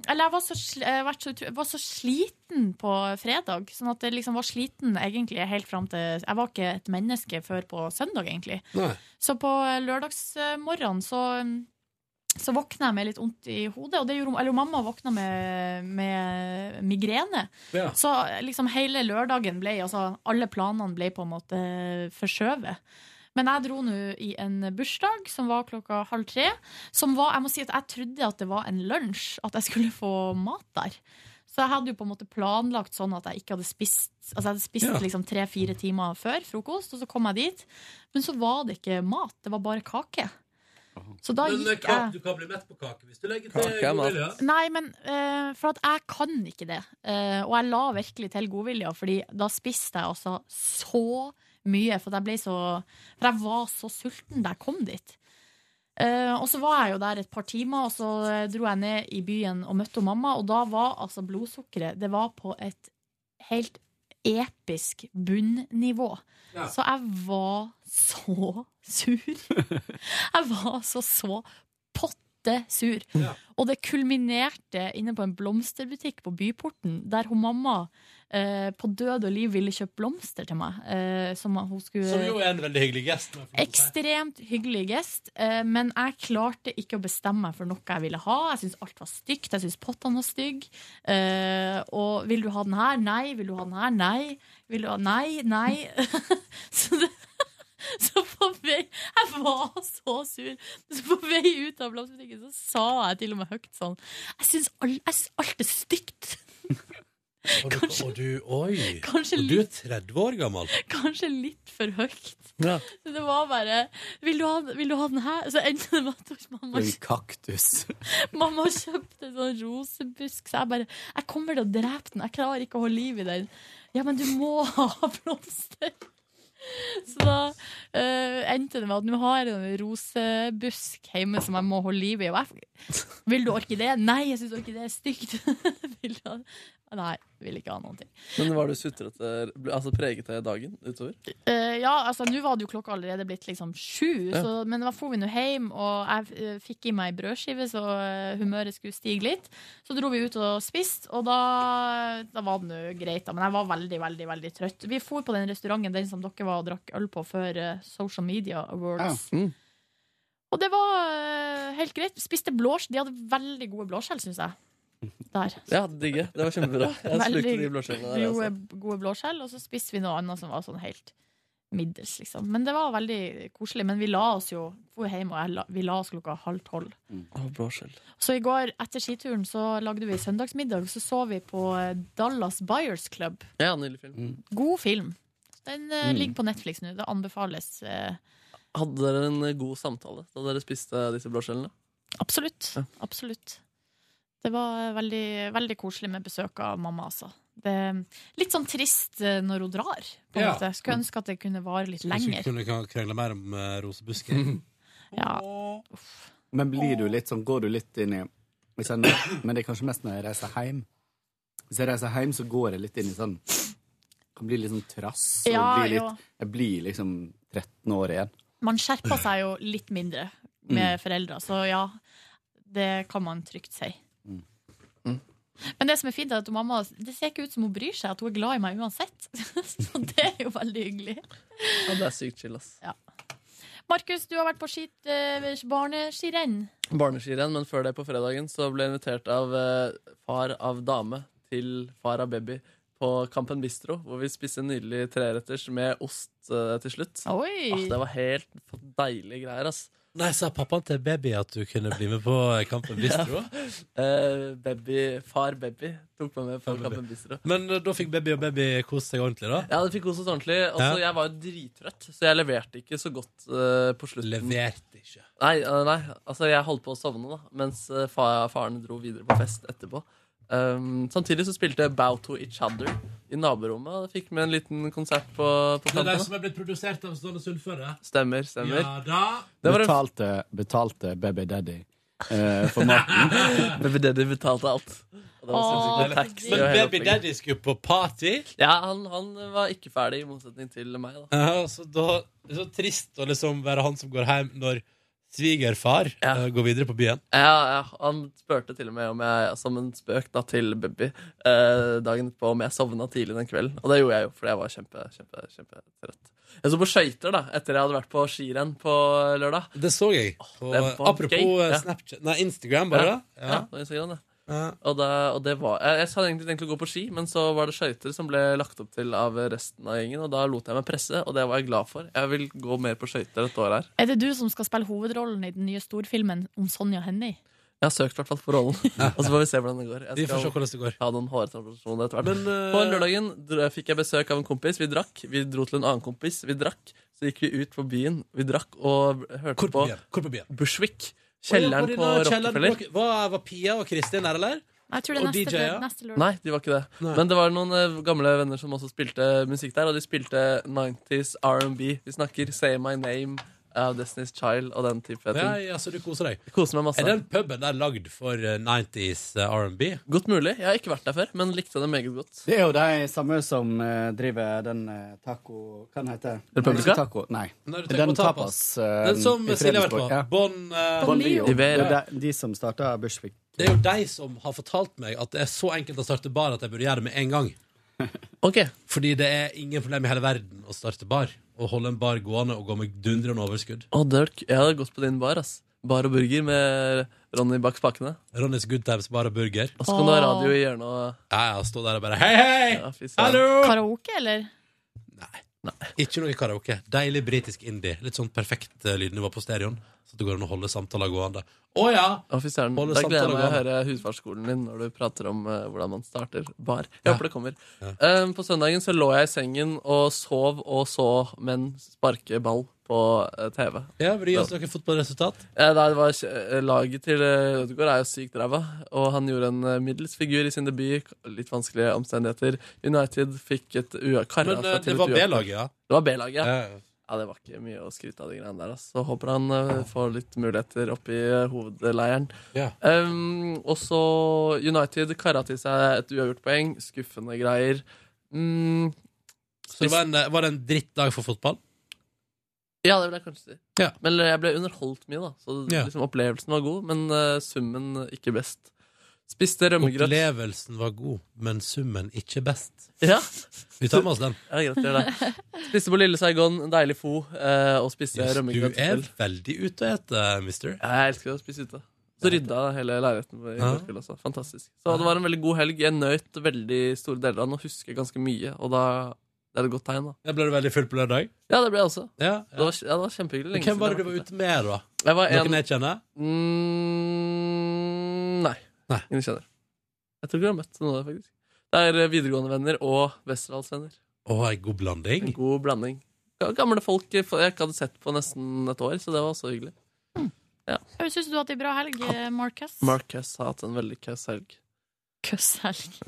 Eller jeg var så, sl eh, vært så, utro- var så sliten på fredag. Sånn at jeg liksom var sliten egentlig helt fram til Jeg var ikke et menneske før på søndag, egentlig. Nei. Så på eh, lørdagsmorgenen så mm, så våkna jeg med litt vondt i hodet, og det gjorde, eller mamma våkna med, med migrene. Ja. Så liksom hele lørdagen ble, altså alle planene ble på en måte eh, forskjøvet. Men jeg dro nå i en bursdag som var klokka halv tre. Som var, jeg må si at jeg trodde at det var en lunsj, at jeg skulle få mat der. Så jeg hadde jo på en måte planlagt sånn at jeg ikke hadde spist Altså jeg hadde spist Ja. liksom tre-fire timer før frokost, og så kom jeg dit. Men så var det ikke mat, det var bare kake. Så da Men, eh, gikk ka- Du jeg kan bli mett på kake hvis du legger til Kake er mat. godvilje. Nei, men eh, for at jeg kan ikke det. Eh, og jeg la virkelig til godvilja, Fordi da spiste jeg altså så mye. For, at jeg ble så, for jeg var så sulten da jeg kom dit. Eh, og så var jeg jo der et par timer, og så eh, dro jeg ned i byen og møtte mamma. Og da var altså blodsukkeret Det var på et helt episk bunnivå. Ja. Så jeg var så sur. Jeg var så så pottesur. Og det kulminerte inne på en blomsterbutikk på Byporten, der hun mamma eh, på død og liv ville kjøpe blomster til meg. Eh, som hun skulle Som jo er en veldig hyggelig gest. men- Ekstremt hyggelig gest, eh, men jeg klarte ikke å bestemme meg for noe jeg ville ha. Jeg syntes alt var stygt, jeg syntes pottene var stygge. Eh, og vil du ha den her? Nei. Vil du ha den her? Nei. Vil du ha Nei, nei. så, det, så på vei Jeg var så sur. Så på vei ut av blomsterbutikken så sa jeg til og med høyt sånn Jeg syns all- jeg syns alt er stygt. Og du, og du, oi. Kanskje og du er 30 år gammel. Kanskje litt for høyt. Ja. Så Det var bare Vil du ha, vil du ha den her? Så endte det med at tok mamma En kaktus. Mamma kjøpte en sånn rosebusk, så jeg bare Jeg kommer til å drepe den. Jeg klarer ikke å holde liv i den. Ja, men du må ha blomster. Så da eh, endte det med at nå har jeg en rosebusk hjemme som jeg må holde liv i. Og jeg, vil du orkidé? Nei, jeg syns orkidé er stygt. vil du ha, nei, vil ikke ha noen ting. Men var du sutrete, ble- altså preget av dagen utover? Eh, ja, altså nå var det jo klokka allerede blitt liksom sju, Ja. så, men da for vi nå hjem, og jeg eh, fikk i meg ei brødskive, så eh, humøret skulle stige litt. Så dro vi ut og spiste, og da, da var det nå greit, da. Men jeg var veldig, veldig veldig trøtt. Vi for på den restauranten den som dere var og drakk øl på før eh, Social Media Awards. Og det var eh, helt greit. Spiste blåskjell. De hadde veldig gode blåskjell, syns jeg. Der. Ja, digge. Det var kjempebra. Jeg slukte de blåskjellene der. gode, Altså. gode blåskjell, og så spiste vi noe annet som var sånn helt middels, liksom. Men det var veldig koselig. Men vi la oss jo for hjem, og jeg la, vi la oss klokka halv tolv. Å, blåskjell. Så i går, etter skituren, så lagde vi søndagsmiddag, så så vi på eh, Dallas Buyers Club. Ja, nydelig film. God film. Den eh, Mm. ligger på Netflix nå. Det anbefales. eh, Hadde dere en god samtale da dere spiste disse blåskjellene? Absolutt. Absolutt. Det var eh, veldig, veldig koselig med besøk av mamma, altså. Det er litt sånn trist eh, når hun drar, på en Ja. måte. Mm. Skulle ønske at det kunne vare litt Kanskje lenger. vi kunne krangle mer om eh, rosebusken. Ja. Men blir du litt sånn, går du litt inn i hvis jeg, Men det er kanskje mest når jeg reiser hjem. Hvis jeg reiser hjem, så går jeg litt inn i sånn Kan bli litt sånn trass. Og Ja, blir jo. litt, jeg blir liksom 13 år igjen. Man skjerper seg jo litt mindre Mm. Mm. Mm. med foreldre, så ja, det kan man trygt si. Men det som er fint, er at mamma Det ser ikke ut som hun bryr seg, at hun er glad i meg uansett. Så det er jo veldig hyggelig. Ja, det er sykt chill, ass. Ja. Markus, du har vært på skit, eh, barneskirenn. Barneskirenn, men før det på fredagen så ble jeg invitert av eh, far av dame til far av baby på Campen Bistro, hvor vi spiste en nydelig treretters med ost eh, til slutt. Oi. Ah, det var helt f- deilige greier, ass. Nei, sa pappaen til baby at du kunne bli med på Kampen Bistro? Eh, baby, far baby tok meg med på Far baby. Campen Bistro. Men eh, da fikk baby og baby kost seg ordentlig, da? Ja, det fikk koset ordentlig. Altså, Ja. Jeg var jo drittrøtt, så jeg leverte ikke så godt eh, på slutten. Leverte ikke? Nei, eh, nei, altså jeg holdt på å sovne da, mens eh, fa faren dro videre på fest etterpå. Um, samtidig så spilte Bow to Each Other i naborommet, og fikk med en liten konsert på, på Det er den kanten. som er blitt produsert av Ståle Sundføre? Stemmer, stemmer. Ja da. Det var en Betalte, betalte Baby Daddy eh, for maten. baby Daddy betalte alt. Og det var Åh, sinnssykt med taxi Men og hele baby opplegget. daddy skulle på party? Ja, han, han var ikke ferdig, i motsetning til meg. da Ja, så da det er så trist å liksom være han som går hjem når svigerfar eh, går videre på byen. Ja, ja, han spurte til og med om jeg, som en spøk da, til Bubby eh, dagen etterpå om jeg sovna tidlig den kvelden. Og det gjorde jeg jo, fordi jeg var kjempe, kjempe, kjempetrøtt. Jeg så på skøyter da, etter jeg hadde vært på skirenn på lørdag. Det så jeg. På, apropos eh, Snapchat Nei, Instagram, bare. Ja, da. ja. på Instagram, det. Ja. Og, da, og det var Jeg, jeg hadde egentlig tenkt å gå på ski, men så var det skøyter som ble lagt opp til av resten av gjengen, og da lot jeg meg presse, og det var jeg glad for. Jeg vil gå mer på skøyter dette året her. Er det du som skal spille hovedrollen i den nye storfilmen om Sonja Hennie? Jeg har søkt i hvert fall for rollen, og så får vi se hvordan det går. Jeg Vi får skal se hvordan det går. Ha noen hårtransplantasjoner etter hvert. Men, eh, På lørdagen dr- fikk jeg besøk av en kompis. Vi drakk. Vi dro til en annen kompis. Vi drakk. Så gikk vi ut på byen. Vi drakk og hørte på, Hvor på byen? Bushwick. Kjelleren Oi, ja, på denne kjelleren Rockefeller. på Rock- Var, var Pia og Kristin der, eller? Jeg tror det er Og neste, DJ, ja? neste lørdag. Nei, de var ikke det. Men det var noen eh, gamle venner som også spilte musikk der, og de spilte 90s R&B. Vi snakker Say My Name av Destiny's Child og den type ting. Ja, ja, så altså, du koser deg. Koser meg masse. Er den puben der lagd for eh, 90s eh, R&B? Godt mulig. Jeg har ikke vært der før, men likte det meget godt. Det er jo de samme som eh, driver den eh, taco Hva den heter Den pubelska? Taco, nei. Nei, du tenker Den på tapas. tapas. eh, Den som i Silje har vært på. Fredensborg, ja. Bon, eh, Bon Mio. Det Iberia. er de, de som starta Bushwick. Det er jo de som har fortalt meg at det er så enkelt å starte bar at jeg burde gjøre det med en gang. Fordi det er ingen problem i hele verden å starte bar. Å holde en bar gående og gå med dundrende overskudd. Å, Dirk, jeg hadde gått på din bar, ass. Bar og burger med Ronny bak spakene. Ronnys Good Times Bar og Burger. Og så kan du ha radio i hjørnet og Ja, ja, stå der og bare Hei, hei! Ja, fy søren. Hallo! Karaoke, eller? Ikke noe karaoke. Deilig britisk indie. Litt sånn perfekt eh, lydnivå på stereoen. Så det går an å holde samtaler gående. Å ja! Å, fy søren. Holde Da gleder jeg samtalen meg å gående. høre husfarskolen din når du prater om eh, hvordan man starter bar. Jeg håper det kommer. Eh, på søndagen så lå jeg i sengen og sov og så menn sparke ball på eh, TV. Ja, vil du gi oss Så- noe fotballresultat? Eh, nei, det var eh, Laget til eh, Ødegaard er jo sykt ræva, og han gjorde en eh, middels figur i sin debut. Litt vanskelige omstendigheter. United fikk et uavkara Men eh, det var B-laget, ja. Eh, Det var B-laget, altså, ja. Ja, ja. Ja, Det var ikke mye å skryte av de greiene der. ass. Så håper han eh, får litt muligheter oppi uh, hovedleiren. Ja. Um, og så United kara til seg et uavgjort poeng. Skuffende greier. Mm, Så det var en, eh, var det en drittdag for fotball? ja, det vil jeg kanskje si. Ja. Men jeg ble underholdt mye, da. Så Ja. liksom, opplevelsen var god, men eh, summen ikke best. Spiste rømmegrøt. Opplevelsen var god, men summen ikke best. Ja. Vi tar med oss den. Ja, greit, gjør det. Spiste på Lille Saigon, en deilig fo, eh, og spiste Yes, du rømmegrøt. er til. veldig ute å ete, mister. Ja, jeg elsker å spise ute. Så rydda jeg hele leiligheten i Ja. går kveld også. Fantastisk. Så det var en veldig god helg. Jeg nøt veldig store deler av den og husker ganske mye. Og da det er det et godt tegn, da. Jeg ble du veldig full på lørdag. Ja, det ble jeg også. Ja, Det, var, ja, det var kjempehyggelig. Men lenge hvem var det du siden var jeg ute med, da? vært ute. Jeg var Noen en jeg kjenner? mm, Nei. Nei. Ingen kjenner. Jeg tror ikke jeg har møtt noen av dem, faktisk. Det er eh, videregående venner og Westerdalsvenner. Å, en god blanding. En god blanding. Ja, Gamle folk eh, jeg ikke hadde sett på nesten et år, så det var også hyggelig. Syns du du har hatt ei bra helg, eh, Markus? Mark Cuss har hatt en veldig køss helg. Køsshelg.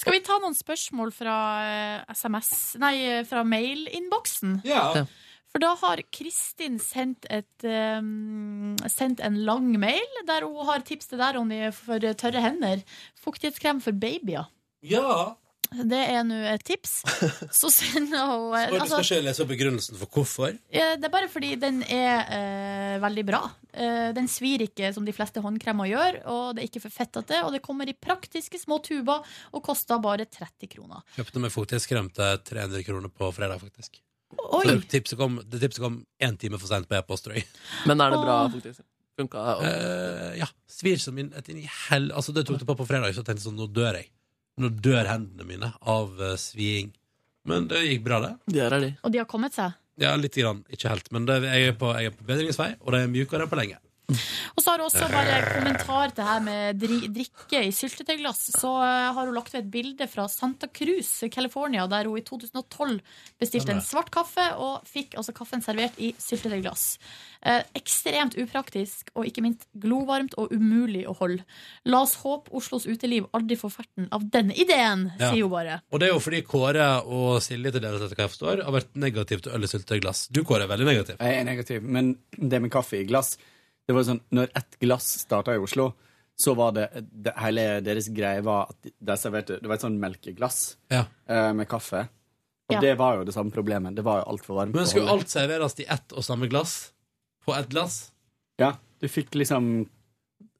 Skal vi ta noen spørsmål fra eh, SMS Nei, eh, fra mailinnboksen? Ja. Ja. For da har Kristin sendt, et, eh, sendt en lang mail der hun har tips til deg, Ronny, for tørre hender. Fuktighetskrem for babyer. Ja. Det er nå et tips. Så sender hun eh, Og du skal altså, ikke lese opp begrunnelsen for hvorfor? eh, Det er bare fordi den er eh, veldig bra. Eh, den svir ikke som de fleste håndkremer gjør, og det er ikke for fettete, og det kommer i praktiske små tuber og koster bare 30 kroner. Kjøpte meg fotgjesskrem til 300 kroner på fredag, faktisk. Oi. Så det tipset kom, det tipset kom én time for seint på e-post, tror jeg. Men er det bra, Åh. faktisk? Funka? og- Eh, ja. Svir som inn et inn i hell... Altså, det tok det på på fredag, så jeg tenkte jeg sånn, nå dør jeg. Nå dør hendene mine av eh, sviing. Men det gikk bra, det. Der er de. Og de har kommet seg. Ja, litt grann. Ikke helt. Men det, jeg, er på, jeg er på bedringens vei, og det er mjukere enn på lenge. Og så har hun også bare kommentar til her med dri drikke i syltetøyglass. Så eh, har hun lagt ved et bilde fra Santa Cruz, California, der hun i 2012 bestilte en svart kaffe og fikk altså kaffen servert i syltetøyglass. Eh, ekstremt upraktisk og ikke minst glovarmt og umulig å holde. La oss håpe Oslos uteliv aldri får ferten av denne ideen, Ja. sier hun bare. Og det er jo fordi Kåre og Silje til dels, etter hva jeg forstår, har vært negativ til øl i syltetøyglass. Du, Kåre, er veldig negativ. Jeg er negativ, men det med kaffe i glass Det var jo sånn, Når ett glass starta i Oslo, så var det, det Hele deres greie var at de serverte Det var et sånn melkeglass Ja. eh, med kaffe. Og Ja. det var jo det samme problemet. Det var jo altfor varmt. Men å skulle holde. alt serveres i ett og samme glass? På ett glass? Ja, du fikk liksom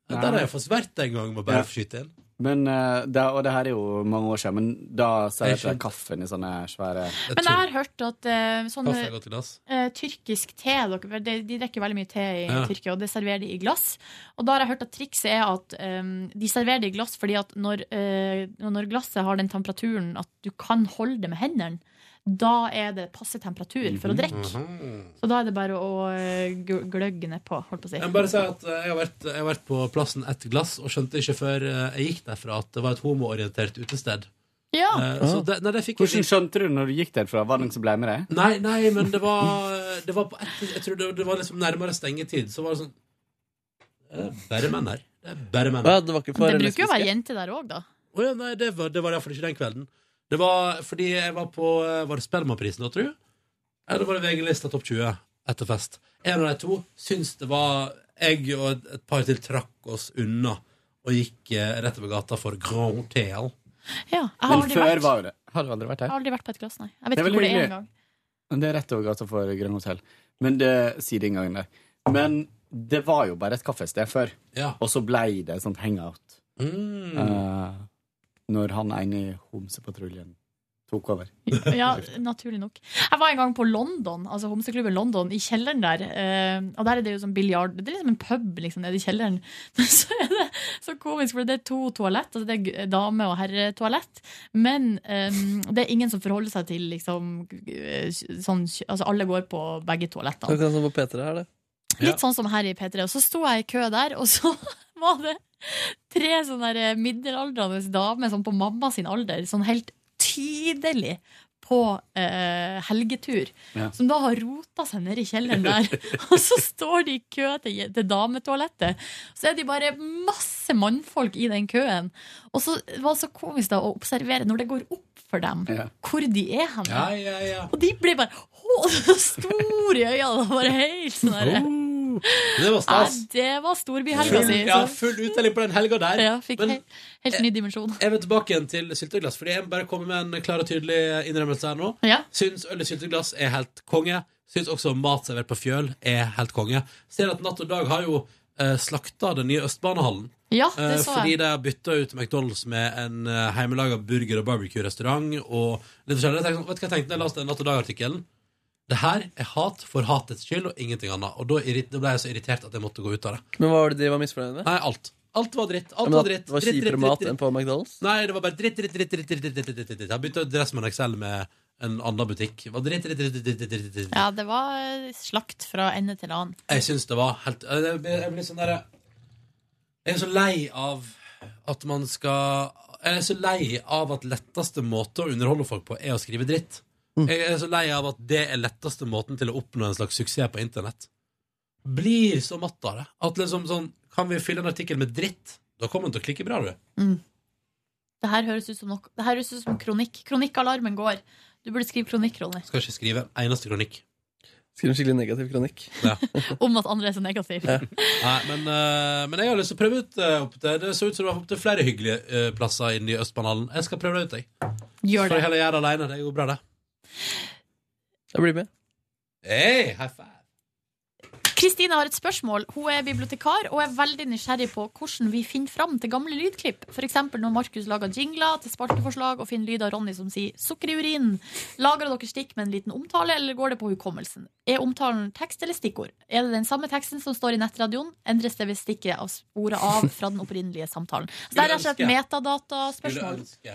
Der har jeg fått vært en gang, må bare Ja. få skyte inn. Men, eh, det, og det her er jo mange år siden, men da Jeg serverte skjønte. de kaffen i sånne svære Men jeg har hørt at eh, sånn Kaffe er godt i glass. eh, tyrkisk te dere, de, de drikker veldig mye te i Ja. Tyrkia, og det serverer de i glass. Og da har jeg hørt at trikset er at eh, de serverer det i glass fordi at når, eh, når glasset har den temperaturen at du kan holde det med hendene, da er det passe temperatur for å Mhm, drikke. Så da er det bare å eh, gl- gløgge nedpå, holdt på å si. Jeg må bare si at eh, jeg har, vært, jeg har vært på plassen ett glass, og skjønte ikke før eh, jeg gikk derfra at det var et homoorientert utested. Ja. Eh, så det, nei, det fikk jeg Hvordan skjønte du når du gikk derfra? Var det noen som ble med deg? Nei, nei, men det var, eh, det var på et, Jeg tror det, det var liksom nærmere stengetid. Så var det sånn Det er bare menn her. Det er bare menn. Ja, det var ikke for Det bruker jo å være jenter der òg, da. Å ja, nei, det var, det var iallfall ikke den kvelden. Det var fordi jeg var på eh, Var det Spellemannprisen da, tror du? Eller var det VG-lista Topp 20 etter fest? En av de to syns det var Jeg og et, et par til trakk oss unna og gikk eh, rett over gata for Grand Hotel. Ja, jeg har aldri vært, var det Har du aldri vært jeg her? har aldri vært på et glass, nei. Jeg vet Det er ikke hvor det veldig er hyggelig. engang. Men Det er rett over gata for Grønn Hotell. Men det sideinngangen der. Men det var jo bare et kaffested før. Og så blei det et sånt hangout. Mm. Eh, når han ene i Homsepatruljen tok over. Ja, naturlig nok. Jeg var en gang på London, altså homseklubben London, i kjelleren der. eh, og der er det jo sånn biljard Det er liksom en pub liksom, nede i kjelleren. Men så er det så komisk, for det er to toalett. Altså det er gu- dame- og herretoalett. Men eh, det er ingen som forholder seg til liksom eh, sånn Altså alle går på begge toalettene. Akkurat som på P3 her, det. Litt sånn som her i P3. Og så sto jeg i kø der, og så var det tre sånne der middelaldrende damer sånn på mamma sin alder, sånn helt tidlig på eh, helgetur, Ja. som da har rota seg ned i kjelleren der. og så står de i kø til, til dametoalettet. Så er de bare masse mannfolk i den køen. Og så var det så komisk da å observere når det går opp for dem hvor de er hen. Ja, ja, ja. Og de ble bare «Å, så store i øynene! og Bare helt sånn Oh. der. Det var Ja, stas. det var storbyhelga Full, si. ja, så- full uttelling på den helga der. Ja, fikk Men he- helt ny dimensjon. jeg vil tilbake igjen til sylteglass, fordi jeg må bare komme med en klar og tydelig innrømmelse her nå. Ja. Syns øl i sylteglass er helt konge. Syns også mat servert på fjøl er helt konge. Ser at Natt og Dag har jo uh, slakta den nye Østbanehallen. Ja, det Eh, så jeg. Fordi de har bytta ut McDonald's med en uh, hjemmelaga burger- og barbecue-restaurant. Og litt forskjellig. Jeg tenkte, sånn, vet du hva jeg tenkte da jeg leste Natt og Dag-artikkelen? Det her er hat for hatets skyld og ingenting annet. Og da irrit- da ble jeg så irritert at jeg måtte gå ut av det. Men hva var det de var misfornøyd med? Nei, alt. Alt var dritt. Ja, Alt men var at dritt. det var Dritt, dritt, kjipere dritt, mat dritt. enn på McDonald's? Nei, det var bare dritt, dritt, dritt, dritt, dritt, dritt, dritt, dritt, dritt, dritt. Jeg bytta dress med en XL med en annen butikk. Det var dritt, dritt, dritt, dritt, dritt, dritt, dritt. Ja, det var eh, slakt fra ende til annen. Jeg syns det var helt Jeg blir jeg blir sånn derre Jeg er så lei av at man skal Jeg er så lei av at letteste måte å underholde folk på er å skrive dritt. Jeg er så lei av at det er letteste måten til å oppnå en slags suksess på internett. Blir så matt av det. At liksom sånn Kan vi fylle en artikkel med dritt? Da kommer den til å klikke bra, du. Det her høres ut som, nok, det her høres ut som kronikk. Kronikkalarmen går. Du burde skrive kronikk, Ronny, Skal ikke skrive en eneste kronikk. Skriv en skikkelig negativ kronikk. Ja. om at andre er så negative. Nei, men, eh, men jeg har lyst til å prøve ut eh, opp til, Det så ut som det var opp til flere hyggelige eh, plasser i den nye Østbanehallen. Jeg skal prøve det ut, jeg. Gjør Får det. jeg heller gjøre det alene. Det går bra, det. Jeg blir med. Hey, high five. Kristine har et spørsmål. Hun er bibliotekar og er veldig nysgjerrig på hvordan vi finner fram til gamle lydklipp. F.eks. når Markus lager jingler til sparkeforslag og finner lyd av Ronny som sier 'sukker i urinen'. Lagrer dere stikk med en liten omtale, eller går det på hukommelsen? Er omtalen tekst eller stikkord? Er det den samme teksten som står i nettradioen? Endres det ved stikket av sporet av fra den opprinnelige samtalen? Så det er rett og slett Skulle metadataspørsmål. ønske.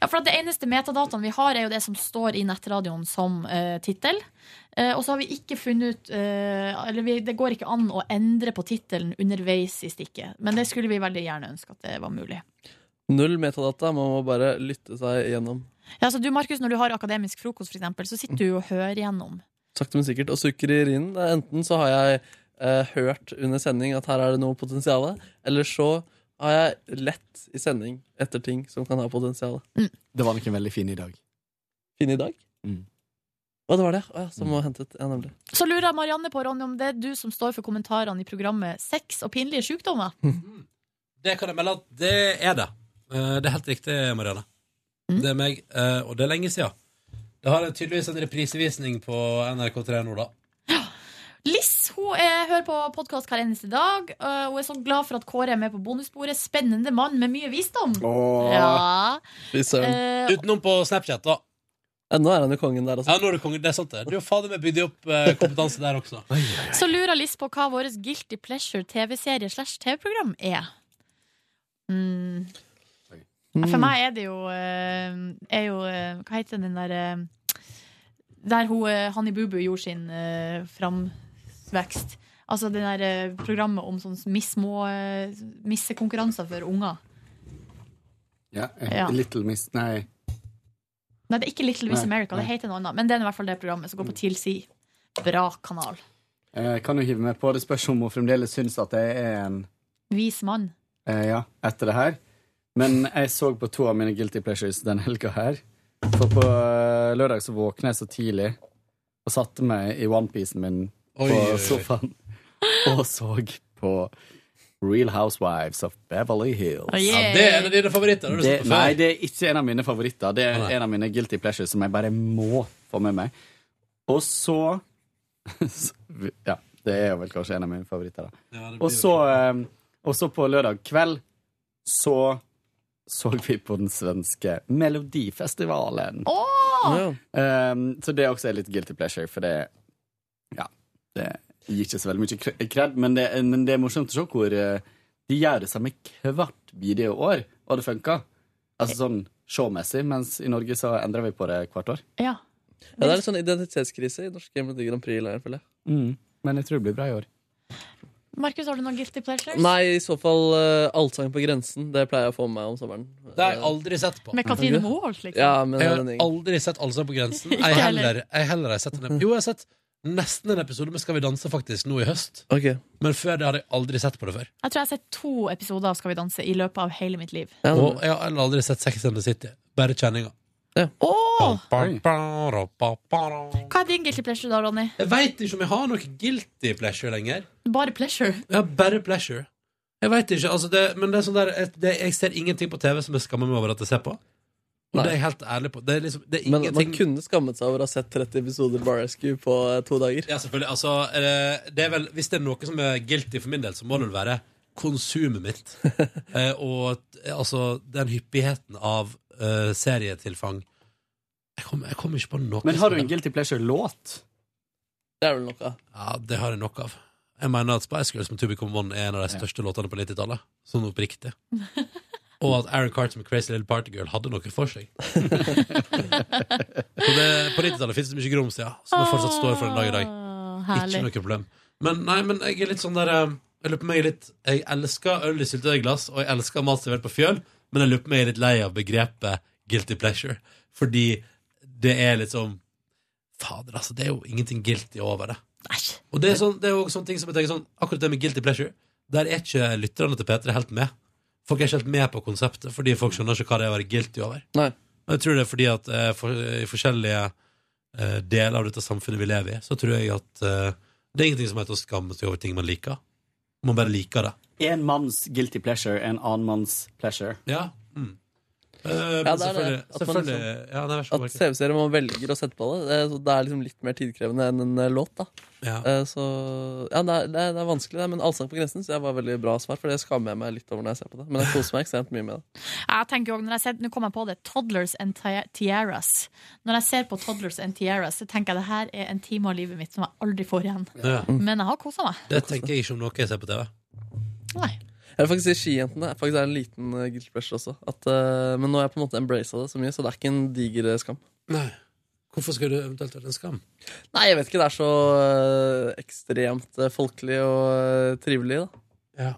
Ja, for at Det eneste metadataen vi har, er jo det som står i nettradioen som uh, tittel. Eh, og så har vi ikke funnet ut eh, Eller vi, det går ikke an å endre på tittelen underveis i stikket. Men det skulle vi veldig gjerne ønske at det var mulig. Null metadata. Man må bare lytte seg gjennom. Ja, så du, Markus, Når du har akademisk frokost, for eksempel, så sitter du jo og hører gjennom. Sakte, men sikkert. Og sukker i urinen. det er Enten så har jeg eh, hørt under sending at her er det noe potensial, eller så har jeg lett i sending etter ting som kan ha potensial. Det var nok en veldig fin i dag. Fin i dag? Mm. Å, det var det? Å ja, som var hentet. Ja, nemlig. Så lurer Marianne på Ronny, om det er du som står for kommentarene i programmet Sex og pinlige sykdommer. Det kan jeg melde at det er det. Eh, Det er helt riktig, Marianne. Mm. Det er meg, eh, og det er lenge siden. Det har tydeligvis en reprisevisning på NRK3 nå, da. Liss hun er, hører på podkast hver eneste dag. øh, hun er så glad for at Kåre er med på bonussporet. Spennende mann med mye visdom. Ja. Fy søren. Eh, Utenom på Snapchat, da. Ja, nå er han jo kongen der, altså. Ja, nå er du konge. Det er sant, det. Du har fader meg bygd opp eh, kompetanse der også. Så lurer Liss på hva vår Guilty Pleasure TV-serie slash TV-program er. Mm. Ja, Mm. For meg er det jo, øh, er jo øh, Hva heter den der øh, Der hun, øh, Hanni Bubu gjorde sin øh, framvekst. Altså det der øh, programmet om sånne mismå, øh, missekonkurranser for unger. Ja, eh, Ja. Little Miss Nei. Nei, det er ikke Little Miss Nei, America, det nei. heter noe annet. Men det er i hvert fall det programmet som går på TLC. Bra kanal. Eh, kan du hive meg på? Det spørs om hun fremdeles syns at jeg er en Vis mann. eh, Ja, etter det her. Men jeg så på to av mine guilty pleasures den helga her. For på eh, lørdag så våkna jeg så tidlig og satte meg i onepiecen min på Oi, oi, oi. sofaen og så på Real Housewives of Beverly Hills. Ja, det er en av dine favoritter. Det har du Det, sett på før. nei, det er ikke en av mine favoritter. Det er Nei. en av mine guilty pleasures som jeg bare må få med meg. Og så Ja, det er jo vel kanskje en av mine favoritter, da. Ja, det blir Og så, eh, og så på lørdag kveld så så vi på den svenske Melodifestivalen. Ja. Um, så det også er litt guilty pleasure, for det Ja, det gir ikke så veldig mye kre- kred, men det, men det er morsomt å se hvor eh, de gjør det samme hvert videoår, og det funker. Altså sånn showmessig, mens i Norge så endrer vi på det hvert år. Ja. Ja, det er litt sånn identitetskrise i norske Melodi Grand Prix-leiren, føler jeg. Mm, Men jeg tror det blir bra i år. Markus, har du noen guilty pleasures? Nei, i så fall eh, Allsang på grensen. Det pleier jeg å få med meg om sommeren. Eh, Det har jeg aldri sett på. Med Katrine Moholt, liksom? Ja, men Jeg har den gjengen. aldri sett Allsang på grensen. Ikke Jeg heller. heller, jeg heller har sett en Jo, jeg har sett nesten en episode med Skal vi danse faktisk nå i høst. Ok. Men før det hadde jeg aldri sett på det før. Jeg tror jeg har sett to episoder av Skal vi danse i løpet av hele mitt liv. Ja, Og jeg har heller aldri sett Sex and the City. Bare kjenninga. Åh! Oi. Jeg Hva er din guilty pleasure da, Ronny? veit ikke om jeg har noe guilty pleasure lenger. Bare pleasure? Jeg har bare pleasure. Jeg vet ikke, altså det, men det er sånn der et- det, Jeg ser ingenting på TV som jeg skammer meg over at jeg ser på. Og Nei. det er jeg helt ærlig på. Det er liksom, det er Men man ingenting kunne skammet seg over å ha sett 30 episoder Bar Rescue på eh, to dager. Ja, selvfølgelig. Altså, eh, det er vel, hvis det er noe som er guilty for min del, så må det vel være konsumet mitt. Eh, og t- altså den hyppigheten av eh, serietilfang. Jeg kommer jeg kommer ikke på noe. Men har du som- en guilty pleasure-låt? Det er vel noe. Ja, det har jeg nok av. Jeg mener at Spice Girls med Tubicum One er en av de største låtene på 90-tallet. Sånn oppriktig. Og at Aaron Carter med Crazy Little Party Girl hadde noe for seg. Så det, på 90-tallet fins det mye grums, ja. Som det fortsatt står for en dag i dag. Åh, Ikke Herlig. noe problem. Men nei, men jeg er litt sånn der eh, Jeg lurer på meg litt Jeg elsker øl i syltetøyglass, og jeg elsker mat servert på fjøl, men jeg lurer på meg litt lei av begrepet guilty pleasure. Fordi det er liksom Fader, altså. Det er jo ingenting guilty over det. Æsj. Og det er, sånn, det er jo også sånne ting som jeg tenker sånn Akkurat det med guilty pleasure Der er ikke lytterne til Peter helt med Folk er ikke helt med på konseptet Fordi folk skjønner ikke hva det er å være guilty over Nei. Og jeg tror det er fordi at eh, for, i forskjellige eh, deler av dette samfunnet vi lever i Så tror jeg at eh, det er ingenting som heter å skamme seg over ting man liker Man bare liker det En manns guilty pleasure, en annen manns pleasure. Ja, mm. men Ja, det er det. selvfølgelig- At, man selvfølgelig- liksom, ja, nei, vær så god, at Markus. CV-serier man velger å sette på det, det, er- det er liksom litt mer tidkrevende enn en eh, låt. da Ja. Eh, Så ja, det er, det er, det er vanskelig, det, men 'Allsang på grensen' så det var veldig bra svar, for det skammer jeg meg litt over når jeg ser på det. Men jeg koser meg ekstremt mye med det. Jeg tenker jo også, når jeg ser, Nå kom jeg på det. Toddlers and Ti- tiaras. Når jeg ser på Toddlers and tiaras, så tenker jeg det her er en time av livet mitt som jeg aldri får igjen. Ja. Men jeg har kosa meg. Det tenker jeg ikke om noe jeg ser på TV. Jeg vil faktisk si Skijentene er faktisk er en liten uh, guilty pleasure også. At, eh, men nå har jeg på en måte embracet det så mye, så det er ikke en diger eh, skam. Nei. Hvorfor skulle det eventuelt vært en skam? Nei, jeg vet ikke. Det er så eh, ekstremt eh, folkelig og eh, trivelig, da. Ja.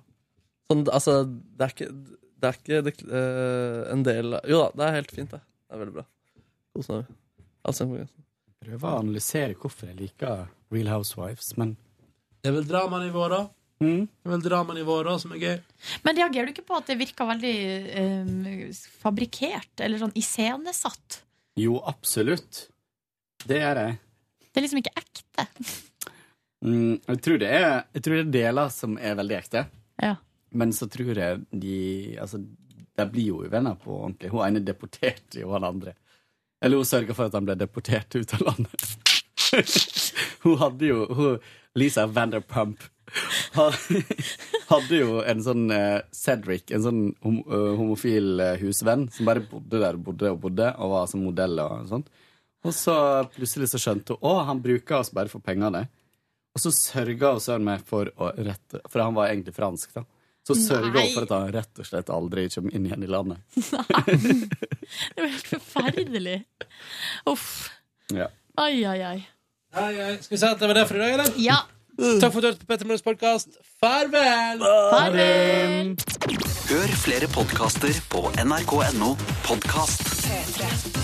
Sånn, altså, det er ikke, det er ikke det, eh, en del Jo da, det er helt fint, det. Det er veldig bra. Kos meg. Allsang på grensen. Prøver å analysere hvorfor jeg liker Real Housewives, men Det er vel dramanivået, da. Det er vel dramanivået, da, som er gøy. Men reagerer du ikke på at det virker veldig eh, fabrikkert? Eller sånn iscenesatt? Jo, absolutt. Det gjør jeg. Det er liksom ikke ekte. Mm, jeg, tror det er, jeg tror det er deler som er veldig ekte. Ja. Men så tror jeg de Altså, de blir jo uvenner på ordentlig. Hun ene deporterte jo han andre. Eller hun sørga for at han ble deportert ut av landet. hun hadde jo hun, Lisa Vanderpump had- hadde jo en sånn eh, Cedric, en sånn hom eh, homofil eh, husvenn, som bare bodde der og bodde og bodde, og var som modell og sånt. Og så plutselig så skjønte hun å, han bruker oss bare for pengene. Og så sørga hun søren meg for å rette For han var egentlig fransk, da. Så sørga hun Nei. for at han rett og slett aldri kommer inn igjen i landet. Det var helt forferdelig. Uff. Ja. Ai, ai, ai. Hei, hei. Skal vi si at det var det for i dag, eller? Ja. Takk for at du hørte på Petter Morgens podkast. Farvel! Hør flere podkaster på nrk.no podkast. P3.